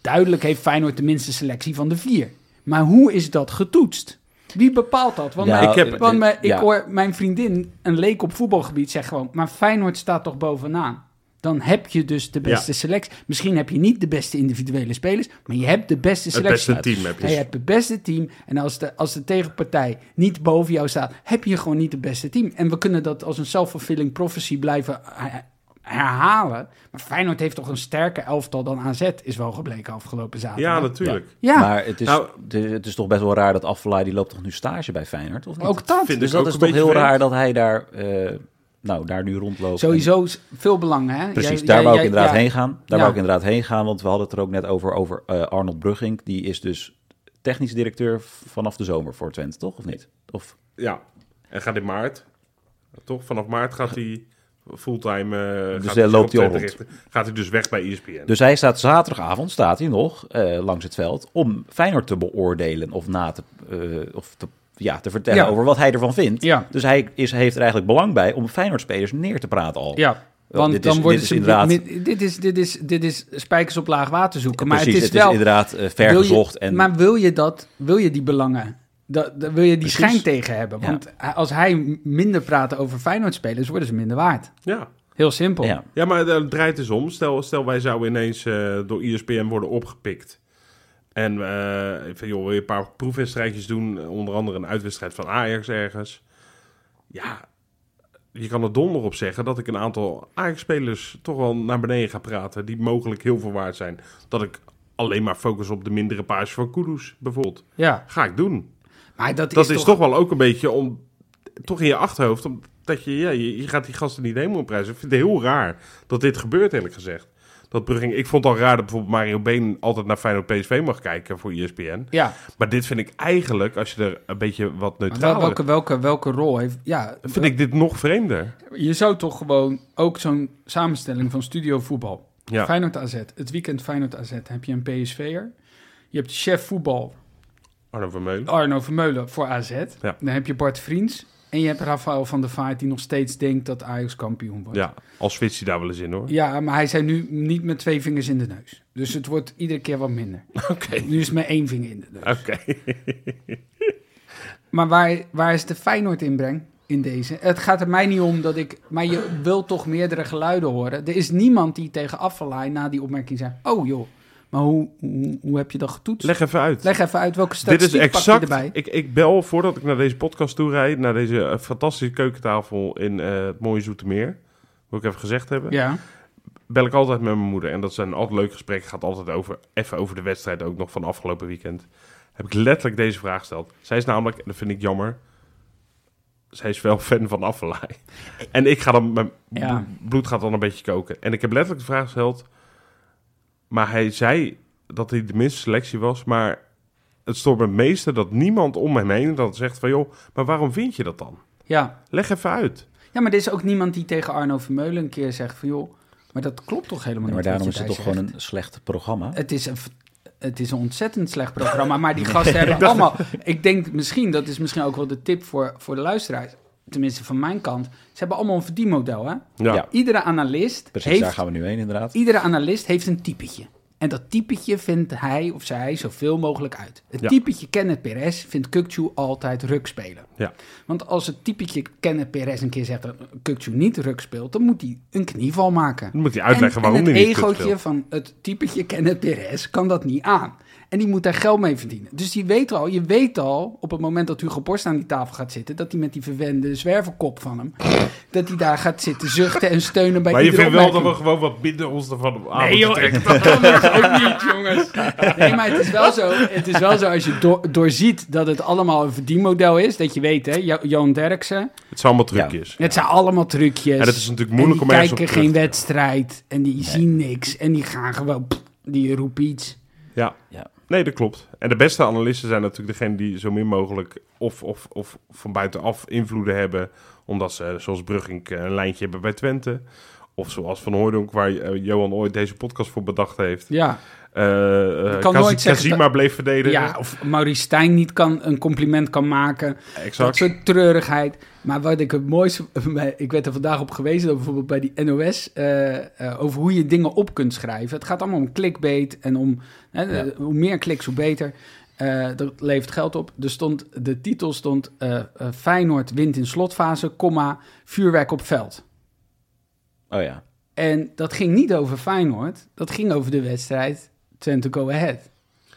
Speaker 2: duidelijk heeft Feyenoord de minste selectie van de vier. Maar hoe is dat getoetst? Wie bepaalt dat? Want
Speaker 3: Ja, eh,
Speaker 2: mij-
Speaker 1: ik heb-
Speaker 2: want mijn, ik
Speaker 3: ja.
Speaker 2: hoor mijn vriendin, een leek op voetbalgebied, zegt gewoon... maar Feyenoord staat toch bovenaan? Dan heb je dus de beste selectie. Misschien heb je niet de beste individuele spelers... maar je hebt de beste
Speaker 1: Het
Speaker 2: selectie.
Speaker 1: beste team heb je.
Speaker 2: En je hebt het beste team. En als de, als de tegenpartij niet boven jou staat... heb je gewoon niet het beste team. En we kunnen dat als een self-fulfilling prophecy blijven her- herhalen. Maar Feyenoord heeft toch een sterker elftal dan AZ... is wel gebleken afgelopen zaterdag.
Speaker 1: Ja, natuurlijk.
Speaker 2: Ja,
Speaker 3: maar het is,
Speaker 1: Nou-
Speaker 3: het is- het is toch best wel raar dat Affalay, die loopt toch nu stage bij Feyenoord? Of niet?
Speaker 2: ook dat.
Speaker 1: Vind
Speaker 3: dus
Speaker 1: ik
Speaker 3: dat
Speaker 1: ook
Speaker 3: is
Speaker 1: een
Speaker 3: toch
Speaker 1: beetje
Speaker 3: heel
Speaker 1: vreemd.
Speaker 3: raar dat hij daar, eh, nou, daar nu rondloopt.
Speaker 2: Sowieso is veel belang, hè?
Speaker 3: En- Precies, daar
Speaker 2: Jij- jij-
Speaker 3: wou ik
Speaker 2: jij-
Speaker 3: inderdaad
Speaker 2: ja.
Speaker 3: heen gaan. Daar
Speaker 2: Ja.
Speaker 3: wou ik inderdaad heen gaan, want we hadden het er ook net over, over eh, Arnold Brugging. Die is dus technisch directeur v- vanaf de zomer voor Twente, toch? Of niet? Of,
Speaker 1: Ja. En gaat in maart. Toch? Vanaf maart gaat hij fulltime... eh,
Speaker 3: Dus,
Speaker 1: gaat
Speaker 3: eh,
Speaker 1: zich
Speaker 3: loopt
Speaker 1: op
Speaker 3: hij al
Speaker 1: Twente richten. Gaat hij dus weg bij ESPN.
Speaker 3: dus hij staat zaterdagavond, staat hij nog, eh, langs het veld, om Feyenoord te beoordelen of na te, eh, of te, ja, te vertellen
Speaker 2: Ja.
Speaker 3: over wat hij ervan vindt.
Speaker 2: Ja.
Speaker 3: Dus hij is, heeft er eigenlijk belang bij om Feyenoord-spelers neer te praten al.
Speaker 2: Ja, want
Speaker 3: dit
Speaker 2: dan
Speaker 3: is-
Speaker 2: worden
Speaker 3: dit
Speaker 2: ze
Speaker 3: is inderdaad-
Speaker 2: dit- Dit is, dit, is, dit is spijkers op laag water zoeken. maar
Speaker 3: Precies,
Speaker 2: het is wel.
Speaker 3: inderdaad eh, ver
Speaker 2: wil je-
Speaker 3: gezocht. en,
Speaker 2: Maar wil je dat? Wil je die belangen? Dat, dat- wil je die
Speaker 3: Precies.
Speaker 2: schijn tegen hebben?
Speaker 3: Ja.
Speaker 2: Want hij- als hij m- minder praat over Feyenoord-spelers, worden ze minder waard.
Speaker 1: Ja.
Speaker 2: Heel simpel.
Speaker 3: ja.
Speaker 1: Ja, maar het draait dus om. Stel, stel wij zouden ineens eh, door ESPN worden opgepikt. En eh, van, joh, wil je een paar proefwedstrijdjes doen? Onder andere een uitwedstrijd van Ajax ergens. Ja, je kan er donder op zeggen dat ik een aantal Ajax-spelers toch wel naar beneden ga praten. Die mogelijk heel veel waard zijn. Dat ik alleen maar focus op de mindere paasjes van Kudus bijvoorbeeld.
Speaker 2: Ja.
Speaker 1: Ga ik doen.
Speaker 2: Maar dat,
Speaker 1: Dat
Speaker 2: is, toch,
Speaker 1: wel ook een beetje om... Toch in je achterhoofd, om, dat je, ja, je, je gaat die gasten niet helemaal prijzen. Ik vind het heel raar dat dit gebeurt, eerlijk gezegd. Dat Brugge, ik vond het al raar dat bijvoorbeeld Mario Been altijd naar Feyenoord PSV mag kijken voor E ESPN.
Speaker 2: Ja,
Speaker 1: Maar dit vind ik eigenlijk, als je er een beetje wat
Speaker 2: maar wel-
Speaker 1: neutraal...
Speaker 2: welke, welke, welke rol heeft... Ja,
Speaker 1: vind ik dit nog vreemder.
Speaker 2: Je zou toch gewoon ook zo'n samenstelling van studio voetbal.
Speaker 1: Ja.
Speaker 2: Feyenoord AZ. Het weekend Feyenoord AZ heb je een PSV'er. Je hebt chef voetbal
Speaker 1: Arno Vermeulen.
Speaker 2: Arno Vermeulen voor AZ.
Speaker 1: Ja.
Speaker 2: Dan heb je Bart Vriends. En je hebt Rafael van der Vaart die nog steeds denkt dat Ajax kampioen wordt.
Speaker 1: Ja, als switcht hij daar wel eens in, hoor.
Speaker 2: Ja, maar hij zei nu niet met twee vingers in de neus. Dus het wordt iedere keer wat minder.
Speaker 1: Oké.
Speaker 2: Nu is het maar één vinger in de neus.
Speaker 1: Oké.
Speaker 2: Maar waar, waar is de Feyenoord inbreng in deze? Het gaat er mij niet om dat ik... Maar je wil toch meerdere geluiden horen. Er is niemand die tegen Afvalaai na die opmerking zei... Oh joh, maar hoe, hoe, hoe heb je dat getoetst? Leg,
Speaker 1: Leg even uit.
Speaker 2: even uit welke
Speaker 1: Dit
Speaker 2: statistiek
Speaker 1: is
Speaker 2: pak je
Speaker 1: exact.
Speaker 2: erbij.
Speaker 1: Ik, ik bel voordat ik naar deze podcast toe rijd, naar deze eh, fantastische keukentafel in eh, het mooie Zoetermeer. Wil ik even gezegd hebben.
Speaker 2: Ja,
Speaker 1: Bel ik altijd met mijn moeder. En dat zijn altijd leuke gesprekken. Gaat altijd over, even over de wedstrijd ook nog van afgelopen weekend. Heb ik letterlijk deze vraag gesteld. Zij is namelijk, en dat vind ik jammer. Zij is wel fan van Affalay. En ik ga dan, mijn
Speaker 2: Ja.
Speaker 1: bl- bloed gaat dan een beetje koken. En ik heb letterlijk de vraag gesteld. Maar hij zei dat hij de minste selectie was. Maar het stoort me het meeste dat niemand om hem heen dan zegt van... joh, maar waarom vind je dat dan?
Speaker 2: ja.
Speaker 1: Leg even uit.
Speaker 2: ja, maar er is ook niemand die tegen Arno Vermeulen een keer zegt van... joh, maar dat klopt toch helemaal
Speaker 3: Ja, maar
Speaker 2: niet
Speaker 3: daarom
Speaker 2: wat
Speaker 3: is
Speaker 2: je
Speaker 3: het
Speaker 2: daar
Speaker 3: toch gewoon
Speaker 2: zegt?
Speaker 3: een slecht programma.
Speaker 2: Het is een... f- Het is een ontzettend slecht programma, maar die gasten hebben allemaal... Ik denk misschien, dat is misschien ook wel de tip voor, voor de luisteraars... tenminste van mijn kant, ze hebben allemaal een verdienmodel, hè?
Speaker 1: Ja,
Speaker 3: Ja.
Speaker 2: Iedere analist,
Speaker 3: Precies, daar
Speaker 2: heeft,
Speaker 3: gaan we nu heen inderdaad.
Speaker 2: iedere analist heeft een typetje. En dat typetje vindt hij of zij zoveel mogelijk uit. Het
Speaker 1: Ja.
Speaker 2: typetje Kenneth Perez vindt Kukcu altijd ruk spelen.
Speaker 1: Ja.
Speaker 2: Want als het typetje Kenneth Perez een keer zegt dat Kukcu niet ruk speelt... dan moet hij een knieval maken.
Speaker 1: dan moet hij uitleggen
Speaker 2: en,
Speaker 1: waarom
Speaker 2: en
Speaker 1: hij
Speaker 2: het
Speaker 1: niet goed speelt.
Speaker 2: egootje van het typetje Kenneth Perez kan dat niet aan. En die moet daar geld mee verdienen. Dus die weet al, je weet al, op het moment dat Hugo Borst aan die tafel gaat zitten... dat hij met die verwende zwerverkop van hem... dat hij daar gaat zitten zuchten en steunen bij
Speaker 1: Maar je
Speaker 2: iedere
Speaker 1: vindt wel dat we
Speaker 2: opmerking.
Speaker 1: gewoon wat minder ons ervan aan
Speaker 2: Nee
Speaker 1: moeten
Speaker 2: joh, ik dat kan dus ook niet, jongens. Nee, maar het is wel zo, het is wel zo als je door doorziet dat het allemaal een verdienmodel is. Dat je weet, hè, Jo- Johan Derksen.
Speaker 1: Het zijn allemaal trucjes.
Speaker 2: Het zijn allemaal trucjes.
Speaker 1: En het is natuurlijk moeilijk
Speaker 2: en
Speaker 1: om
Speaker 2: die
Speaker 1: ergens op
Speaker 2: kijken
Speaker 1: terug
Speaker 2: geen
Speaker 1: te-
Speaker 2: wedstrijd en die zien niks en die gaan gewoon, pff, die roepen iets.
Speaker 1: Ja.
Speaker 3: Ja.
Speaker 1: Nee, dat klopt. En de beste analisten zijn natuurlijk degene die zo min mogelijk of, of, of van buitenaf invloeden hebben. Omdat ze, zoals Brugink, een lijntje hebben bij Twente. Of zoals Van Hooydonk, waar eh, Johan ooit deze podcast voor bedacht heeft.
Speaker 2: Ja,
Speaker 1: Eh eh
Speaker 2: kan
Speaker 1: Kazi-
Speaker 2: nooit zeggen
Speaker 1: Kazima bleef verdedigen.
Speaker 2: ja of Maurice Stijn niet kan, een compliment kan maken. Dat
Speaker 1: exact.
Speaker 2: soort treurigheid. Maar wat ik het mooiste... bij- Ik werd er vandaag op gewezen, dat bijvoorbeeld bij die NOS... eh, eh, over hoe je dingen op kunt schrijven. Het gaat allemaal om clickbait en om... Hè,
Speaker 3: Ja.
Speaker 2: eh, hoe meer kliks, hoe beter. Eh, dat levert geld op. Er stond, de titel stond... eh, eh, Feyenoord wint in slotfase, comma, vuurwerk op veld.
Speaker 3: Oh ja.
Speaker 2: En dat ging niet over Feyenoord. Dat ging over de wedstrijd Twente Go Ahead.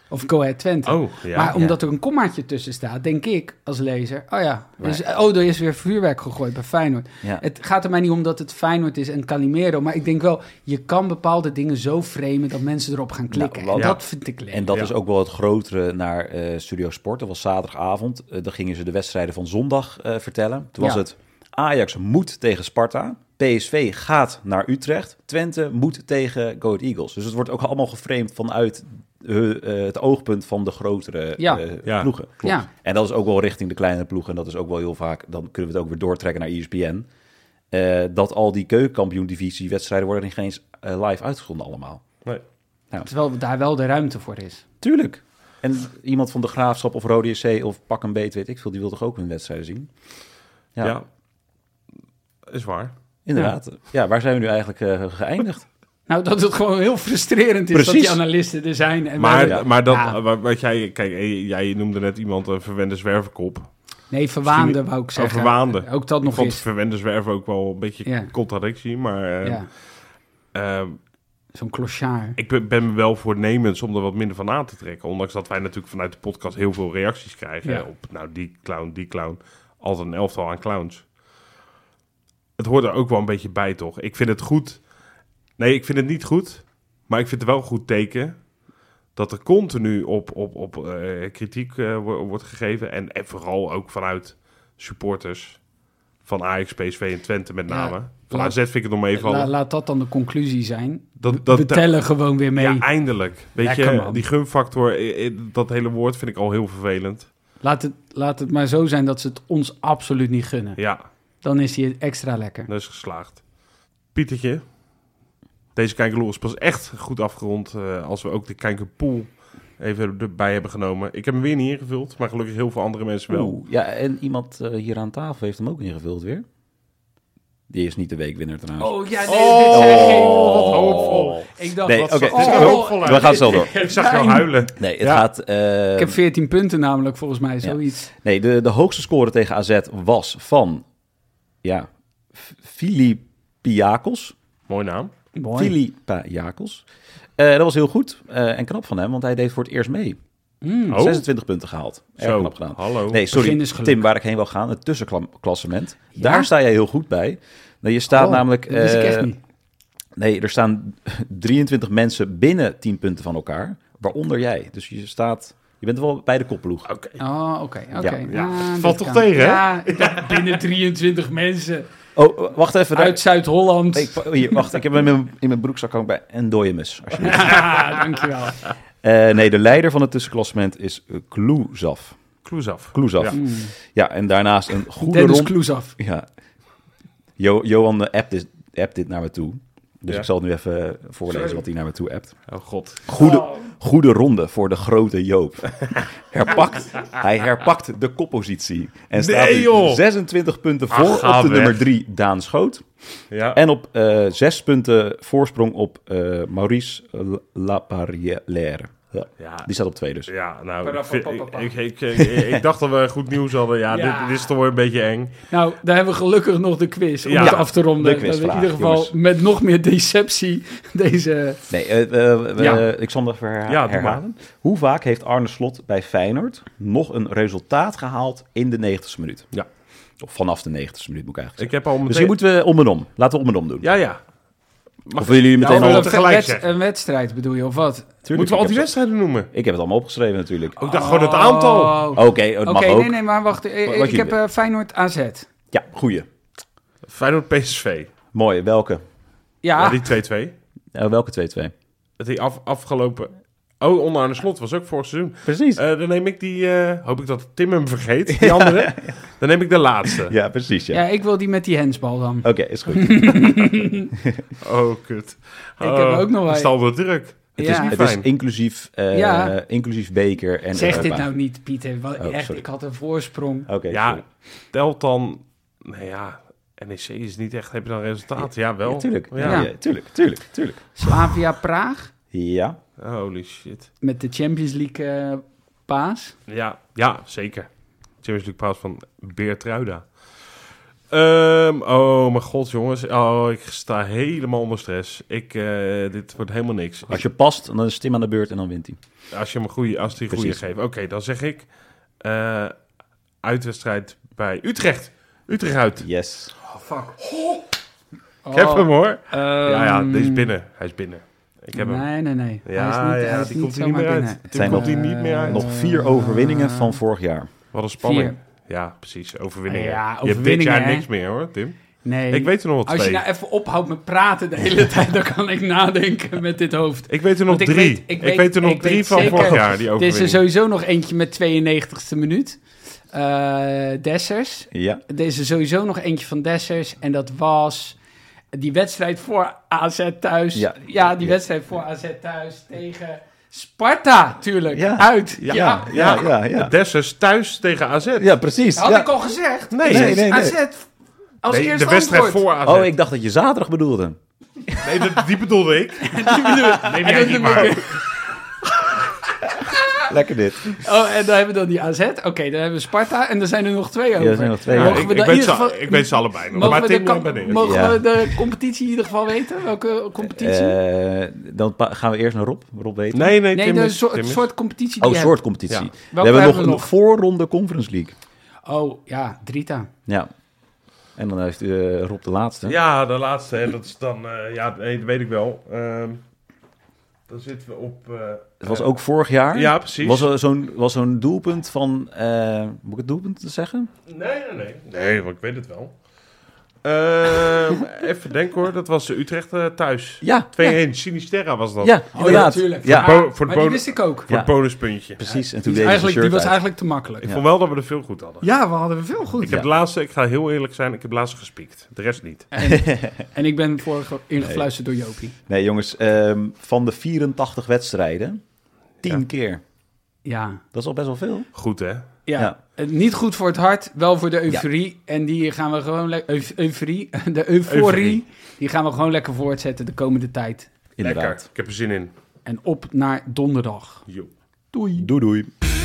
Speaker 2: Of Go Ahead Twente.
Speaker 1: Oh, ja.
Speaker 2: maar omdat er een kommaatje tussen staat, denk ik als lezer... oh ja, er is- oh, er is weer vuurwerk gegooid bij Feyenoord.
Speaker 3: Ja.
Speaker 2: Het gaat er mij niet om dat het Feyenoord is en Calimero... maar ik denk wel, je kan bepaalde dingen zo framen... dat mensen erop gaan klikken.
Speaker 3: Nou,
Speaker 2: en
Speaker 3: ja.
Speaker 2: dat vind ik leuk.
Speaker 3: En dat
Speaker 1: Ja.
Speaker 3: is ook wel het grotere naar eh, Studio Sport. Dat was zaterdagavond. Eh, dan gingen ze de wedstrijden van zondag eh, vertellen. Toen was
Speaker 2: Ja.
Speaker 3: het Ajax moet tegen Sparta. PSV gaat naar Utrecht. Twente moet tegen Go Ahead Eagles. Dus het wordt ook allemaal geframed vanuit eh, eh, het oogpunt van de grotere
Speaker 2: Ja.
Speaker 3: eh,
Speaker 1: Ja.
Speaker 3: ploegen.
Speaker 2: Klopt. Ja.
Speaker 3: En dat is ook wel richting de kleinere ploegen. En dat is ook wel heel vaak. Dan kunnen we het ook weer doortrekken naar E ESPN. eh, dat al die keukenkampioen-divisie wedstrijden worden niet eens eh, live uitgezonden allemaal.
Speaker 1: Nee.
Speaker 2: Terwijl daar wel de ruimte voor is.
Speaker 3: Tuurlijk. En iemand van de Graafschap of Rode JC of Pak een Beet, weet ik veel, die wil toch ook hun wedstrijden zien?
Speaker 1: Ja.
Speaker 3: Ja,
Speaker 1: Is waar.
Speaker 3: inderdaad. Ja. waar zijn we nu eigenlijk eh, geëindigd?
Speaker 2: Nou, dat het gewoon heel frustrerend is dat
Speaker 3: Precies.
Speaker 2: die analisten er zijn. En
Speaker 1: Maar,
Speaker 2: wij-
Speaker 1: maar dat,
Speaker 2: Ja.
Speaker 1: wat- wat jij, kijk, eh, jij noemde net iemand een verwende zwerverkop.
Speaker 2: Nee, verwaande
Speaker 1: Misschien-
Speaker 2: wou ik
Speaker 1: Oh,
Speaker 2: zeggen.
Speaker 1: verwaande.
Speaker 2: Ook dat
Speaker 1: Ik
Speaker 2: nog
Speaker 1: vond
Speaker 2: eens.
Speaker 1: verwende zwerven ook wel een beetje
Speaker 2: Ja.
Speaker 1: contradictie, maar... eh,
Speaker 2: Ja,
Speaker 1: ehm,
Speaker 2: zo'n klosjaar.
Speaker 1: Ik ben- ben wel voornemens om er wat minder van aan te trekken. Ondanks dat wij natuurlijk vanuit de podcast heel veel reacties krijgen.
Speaker 2: Ja.
Speaker 1: hè, Op nou, die clown, die clown. Altijd een elftal aan clowns. Het hoort er ook wel een beetje bij, toch? Ik vind het goed. Nee, ik vind het niet goed. Maar ik vind het wel een goed teken. dat er continu op, op, op eh, kritiek eh, wo- wordt gegeven. En, en vooral ook vanuit supporters van Ajax, PSV en Twente met
Speaker 2: Ja,
Speaker 1: name. van
Speaker 2: laat-
Speaker 1: AZ vind ik het nog meevallen.
Speaker 2: La- laat dat dan de conclusie zijn.
Speaker 1: dat, dat,
Speaker 2: we tellen gewoon weer mee.
Speaker 1: Ja, eindelijk. Weet
Speaker 2: Lekker,
Speaker 1: je,
Speaker 2: man.
Speaker 1: die gunfactor, eh, eh, dat hele woord vind ik al heel vervelend.
Speaker 2: Laat, het, laat het maar zo zijn dat ze het ons absoluut niet gunnen.
Speaker 1: Ja,
Speaker 2: Dan is die extra lekker.
Speaker 1: dat is geslaagd. Pietertje, deze kijkerloer is pas echt goed afgerond eh, als we ook de kijkerpool even erbij hebben genomen. Ik heb hem weer niet ingevuld, maar gelukkig heel veel andere mensen wel.
Speaker 3: Oeh, ja, en iemand eh, hier aan tafel heeft hem ook ingevuld weer. Die is niet de weekwinner trouwens.
Speaker 2: Oh ja,
Speaker 1: nee, dit zeg ik. Oh, wat hoopvol.
Speaker 2: Ik dacht,
Speaker 3: Nee,
Speaker 1: Wat
Speaker 3: oké.
Speaker 1: zag
Speaker 2: dus-
Speaker 1: er
Speaker 2: oh,
Speaker 1: hoopvol uit.
Speaker 3: We gaan zo door.
Speaker 1: Ik zag jou huilen.
Speaker 3: Nee, het
Speaker 1: Ja.
Speaker 3: gaat... eh,
Speaker 2: ik heb 14 punten namelijk, volgens mij,
Speaker 3: Ja.
Speaker 2: zoiets.
Speaker 3: Nee, de, de hoogste score tegen AZ was van... Ja, F- Filipiakos.
Speaker 1: Mooi naam.
Speaker 2: Mooi.
Speaker 3: Filipiakos. Eh dat was heel goed eh, en knap van hem, want hij deed voor het eerst mee.
Speaker 2: Mm.
Speaker 3: Hm,
Speaker 1: Oh.
Speaker 3: 26 punten gehaald. Erg
Speaker 1: Zo, Oh.
Speaker 3: knap gedaan.
Speaker 1: hallo.
Speaker 3: Nee,
Speaker 2: Begin
Speaker 3: sorry,
Speaker 2: is geluk.
Speaker 3: Tim, waar ik heen wil gaan, het tussenklassement.
Speaker 2: Ja?
Speaker 3: Daar sta jij heel goed bij. Nou, je staat
Speaker 2: Oh,
Speaker 3: namelijk...
Speaker 2: Dat wist ik echt
Speaker 3: eh,
Speaker 2: niet.
Speaker 3: Nee, er staan 23 mensen binnen 10 punten van elkaar, waaronder jij. Dus je staat, je bent wel bij de kopploeg.
Speaker 1: Oké.
Speaker 2: Oh, oké. oké.
Speaker 3: Ja,
Speaker 1: ja.
Speaker 2: Ah, dit
Speaker 1: Valt toch
Speaker 2: kan.
Speaker 1: tegen, hè?
Speaker 2: Ja, ik dacht, binnen 23 mensen
Speaker 3: Oh, wacht even. daar-
Speaker 2: uit Zuid-Holland.
Speaker 3: Ik, hier, wacht, ik heb hem in mijn, in mijn broekzak hangen bij en dode mus. alsjeblieft.
Speaker 2: Ah, dankjewel.
Speaker 3: Eh, nee, de leider van het tussenklassement is eh, Kloezaf.
Speaker 1: Kloes af.
Speaker 3: Kloezaf.
Speaker 1: Ja.
Speaker 3: Ja. en daarnaast een goede
Speaker 2: Hmm. Dennis
Speaker 3: rond...
Speaker 2: Kloes af.
Speaker 3: Ja. Jo- Johan eh, appt dit, appt dit naar me toe. Dus
Speaker 1: Ja.
Speaker 3: ik zal het nu even voorlezen wat hij naar me toe appt.
Speaker 1: Oh god.
Speaker 3: Goede, goede ronde voor de grote Joop. Herpakt, hij herpakt de koppositie. En staat
Speaker 1: Nee,
Speaker 3: nu
Speaker 1: joh.
Speaker 3: 26 punten
Speaker 1: Ah,
Speaker 3: voor
Speaker 1: ga
Speaker 3: op de
Speaker 1: weg.
Speaker 3: nummer 3 Daan Schoot.
Speaker 1: Ja.
Speaker 3: En op eh, zes punten voorsprong op eh, Maurice L- Laparrière. Ja.
Speaker 1: ja.
Speaker 3: Die staat op twee dus.
Speaker 1: Ja, nou, ik, vind- ik,
Speaker 2: Parapapapapa.
Speaker 1: ik, ik, ik- ik dacht dat we goed nieuws hadden. Ja,
Speaker 2: Ja.
Speaker 1: Dit, dit is toch wel een beetje eng.
Speaker 2: Nou, daar hebben we gelukkig nog de quiz om
Speaker 1: Ja,
Speaker 2: het af te ronden.
Speaker 3: de
Speaker 2: Dat we in
Speaker 3: quizvraag,
Speaker 2: ieder geval
Speaker 3: jongens.
Speaker 2: met nog meer deceptie deze...
Speaker 3: Nee, eh, eh, we-
Speaker 2: Ja.
Speaker 3: eh, ik zal hem even herha-
Speaker 1: Ja, doe
Speaker 3: herhalen. Hoe vaak heeft Arne Slot bij Feyenoord nog een resultaat gehaald in de 90ste minuut?
Speaker 1: Ja.
Speaker 3: Of vanaf de 90ste minuut Dus moet ik eigenlijk zeggen.
Speaker 1: Ik heb al meteen...
Speaker 3: Misschien moeten we om en om. Laten we om en om doen.
Speaker 1: Ja, ja. Mag
Speaker 3: Of willen jullie meteen
Speaker 1: Ja,
Speaker 3: al...
Speaker 1: we- tegelijk
Speaker 2: eh, Een wed-
Speaker 1: zeggen.
Speaker 2: een wedstrijd bedoel je, of wat?
Speaker 1: Moeten we al die Oh.
Speaker 3: ik heb
Speaker 1: wedstrijden noemen?
Speaker 3: ze- Ik heb het allemaal opgeschreven natuurlijk.
Speaker 1: Ook dacht gewoon het aantal.
Speaker 2: Oh.
Speaker 3: Oké, het
Speaker 2: Oké,
Speaker 3: mag ook.
Speaker 2: nee, nee, maar wacht. eh, eh,
Speaker 3: Wat- wat
Speaker 2: ik
Speaker 3: jullie
Speaker 2: heb eh, Feyenoord AZ.
Speaker 3: Ja, goeie.
Speaker 1: Feyenoord PSV.
Speaker 3: Mooi, welke? Ah.
Speaker 1: Ja,
Speaker 2: Ja,
Speaker 1: die 2-2.
Speaker 3: Eh, welke 2-2?
Speaker 1: Dat die af, afgelopen... Oh, onder aan de slot was ook vorig seizoen.
Speaker 3: Precies.
Speaker 1: Eh, dan neem ik die... eh, hoop ik dat Tim hem vergeet, die andere. Dan neem ik de laatste.
Speaker 3: ja, precies. Ja.
Speaker 2: ja, ik wil die met die hensbal dan.
Speaker 3: Oké, is goed.
Speaker 1: Oh, kut.
Speaker 2: heb
Speaker 1: Oh,
Speaker 2: er ook nog
Speaker 1: Het is
Speaker 2: een.
Speaker 1: allemaal druk.
Speaker 3: Het,
Speaker 2: Ja.
Speaker 3: is, het
Speaker 1: Fijn.
Speaker 3: is inclusief, eh,
Speaker 2: Ja.
Speaker 3: inclusief beker en
Speaker 2: zeg dit
Speaker 3: Europa.
Speaker 2: nou niet, Pieter. Wat,
Speaker 3: Oh,
Speaker 2: echt,
Speaker 3: sorry.
Speaker 2: ik had een voorsprong.
Speaker 3: Oké, sorry.
Speaker 1: Ja, telt dan... Nou ja, NEC is niet echt... Heb je dan resultaat? Ja, wel.
Speaker 3: Ja, tuurlijk. Ja.
Speaker 1: Ja.
Speaker 3: ja, tuurlijk, tuurlijk, tuurlijk.
Speaker 2: Slavia Praag
Speaker 3: Ja,
Speaker 1: Holy shit.
Speaker 2: met de Champions League eh, paas.
Speaker 1: Ja, ja zeker. Champions League paas van Beertruida. Ehm, oh mijn god, jongens. Oh, ik sta helemaal onder stress. Ik, eh, dit wordt helemaal niks.
Speaker 3: als je past, dan is Tim aan de beurt en dan wint hij.
Speaker 1: Als je me goeie, als die goede
Speaker 3: Precies.
Speaker 1: geeft. Oké, dan zeg ik eh, uitwedstrijd bij Utrecht. Utrecht uit.
Speaker 3: Yes.
Speaker 1: Ik heb hem hoor. ja, ja,
Speaker 2: Oh, Ehm,
Speaker 1: deze is binnen. Hij is binnen. Ik heb hem.
Speaker 2: Nee, nee, nee.
Speaker 1: Ja,
Speaker 2: hij is niet,
Speaker 1: ja,
Speaker 2: hij is
Speaker 1: die
Speaker 2: niet
Speaker 1: komt hier niet
Speaker 2: zomaar
Speaker 1: meer uit.
Speaker 2: binnen.
Speaker 3: Het zijn
Speaker 1: komt
Speaker 3: nog,
Speaker 1: hij niet meer uit.
Speaker 3: nog vier overwinningen van vorig jaar.
Speaker 1: Wat een spanning.
Speaker 2: Vier.
Speaker 1: Ja, precies. Overwinningen.
Speaker 2: Ja,
Speaker 1: je hebt dit
Speaker 2: overwinningen,
Speaker 1: jaar
Speaker 2: hè?
Speaker 1: niks meer hoor, Tim.
Speaker 2: Nee.
Speaker 1: Ik weet er nog wat
Speaker 2: Als je
Speaker 1: twee.
Speaker 2: nou even ophoudt met praten de hele tijd, dan kan ik nadenken met dit hoofd.
Speaker 1: Ik weet er nog
Speaker 2: Want ik
Speaker 1: drie.
Speaker 2: weet- ik
Speaker 1: ik, weet,
Speaker 2: weet-
Speaker 1: er nog
Speaker 2: ik
Speaker 1: drie
Speaker 2: weet
Speaker 1: van
Speaker 2: zeker-
Speaker 1: vorig jaar, die
Speaker 2: Er is
Speaker 1: overwinning.
Speaker 2: er sowieso nog eentje met 92e minuut. Eh, Dessers.
Speaker 3: Ja,
Speaker 2: Er is er sowieso nog eentje van Dessers. En dat was die wedstrijd voor AZ thuis. Ja,
Speaker 3: Ja.
Speaker 2: die
Speaker 3: Ja.
Speaker 2: wedstrijd voor AZ thuis tegen Sparta, tuurlijk.
Speaker 3: Ja.
Speaker 2: Uit. Ja.
Speaker 1: Ja.
Speaker 3: ja, ja, ja. Ja,
Speaker 1: Dessers thuis tegen AZ.
Speaker 3: Ja, precies.
Speaker 2: Had
Speaker 3: Ja.
Speaker 2: ik al gezegd.
Speaker 1: Nee,
Speaker 3: Nee, nee, nee.
Speaker 2: AZ als
Speaker 1: Nee,
Speaker 2: eerste
Speaker 1: de wedstrijd
Speaker 2: antwoord.
Speaker 1: voor AZ.
Speaker 3: Oh, ik dacht dat je zaterdag bedoelde.
Speaker 1: Nee, dat- die bedoelde ik.
Speaker 2: Die bedoel ik.
Speaker 1: Neem
Speaker 2: En
Speaker 1: jij
Speaker 2: dat
Speaker 1: niet
Speaker 2: noem ik-
Speaker 1: maar.
Speaker 3: Lekker dit.
Speaker 2: Oh, en daar hebben we dan die AZ. Oké, daar hebben we Sparta. En er zijn er nog twee over.
Speaker 3: er zijn nog twee, ja.
Speaker 1: Ja,
Speaker 2: Mogen
Speaker 1: ik,
Speaker 2: we
Speaker 1: ik
Speaker 2: daar in
Speaker 1: weet
Speaker 2: ieder
Speaker 1: ze,
Speaker 2: geval...
Speaker 1: ik weet ze allebei nog.
Speaker 2: Mogen,
Speaker 1: maar
Speaker 2: we
Speaker 1: Tim
Speaker 2: de,
Speaker 1: nog
Speaker 2: kam-
Speaker 1: ben ik.
Speaker 2: mogen
Speaker 3: Ja.
Speaker 2: we de competitie in ieder geval weten? Welke competitie?
Speaker 3: Eh, dan pa- gaan we eerst naar Rob. Rob weet.
Speaker 1: Nee, nee,
Speaker 2: nee,
Speaker 1: Tim
Speaker 2: de
Speaker 1: is-
Speaker 2: zo-
Speaker 1: Tim
Speaker 2: het
Speaker 1: is-
Speaker 2: soort competitie die
Speaker 3: Oh,
Speaker 2: je
Speaker 3: soort competitie.
Speaker 1: Ja.
Speaker 3: We hebben
Speaker 2: hebben
Speaker 3: nog
Speaker 2: we
Speaker 3: een
Speaker 2: nog?
Speaker 3: voorronde Conference League.
Speaker 2: hebt. Oh, ja, Drita.
Speaker 3: Ja. En dan heeft eh, Rob de laatste.
Speaker 1: Ja, de laatste. hè, Dat is dan... eh, ja, nee, dat weet ik wel. Ehm, Dan zitten we op... eh,
Speaker 3: Het was ook vorig jaar.
Speaker 1: Ja, precies.
Speaker 3: Was er zo'n was zo'n doelpunt van... eh, moet ik het doelpunt zeggen?
Speaker 1: Nee, nee, nee. Nee, want ik weet het wel. Ehm, even denken hoor, dat was Utrecht eh, thuis. 2-1,
Speaker 3: Ja, Oh,
Speaker 1: Sinisterra was dat.
Speaker 3: ja,
Speaker 2: ja,
Speaker 3: inderdaad.
Speaker 2: tuurlijk.
Speaker 3: Ja,
Speaker 1: Voor, bo- voor de
Speaker 2: Maar die
Speaker 1: bonus,
Speaker 2: wist ik ook.
Speaker 1: voor
Speaker 3: Ja.
Speaker 1: het bonuspuntje.
Speaker 3: precies. En toen
Speaker 2: Die,
Speaker 3: deed
Speaker 2: is
Speaker 3: hij zijn
Speaker 2: eigenlijk, die
Speaker 3: shirt
Speaker 2: was
Speaker 3: uit.
Speaker 2: eigenlijk te makkelijk.
Speaker 1: Ik
Speaker 3: Ja.
Speaker 1: vond wel dat we er veel goed hadden.
Speaker 2: Ja, we hadden er veel goed.
Speaker 1: Ik heb
Speaker 3: Ja.
Speaker 1: de laatste, ik ga heel eerlijk zijn, ik heb de laatste gespiekt. De rest niet.
Speaker 2: En ik ben vorige ingefluisterd door Jopie.
Speaker 3: Nee, jongens. ehm, van de 84 wedstrijden, 10
Speaker 1: Ja.
Speaker 3: keer.
Speaker 2: Ja.
Speaker 3: Dat is al best wel veel.
Speaker 1: Goed hè?
Speaker 2: Ja.
Speaker 3: Ja.
Speaker 2: Eh, Niet goed voor het hart, wel voor de euforie. En die gaan we gewoon lekker... Euforie? De euforie.
Speaker 1: Euforie.
Speaker 2: Die gaan we gewoon lekker voortzetten de komende tijd.
Speaker 3: Inderdaad.
Speaker 1: Lekker. Ik heb er zin in.
Speaker 2: En op naar donderdag.
Speaker 1: Jo.
Speaker 2: Doei.
Speaker 3: Doei doei.